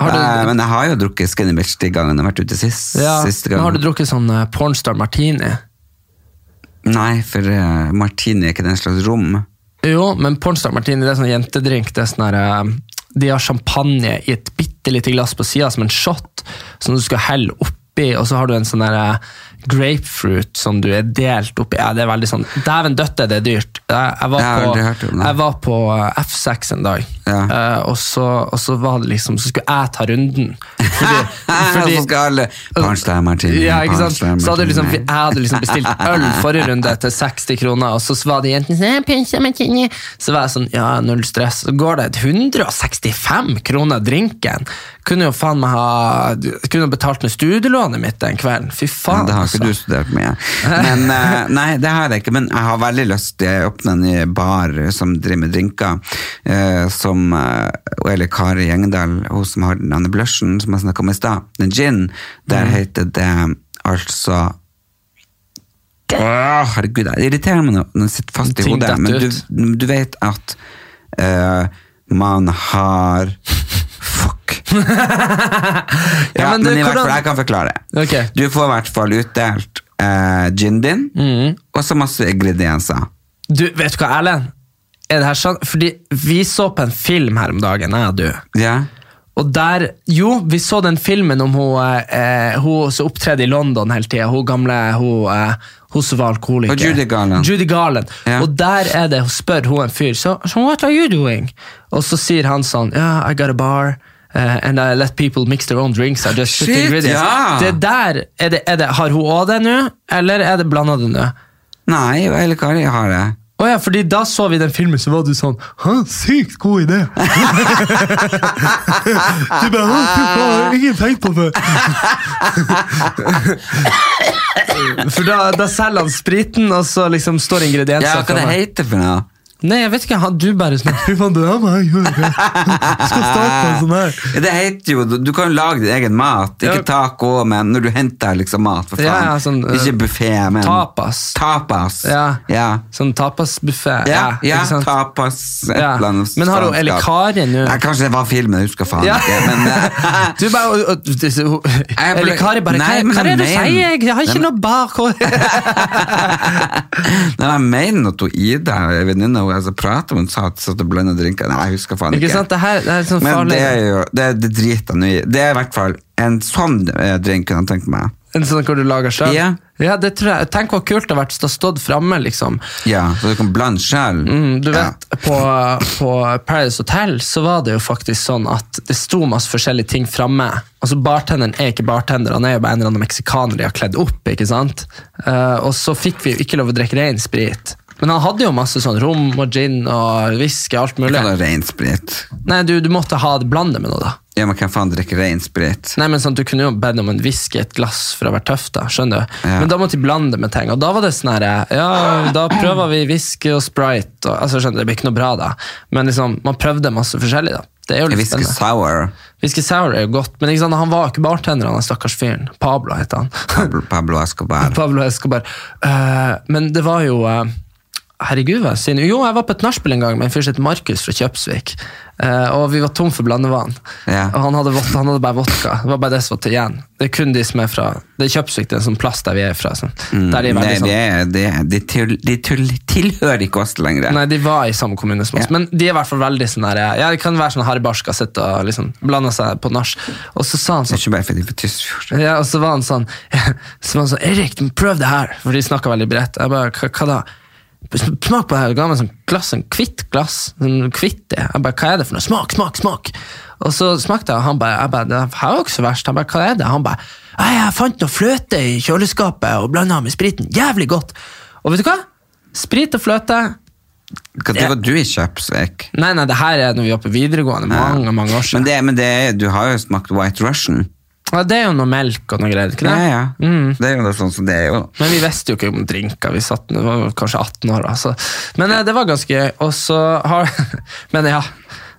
[SPEAKER 1] Har du-
[SPEAKER 2] Eh, men jeg har jo drukket Skinny Bitch de gangene jeg har vært ute sist.
[SPEAKER 1] Ja,
[SPEAKER 2] siste
[SPEAKER 1] men
[SPEAKER 2] gang.
[SPEAKER 1] har du drukket sånn eh, pornstar martini?
[SPEAKER 2] Nei, for eh, martini er ikke den slags rom.
[SPEAKER 1] Jo, men Pornstar Martini det er sånn jentedrink. Det er sånn her, eh, de har champagne i et bitte lite glass på sida som en shot, som du skal helle oppi, og så har du en sånn her, eh, grapefruit som du er delt oppi. Ja, det er veldig sånn Dæven døtte, det er dyrt. Jeg, jeg, var,
[SPEAKER 2] Jeg har
[SPEAKER 1] på,
[SPEAKER 2] aldri hørt om det.
[SPEAKER 1] jeg var på eh, F6 en dag,
[SPEAKER 2] Ja.
[SPEAKER 1] eh, og, så, og så var det liksom Så skulle jeg ta runden. Fordi, Altså-
[SPEAKER 2] så skal alle Parnstein martini.
[SPEAKER 1] ja, ikke sant?
[SPEAKER 2] Parnstein
[SPEAKER 1] Så hadde jeg liksom,
[SPEAKER 2] martini.
[SPEAKER 1] jeg hadde liksom bestilt øl forrige runde til 60 kroner, og så var det jentene sånn, «Eh, pinsa martini». Så var jeg sånn, ja, null stress. Så går det 165 kroner drinken. Kunne jo faen meg ha Kunne betalt med studielånet mitt den kvelden. Fy
[SPEAKER 2] Ja,
[SPEAKER 1] faen,
[SPEAKER 2] det har ikke du
[SPEAKER 1] altså.
[SPEAKER 2] studert mye. Men, eh, nei, det har jeg ikke, men jeg har veldig lyst til å åpne en ny bar som driver med drinker, eh, som, eh, eller Kari Gjengdal, hun som har den andre blushen som jeg snakket om i stad, den gin,
[SPEAKER 1] Mm.
[SPEAKER 2] der heter det altså Åh, herregud, det irriterer meg nå- når det sitter fast i
[SPEAKER 1] Ting
[SPEAKER 2] hodet,
[SPEAKER 1] detter
[SPEAKER 2] men du,
[SPEAKER 1] ut.
[SPEAKER 2] du vet at eh, man har Fuck! Ja, men,
[SPEAKER 1] altså. du,
[SPEAKER 2] i hvert
[SPEAKER 1] hvordan-
[SPEAKER 2] fall, jeg kan forklare det.
[SPEAKER 1] Ok.
[SPEAKER 2] Du får i hvert fall utdelt eh, gin din,
[SPEAKER 1] Mm.
[SPEAKER 2] og så masse ingredienser.
[SPEAKER 1] Du, vet du hva, Erlend? Er det her sånn? Fordi vi så på en film her om dagen, jeg og du.
[SPEAKER 2] Ja.
[SPEAKER 1] Og der, jo, vi så den filmen om hun, eh, hun som opptredde i London hele tida. Hun gamle hun, eh, hun som var alkoholiker.
[SPEAKER 2] Og Judy Garland.
[SPEAKER 1] Judy Garland.
[SPEAKER 2] Ja.
[SPEAKER 1] Og der er det, hun spør hun en fyr so, so what are you doing? Og så sier han sånn yeah, I got a bar. eh, and I let people mix their own drinks. I just put the
[SPEAKER 2] Shit,
[SPEAKER 1] ingredients."
[SPEAKER 2] ja!
[SPEAKER 1] Det der, er det, er det, Har hun òg det nå, eller er det blanda det nå?
[SPEAKER 2] Nei, eller Kari har det.
[SPEAKER 1] Å ja, fordi da så vi den filmen, så var du sånn Hæ, sykt god idé! du bare Å, fy faen, jeg har ikke tenkt på det! For da, da selger han spriten, og så liksom står ingredienser
[SPEAKER 2] Ja, hva det heter for noe?
[SPEAKER 1] Nei, jeg vet ikke, han, du bare sånn Fy faen, det der må jeg gjøre! Jeg skal starte en sånn her.
[SPEAKER 2] Ja, Eh, Det heter jo, du- Du kan jo lage din egen mat.
[SPEAKER 1] Ja.
[SPEAKER 2] Ikke taco, men når du henter liksom mat. For faen.
[SPEAKER 1] Ja, ja, sånn, eh,
[SPEAKER 2] ikke buffé, men
[SPEAKER 1] Tapas.
[SPEAKER 2] Tapas.
[SPEAKER 1] Ja.
[SPEAKER 2] ja.
[SPEAKER 1] Sånn tapasbuffé.
[SPEAKER 2] Ja, ja,
[SPEAKER 1] ikke sant?
[SPEAKER 2] tapas et
[SPEAKER 1] Ja.
[SPEAKER 2] eller annet
[SPEAKER 1] Men har hun-
[SPEAKER 2] faenskap.
[SPEAKER 1] eller Kari nå?
[SPEAKER 2] Nei, Kanskje det var filmen, jeg husker faen
[SPEAKER 1] Ja.
[SPEAKER 2] ikke. Men, eh,
[SPEAKER 1] Du bare og- og- disse- hun-
[SPEAKER 2] ble-
[SPEAKER 1] Eller Kari bare
[SPEAKER 2] Nei,
[SPEAKER 1] Hva
[SPEAKER 2] men
[SPEAKER 1] hva er det du
[SPEAKER 2] jeg mener-
[SPEAKER 1] sier? Jeg har
[SPEAKER 2] Nei,
[SPEAKER 1] ikke
[SPEAKER 2] men-
[SPEAKER 1] noe bar...
[SPEAKER 2] Nei, jeg mener at hun Ida, en venninne hun altså, prater med, hun sa at hun satt og blanda drinker. Nei, jeg husker faen ikke.
[SPEAKER 1] Ikke sant? Det her det her er sånn
[SPEAKER 2] Men
[SPEAKER 1] farlig.
[SPEAKER 2] det er jo Det, det driter jeg nå i. Det er i hvert fall en sånn eh, drink kunne jeg tenkt meg.
[SPEAKER 1] En sånn hvor du lager selv?
[SPEAKER 2] Ja.
[SPEAKER 1] Ja, det tror jeg. Tenk hvor kult det har vært å stått framme, liksom.
[SPEAKER 2] Ja, så du kan blande sjøl.
[SPEAKER 1] Mm, Du vet, på, på Paradise Hotel så var det jo faktisk sånn at det sto masse forskjellige ting framme. Altså, bartenderen er ikke bartender, han er jo bare en eller annen meksikaner de har kledd opp. ikke sant? Eh, og så fikk vi jo ikke lov å drikke ren sprit. Men han hadde jo masse sånn rom og gin og whisky og alt
[SPEAKER 2] Du
[SPEAKER 1] mulig.
[SPEAKER 2] kan ha rein sprit.
[SPEAKER 1] Nei, du, du måtte ha det blande med noe, da.
[SPEAKER 2] Ja, men hvem faen drikker rein sprit?
[SPEAKER 1] Nei, men sånn, Du kunne jo bedt om en whisky, et glass, for å være tøff. da, skjønner du?
[SPEAKER 2] Ja.
[SPEAKER 1] Men da måtte de blande med ting. Og da var det sånn her, ja, da prøver vi whisky og sprite. Og, altså, skjønner du, Det blir ikke noe bra, da. Men liksom, man prøvde masse forskjellig. da. Det er jo litt
[SPEAKER 2] Whisky
[SPEAKER 1] spennende.
[SPEAKER 2] sour.
[SPEAKER 1] Whisky sour er jo godt, men ikke sant, han var jo ikke bartender, han den stakkars fyren. Pablo heter han.
[SPEAKER 2] Pablo Escobar.
[SPEAKER 1] Pablo Escobar. Eh, men det var jo eh, Herregud, hva sier du? Jo, jeg var på et nachspiel en gang med en fyr som het Markus fra Kjøpsvik. Eh, og vi var tom for blandevann.
[SPEAKER 2] Ja.
[SPEAKER 1] Og han hadde, vod- han hadde bare vodka. Det var bare det som var til igjen. Det er kun de som er fra Det er Kjøpsvik, det er en sånn plass der vi er fra. Sånn. Der de er
[SPEAKER 2] Mm, Nei,
[SPEAKER 1] veldig sånn
[SPEAKER 2] det er- det er- de, tull, de tull, tilhører ikke oss lenger.
[SPEAKER 1] Nei, de var i samme kommune som oss,
[SPEAKER 2] Ja.
[SPEAKER 1] men de er i hvert fall veldig sånn her Ja, det kan være sånn harrybarska sitte og liksom blande seg på nach. Og så sa han
[SPEAKER 2] Det er
[SPEAKER 1] sånn
[SPEAKER 2] ikke bare fordi vi er på Tysfjord.
[SPEAKER 1] ja, og så var han sånn Så var han sånn, Erik, du må prøve det her For de snakket veldig bredt Jeg bare, hva, hva da? Smak på det her Og ga meg en sånn glass En kvitt glass En kvitt det Jeg bare, hva er det for noe? Smak, smak, smak Og så smakte jeg Og han bare, jeg bare Det her er jo ikke så verst Han bare, hva er det? Han bare, «Nei, jeg fant noe fløte i kjøleskapet Og blandet med spriten Jævlig godt Og vet du hva? Sprit og fløte
[SPEAKER 2] Hva det var du i Kjøpsvik?
[SPEAKER 1] Nei, nei, det her er når vi var på videregående Mange, mange år
[SPEAKER 2] Men,
[SPEAKER 1] siden det,
[SPEAKER 2] det, men det, er- du har jo smakt White Russian.
[SPEAKER 1] ja, det er jo noe melk og noe greier ikke det?
[SPEAKER 2] Ja, ja.
[SPEAKER 1] Mm.
[SPEAKER 2] Det er jo det sånn som det er jo.
[SPEAKER 1] Men vi visste jo ikke om drinker. Vi satt, vi var kanskje 18 år. Altså. Men eh, det var ganske gøy. Og så har Men ja.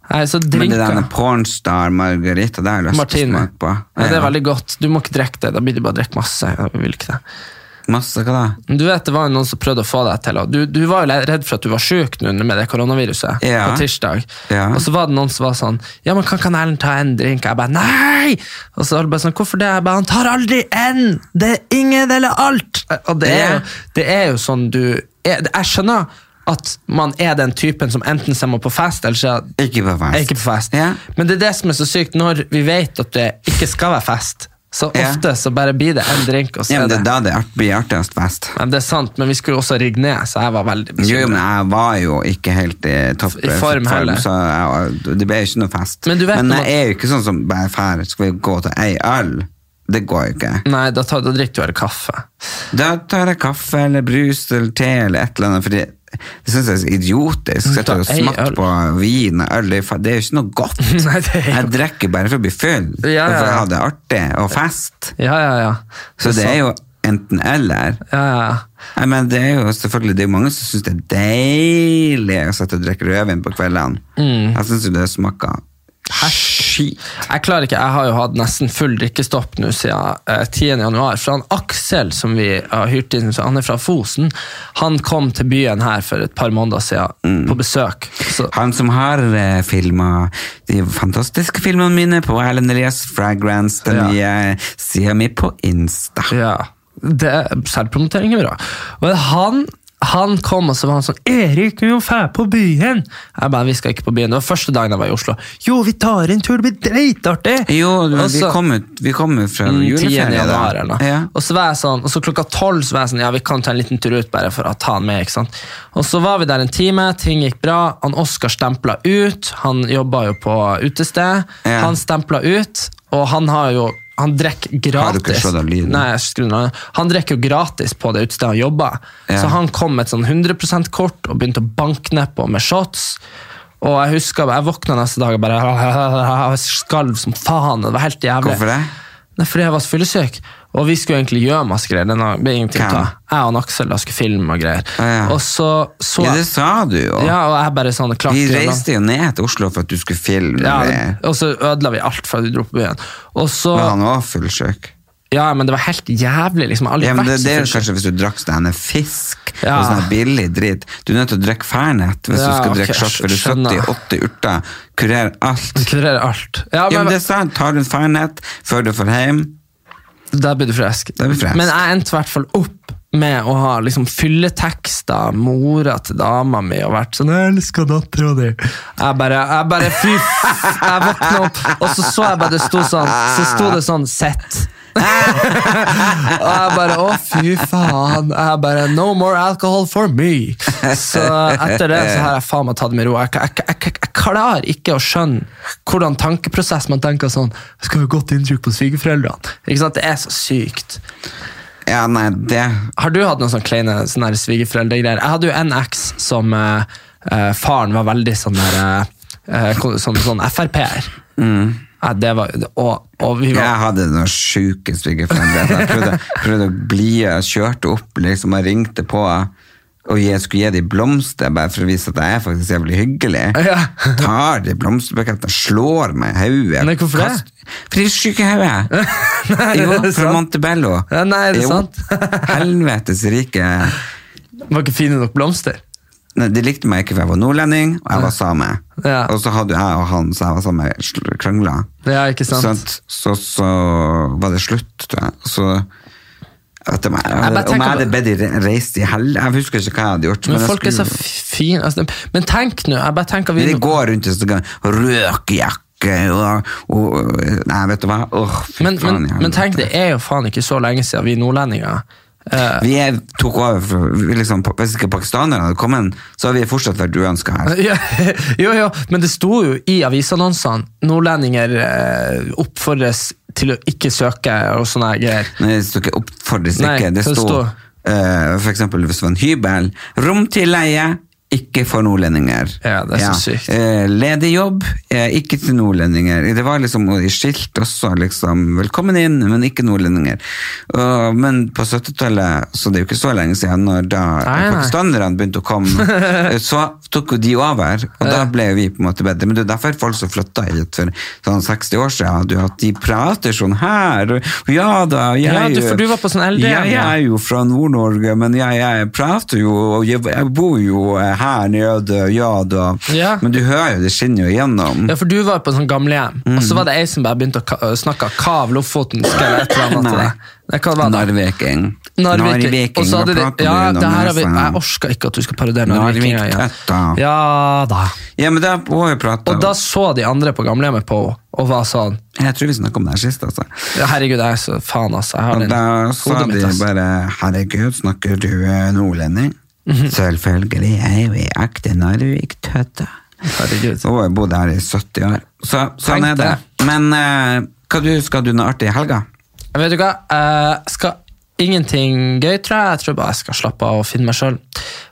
[SPEAKER 1] Nei, så
[SPEAKER 2] Men det der
[SPEAKER 1] drinker
[SPEAKER 2] med pornstar margarita, det har jeg lyst til å
[SPEAKER 1] Martine.
[SPEAKER 2] smake på.
[SPEAKER 1] Ja, det er veldig godt. Du må ikke drikke det. Da blir det bare å drikke masse. Jeg vil ikke det.
[SPEAKER 2] Masse hva da?
[SPEAKER 1] Men Du vet, Det var jo noen som prøvde å få deg til og du, du var jo redd for at du var sjuk nå med det koronaviruset
[SPEAKER 2] Ja.
[SPEAKER 1] på tirsdag.
[SPEAKER 2] Ja.
[SPEAKER 1] Og så var det noen som var sånn Ja, men kan ikke han Erlend ta en drink? Jeg bare nei! Og så var det bare sånn Hvorfor det? Jeg bare Han tar aldri en! Det er ingen eller alt! Og det er,
[SPEAKER 2] Ja.
[SPEAKER 1] jo, det er jo sånn du er, Jeg skjønner at man er den typen som enten så må på fest, eller så
[SPEAKER 2] Ikke på fest.
[SPEAKER 1] Ikke på fest.
[SPEAKER 2] Ja.
[SPEAKER 1] Men det er det som er så sykt, når vi vet at det ikke skal være fest, så
[SPEAKER 2] Ja.
[SPEAKER 1] ofte så bare blir det en drink, og så
[SPEAKER 2] Ja, men
[SPEAKER 1] er
[SPEAKER 2] det
[SPEAKER 1] det
[SPEAKER 2] er da det art- blir artigst fest.
[SPEAKER 1] ja, det er sant, men vi skulle jo også rigge ned, så jeg var veldig
[SPEAKER 2] Jo, jo, men
[SPEAKER 1] bekymret.
[SPEAKER 2] jeg var jo ikke helt i topp
[SPEAKER 1] I form heller.
[SPEAKER 2] så jeg, det ble jo ikke noe fest.
[SPEAKER 1] Men du vet når man-
[SPEAKER 2] jeg er jo ikke sånn som bare fær, skal vi gå til ei øl? Det går jo ikke.
[SPEAKER 1] Nei, da, tar, da drikker du heller kaffe.
[SPEAKER 2] Da tar jeg kaffe eller brus eller te eller et eller annet, fordi det synes jeg er så idiotisk. Så Jeg tar jo
[SPEAKER 1] Ei
[SPEAKER 2] smatt
[SPEAKER 1] øl.
[SPEAKER 2] på vin og øl, det er jo fa- det er jo ikke noe godt.
[SPEAKER 1] Nei, det er jo-
[SPEAKER 2] Jeg drikker bare for å bli full,
[SPEAKER 1] Ja, ja,
[SPEAKER 2] og for å
[SPEAKER 1] ja.
[SPEAKER 2] ha det artig og fest.
[SPEAKER 1] Ja, ja, ja.
[SPEAKER 2] Så det er
[SPEAKER 1] sant.
[SPEAKER 2] jo enten eller.
[SPEAKER 1] Ja, ja, ja.
[SPEAKER 2] Nei, men det er jo selvfølgelig det er jo mange som syns det er deilig å sitte og drikke rødvin på kveldene.
[SPEAKER 1] Mm.
[SPEAKER 2] Jeg syns jo det smaker skit.
[SPEAKER 1] Jeg klarer ikke, jeg har jo hatt nesten full drikkestopp nå siden eh, 10. januar, for han Aksel som vi har hyrt inn, så han er fra Fosen, han kom til byen her for et par måneder siden
[SPEAKER 2] Mm.
[SPEAKER 1] på besøk. Så,
[SPEAKER 2] Han som har eh, filma de fantastiske filmene mine på Erlend Elias Fragrance, den
[SPEAKER 1] Ja.
[SPEAKER 2] nye sida mi på Insta.
[SPEAKER 1] Ja, det er selvpromotering er bra. Og han, han kom og så var han sånn 'Erik, vi må dra på byen!' Jeg bare 'Vi skal ikke på byen'. Det var første dagen jeg var i Oslo. 'Jo, vi tar en tur, det blir dritartig!'
[SPEAKER 2] Jo,
[SPEAKER 1] Og
[SPEAKER 2] vi
[SPEAKER 1] så-
[SPEAKER 2] kom ut- vi kom jo fra
[SPEAKER 1] Mm, 10.
[SPEAKER 2] juleferie.
[SPEAKER 1] januar,
[SPEAKER 2] da.
[SPEAKER 1] eller noe.
[SPEAKER 2] Ja.
[SPEAKER 1] Og så var jeg sånn, og så klokka tolv så var jeg sånn, ja, vi kan ta en liten tur ut bare for å ta han med, ikke sant? Og så var vi der en time, ting gikk bra, han Oskar stempla ut, han jobba jo på utested,
[SPEAKER 2] Ja.
[SPEAKER 1] han stempla ut, og han har jo han drikker gratis.
[SPEAKER 2] Har du ikke slått av lyden?
[SPEAKER 1] Nei, jeg skrur den av. Han drikker jo gratis på det utestedet han jobber.
[SPEAKER 2] Ja.
[SPEAKER 1] Så han kom med et sånn 100 %-kort og begynte å banke nedpå med shots. Og jeg husker, jeg våkna neste dag og bare Jeg skalv som faen. Det var helt jævlig.
[SPEAKER 2] Hvorfor det?
[SPEAKER 1] Nei, fordi jeg var så fyllesyk. Og vi skulle egentlig gjøre masse greier. Den har- det er ingenting å ta.
[SPEAKER 2] Hvem?
[SPEAKER 1] Jeg og han Aksel da skulle filme og greier.
[SPEAKER 2] ja.
[SPEAKER 1] Og så så
[SPEAKER 2] ja, det sa du jo.
[SPEAKER 1] Ja, og jeg bare sånn klarte
[SPEAKER 2] vi
[SPEAKER 1] ikke å la-
[SPEAKER 2] reiste jo ned til Oslo for at du skulle filme.
[SPEAKER 1] ja,
[SPEAKER 2] det.
[SPEAKER 1] Og så ødela vi alt fra vi dro på byen. Og så,
[SPEAKER 2] Men han var fullsjuk.
[SPEAKER 1] ja, men det var helt jævlig. liksom Jeg har aldri
[SPEAKER 2] Ja, men det,
[SPEAKER 1] vært så
[SPEAKER 2] det er jo
[SPEAKER 1] fyllesyk.
[SPEAKER 2] kanskje hvis du drakk denne fisk
[SPEAKER 1] Ja.
[SPEAKER 2] og sånn billig dritt. Du er nødt til å drikke Fernet hvis du
[SPEAKER 1] Ja,
[SPEAKER 2] skal
[SPEAKER 1] ok,
[SPEAKER 2] drikke shot, for du
[SPEAKER 1] skjønner.
[SPEAKER 2] er 70-80 urter, kurerer alt.
[SPEAKER 1] Det kurerer alt. Ja,
[SPEAKER 2] Ja,
[SPEAKER 1] men,
[SPEAKER 2] men det er sant. Tar du en Fernet før du får hjem,
[SPEAKER 1] Da blir du frisk.
[SPEAKER 2] Da blir du frisk.
[SPEAKER 1] Men jeg endte i hvert fall opp med å ha liksom fylletekster, mora til dama mi, og vært sånn 'Jeg elsker dattera di'. Jeg bare, jeg bare Fy f... Jeg våkna opp, og så så jeg bare det sto sånn Så sto det sånn 'Sett'. og jeg bare Å, fy faen. Jeg bare No more alcohol for me. Så etter det så har jeg faen meg tatt det med ro. Jeg, jeg, jeg, jeg, jeg klarer ikke å skjønne hvordan tankeprosess man tenker sånn Jeg skal ha godt inntrykk på svigerforeldrene. Ikke sant? Det er så sykt.
[SPEAKER 2] ja, nei, det
[SPEAKER 1] Har du hatt noen sånne kleine sånne her svigerforeldregreier? Jeg hadde jo en eks som eh, eh, faren var veldig sånn der eh, eh, kon- sånn, sånn Frp-er.
[SPEAKER 2] Mm.
[SPEAKER 1] Ja, det var, og, og vi
[SPEAKER 2] Jeg
[SPEAKER 1] var
[SPEAKER 2] hadde noen sjuke svigerforeldre. Jeg prøvde, prøvde å bli jeg kjørte opp liksom, og ringte på. Og jeg skulle gi dem blomster bare for å vise at jeg er faktisk jævlig hyggelig.
[SPEAKER 1] Ja.
[SPEAKER 2] Tar de blomsterbukettene, slår meg i hodet.
[SPEAKER 1] Nei, hvorfor det?
[SPEAKER 2] Kast- Fordi jeg er syk i hodet. Jo,
[SPEAKER 1] er det
[SPEAKER 2] fra
[SPEAKER 1] sant?
[SPEAKER 2] Montebello.
[SPEAKER 1] Ja, nei, er det
[SPEAKER 2] Jo,
[SPEAKER 1] sant?
[SPEAKER 2] Helvetes rike.
[SPEAKER 1] var ikke fine nok blomster.
[SPEAKER 2] Nei, de likte meg ikke for jeg var nordlending, og jeg var same.
[SPEAKER 1] Ja.
[SPEAKER 2] Og så hadde jeg og han som jeg var sammen med, sl- krangla.
[SPEAKER 1] Ja, ikke sant?
[SPEAKER 2] Sant? Så, så var det slutt, tror jeg. Så at jeg,
[SPEAKER 1] bare
[SPEAKER 2] om jeg
[SPEAKER 1] tenker
[SPEAKER 2] hadde
[SPEAKER 1] på-
[SPEAKER 2] bedt de re- reise i hell Jeg husker ikke hva jeg hadde gjort.
[SPEAKER 1] Men
[SPEAKER 2] jeg
[SPEAKER 1] folk er så
[SPEAKER 2] skulle-
[SPEAKER 1] fine. Altså, men tenk nå, jeg bare tenker vi
[SPEAKER 2] Men de går rundt i sånn røkjakke og, og Nei, vet du hva? Åh, fy
[SPEAKER 1] men,
[SPEAKER 2] faen,
[SPEAKER 1] men,
[SPEAKER 2] jeg-
[SPEAKER 1] men tenk, det er jo faen ikke så lenge siden vi nordlendinger eh,
[SPEAKER 2] Vi er, tok over for, vi liksom, Hvis ikke pakistanere hadde kommet, så hadde vi fortsatt vært uønska her.
[SPEAKER 1] ja, Jo, jo, men det sto jo i avisannonsene nordlendinger eh, oppfordres til å ikke søke og sånne her greier.
[SPEAKER 2] Nei, det sto ikke oppfordres
[SPEAKER 1] Nei,
[SPEAKER 2] ikke. Det
[SPEAKER 1] det
[SPEAKER 2] sto
[SPEAKER 1] sto-
[SPEAKER 2] eh, for eksempel hvis det var en hybel. Rom til leie, ikke for nordlendinger.
[SPEAKER 1] Ja, det er så sykt.
[SPEAKER 2] Eh, ledig jobb, eh, ikke til nordlendinger. Det var liksom i skilt også, liksom. Velkommen inn, men ikke nordlendinger. Og- men på 70-tallet, så det er jo ikke så lenge siden, når da eh,
[SPEAKER 1] Nei, nei.
[SPEAKER 2] pakistanerne begynte å komme, eh, så tok jo de over, og da ble jo vi på en måte bedre. Men det er derfor folk som flytta hit for sånn 60 år siden, hadde jo at de prater sånn her, og ja da, jeg,
[SPEAKER 1] Ja, du- for du var på sånn LDM,
[SPEAKER 2] Jeg,
[SPEAKER 1] ja.
[SPEAKER 2] er jo fra Nord-Norge, men jeg, jeg prater jo, og jeg, jeg bor jo eh, her nede, ja da.
[SPEAKER 1] Ja.
[SPEAKER 2] Men du hører jo, det skinner jo igjennom.
[SPEAKER 1] Ja, for du var på en sånn gamlehjem, og så var det ei som bare begynte å ka- snakke kav Lofoten. Skal jeg et eller annet til
[SPEAKER 2] Nei.
[SPEAKER 1] deg. Nei, hva var det?
[SPEAKER 2] Narviking.
[SPEAKER 1] Narviking. Og så hadde
[SPEAKER 2] hva
[SPEAKER 1] de,
[SPEAKER 2] prater
[SPEAKER 1] ja,
[SPEAKER 2] du om
[SPEAKER 1] det her har vi,
[SPEAKER 2] nesen?
[SPEAKER 1] jeg orker ikke at du skal parodiere Narviking.
[SPEAKER 2] Narvik,
[SPEAKER 1] Ja, ja.
[SPEAKER 2] tøtta.
[SPEAKER 1] ja da.
[SPEAKER 2] Ja, men da må vi prate
[SPEAKER 1] Og da så de andre på gamlehjemmet på henne og var sånn
[SPEAKER 2] Jeg tror vi snakket om det her sist, altså.
[SPEAKER 1] ja, Herregud, jeg er så faen, altså. Jeg har
[SPEAKER 2] Og
[SPEAKER 1] den
[SPEAKER 2] da sa
[SPEAKER 1] hodet
[SPEAKER 2] de
[SPEAKER 1] mitt, altså. ass.
[SPEAKER 2] bare Herregud, snakker du eh, nordlending?
[SPEAKER 1] Mhm.
[SPEAKER 2] Selvfølgelig, jeg er jo ekte Narvik, tøtta.
[SPEAKER 1] Herregud.
[SPEAKER 2] Så har jeg bodd her i 70 år. Så, sånn
[SPEAKER 1] Tenk
[SPEAKER 2] er det. Men eh, hva du, skal du noe artig i helga?
[SPEAKER 1] Jeg vet du hva, jeg skal ingenting gøy, tror jeg. Jeg tror bare jeg skal slappe av og finne meg sjøl.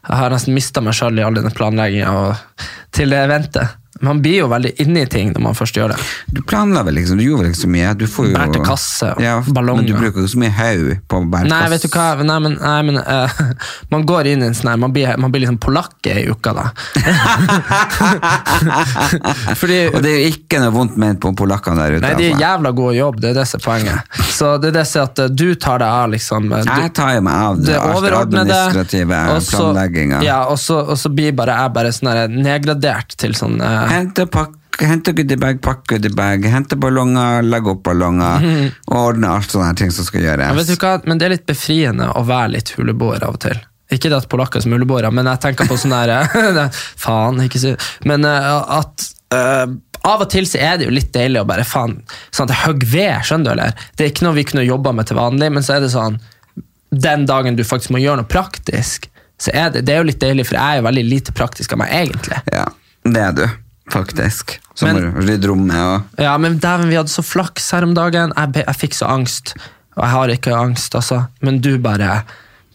[SPEAKER 1] Jeg har nesten mista meg sjøl i all denne planlegginga og til det eventet. Man blir jo veldig inne i ting når man først gjør det.
[SPEAKER 2] Du planla vel liksom, du gjorde vel ikke så mye? Du får jo
[SPEAKER 1] Bærte kasse og
[SPEAKER 2] ja,
[SPEAKER 1] ballonger.
[SPEAKER 2] Men du bruker jo ikke så mye haug på å bære
[SPEAKER 1] Nei,
[SPEAKER 2] kasse.
[SPEAKER 1] vet du hva, nei, men, nei, men eh, man går inn i en sånn her, man blir, man blir liksom polakk i uka, da. Fordi
[SPEAKER 2] Og det er jo ikke noe vondt ment på polakkene der ute.
[SPEAKER 1] Nei, de er
[SPEAKER 2] altså.
[SPEAKER 1] jævla gode i jobb, det er det som er poenget. Så det er det som er at eh, du tar deg av, liksom. eh, Du,
[SPEAKER 2] Jeg tar jo meg av det,
[SPEAKER 1] det overordnede.
[SPEAKER 2] administrative
[SPEAKER 1] og så-
[SPEAKER 2] planlegginga.
[SPEAKER 1] Ja, og så, og så blir bare jeg bare sånn her nedgradert til sånn eh,
[SPEAKER 2] Hente pakke, hente goodiebag, pakke goodiebag, hente ballonger, legge opp ballonger, og ordne alt sånne her ting som skal
[SPEAKER 1] jeg
[SPEAKER 2] gjøres.
[SPEAKER 1] vet ikke hva, Men det er litt befriende å være litt huleboer av og til. Ikke det at polakker er som huleboere, men jeg tenker på sånn her eh, Faen, ikke si Men eh, at eh, av og til så er det jo litt deilig å bare faen sånn at jeg hogger ved, skjønner du, eller? Det er ikke noe vi kunne jobba med til vanlig, men så er det sånn den dagen du faktisk må gjøre noe praktisk, så er det, det er jo litt deilig, for jeg er jo veldig lite praktisk av meg, egentlig.
[SPEAKER 2] Ja, det er du, faktisk. Så
[SPEAKER 1] Men-
[SPEAKER 2] må du rydde rommet og
[SPEAKER 1] Ja, men dæven, vi hadde så flaks her om dagen. Jeg, be- jeg fikk så angst. Og jeg har ikke angst, altså. Men du bare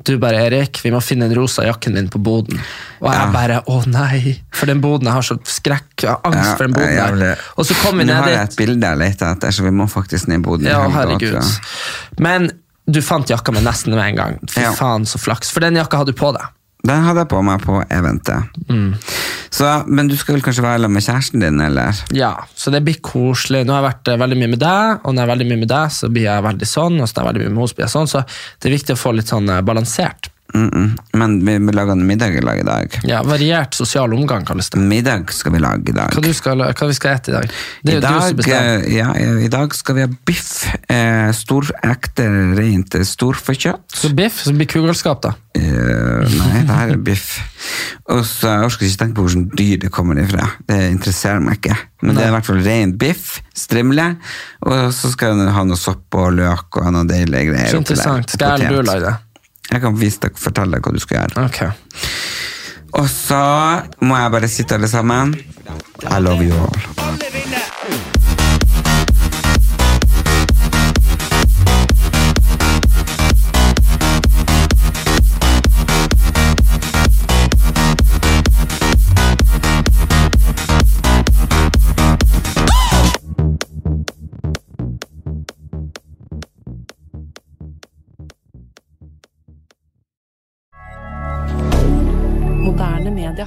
[SPEAKER 1] Du bare, Erik, vi må finne den rosa jakken din på boden. Og jeg
[SPEAKER 2] Ja.
[SPEAKER 1] bare Å nei! For den boden, jeg har så skrekk. Jeg har angst
[SPEAKER 2] Ja,
[SPEAKER 1] for den boden
[SPEAKER 2] jeg vil-
[SPEAKER 1] der. Og så kom vi
[SPEAKER 2] Nå
[SPEAKER 1] ned
[SPEAKER 2] har jeg et
[SPEAKER 1] dit.
[SPEAKER 2] bilde jeg leter etter, så vi må faktisk ned i boden. i
[SPEAKER 1] Ja,
[SPEAKER 2] helga,
[SPEAKER 1] herregud.
[SPEAKER 2] tror jeg.
[SPEAKER 1] Men du fant jakka mi nesten med en gang. Fy
[SPEAKER 2] Ja.
[SPEAKER 1] faen, så flaks. For den jakka hadde du på deg.
[SPEAKER 2] Den hadde jeg på meg på eventet. Så, men du skal vel kanskje være sammen med kjæresten din, eller?
[SPEAKER 1] Ja, så det blir koselig. Nå har jeg vært eh, veldig mye med deg, og når jeg er veldig mye med deg, så blir jeg veldig sånn, og så når jeg er veldig mye med henne, så blir jeg sånn. Så det er viktig å få litt sånn eh, balansert.
[SPEAKER 2] Mm -mm. Men vi vi lager en middag i lag i dag.
[SPEAKER 1] Ja, Variert sosial omgang, kalles det.
[SPEAKER 2] Middag skal vi lage i dag.
[SPEAKER 1] Hva, du skal, hva vi skal ete i dag? Det
[SPEAKER 2] I
[SPEAKER 1] er jo du som
[SPEAKER 2] dag,
[SPEAKER 1] bestemmer.
[SPEAKER 2] eh, ja, eh, I dag skal vi ha biff. Eh, stor, ekte, rent storfekjøtt.
[SPEAKER 1] Så biff, så blir kugalskap, da.
[SPEAKER 2] Eh, nei, det her er biff. Og så Jeg orker ikke tenke på hvordan dyr det kommer ifra. Det interesserer meg ikke. Men det er i hvert fall ren biff, strimle, og så skal den ha noe sopp og løk og noe deilige greier.
[SPEAKER 1] Så
[SPEAKER 2] oppi der.
[SPEAKER 1] interessant. Skal jeg eller
[SPEAKER 2] Potet.
[SPEAKER 1] du lage det?
[SPEAKER 2] Jeg kan vise deg, fortelle deg hva du skal gjøre.
[SPEAKER 1] Ok.
[SPEAKER 2] Og så må jeg bare sitte alle sammen. I love you all.
[SPEAKER 4] Moderne media.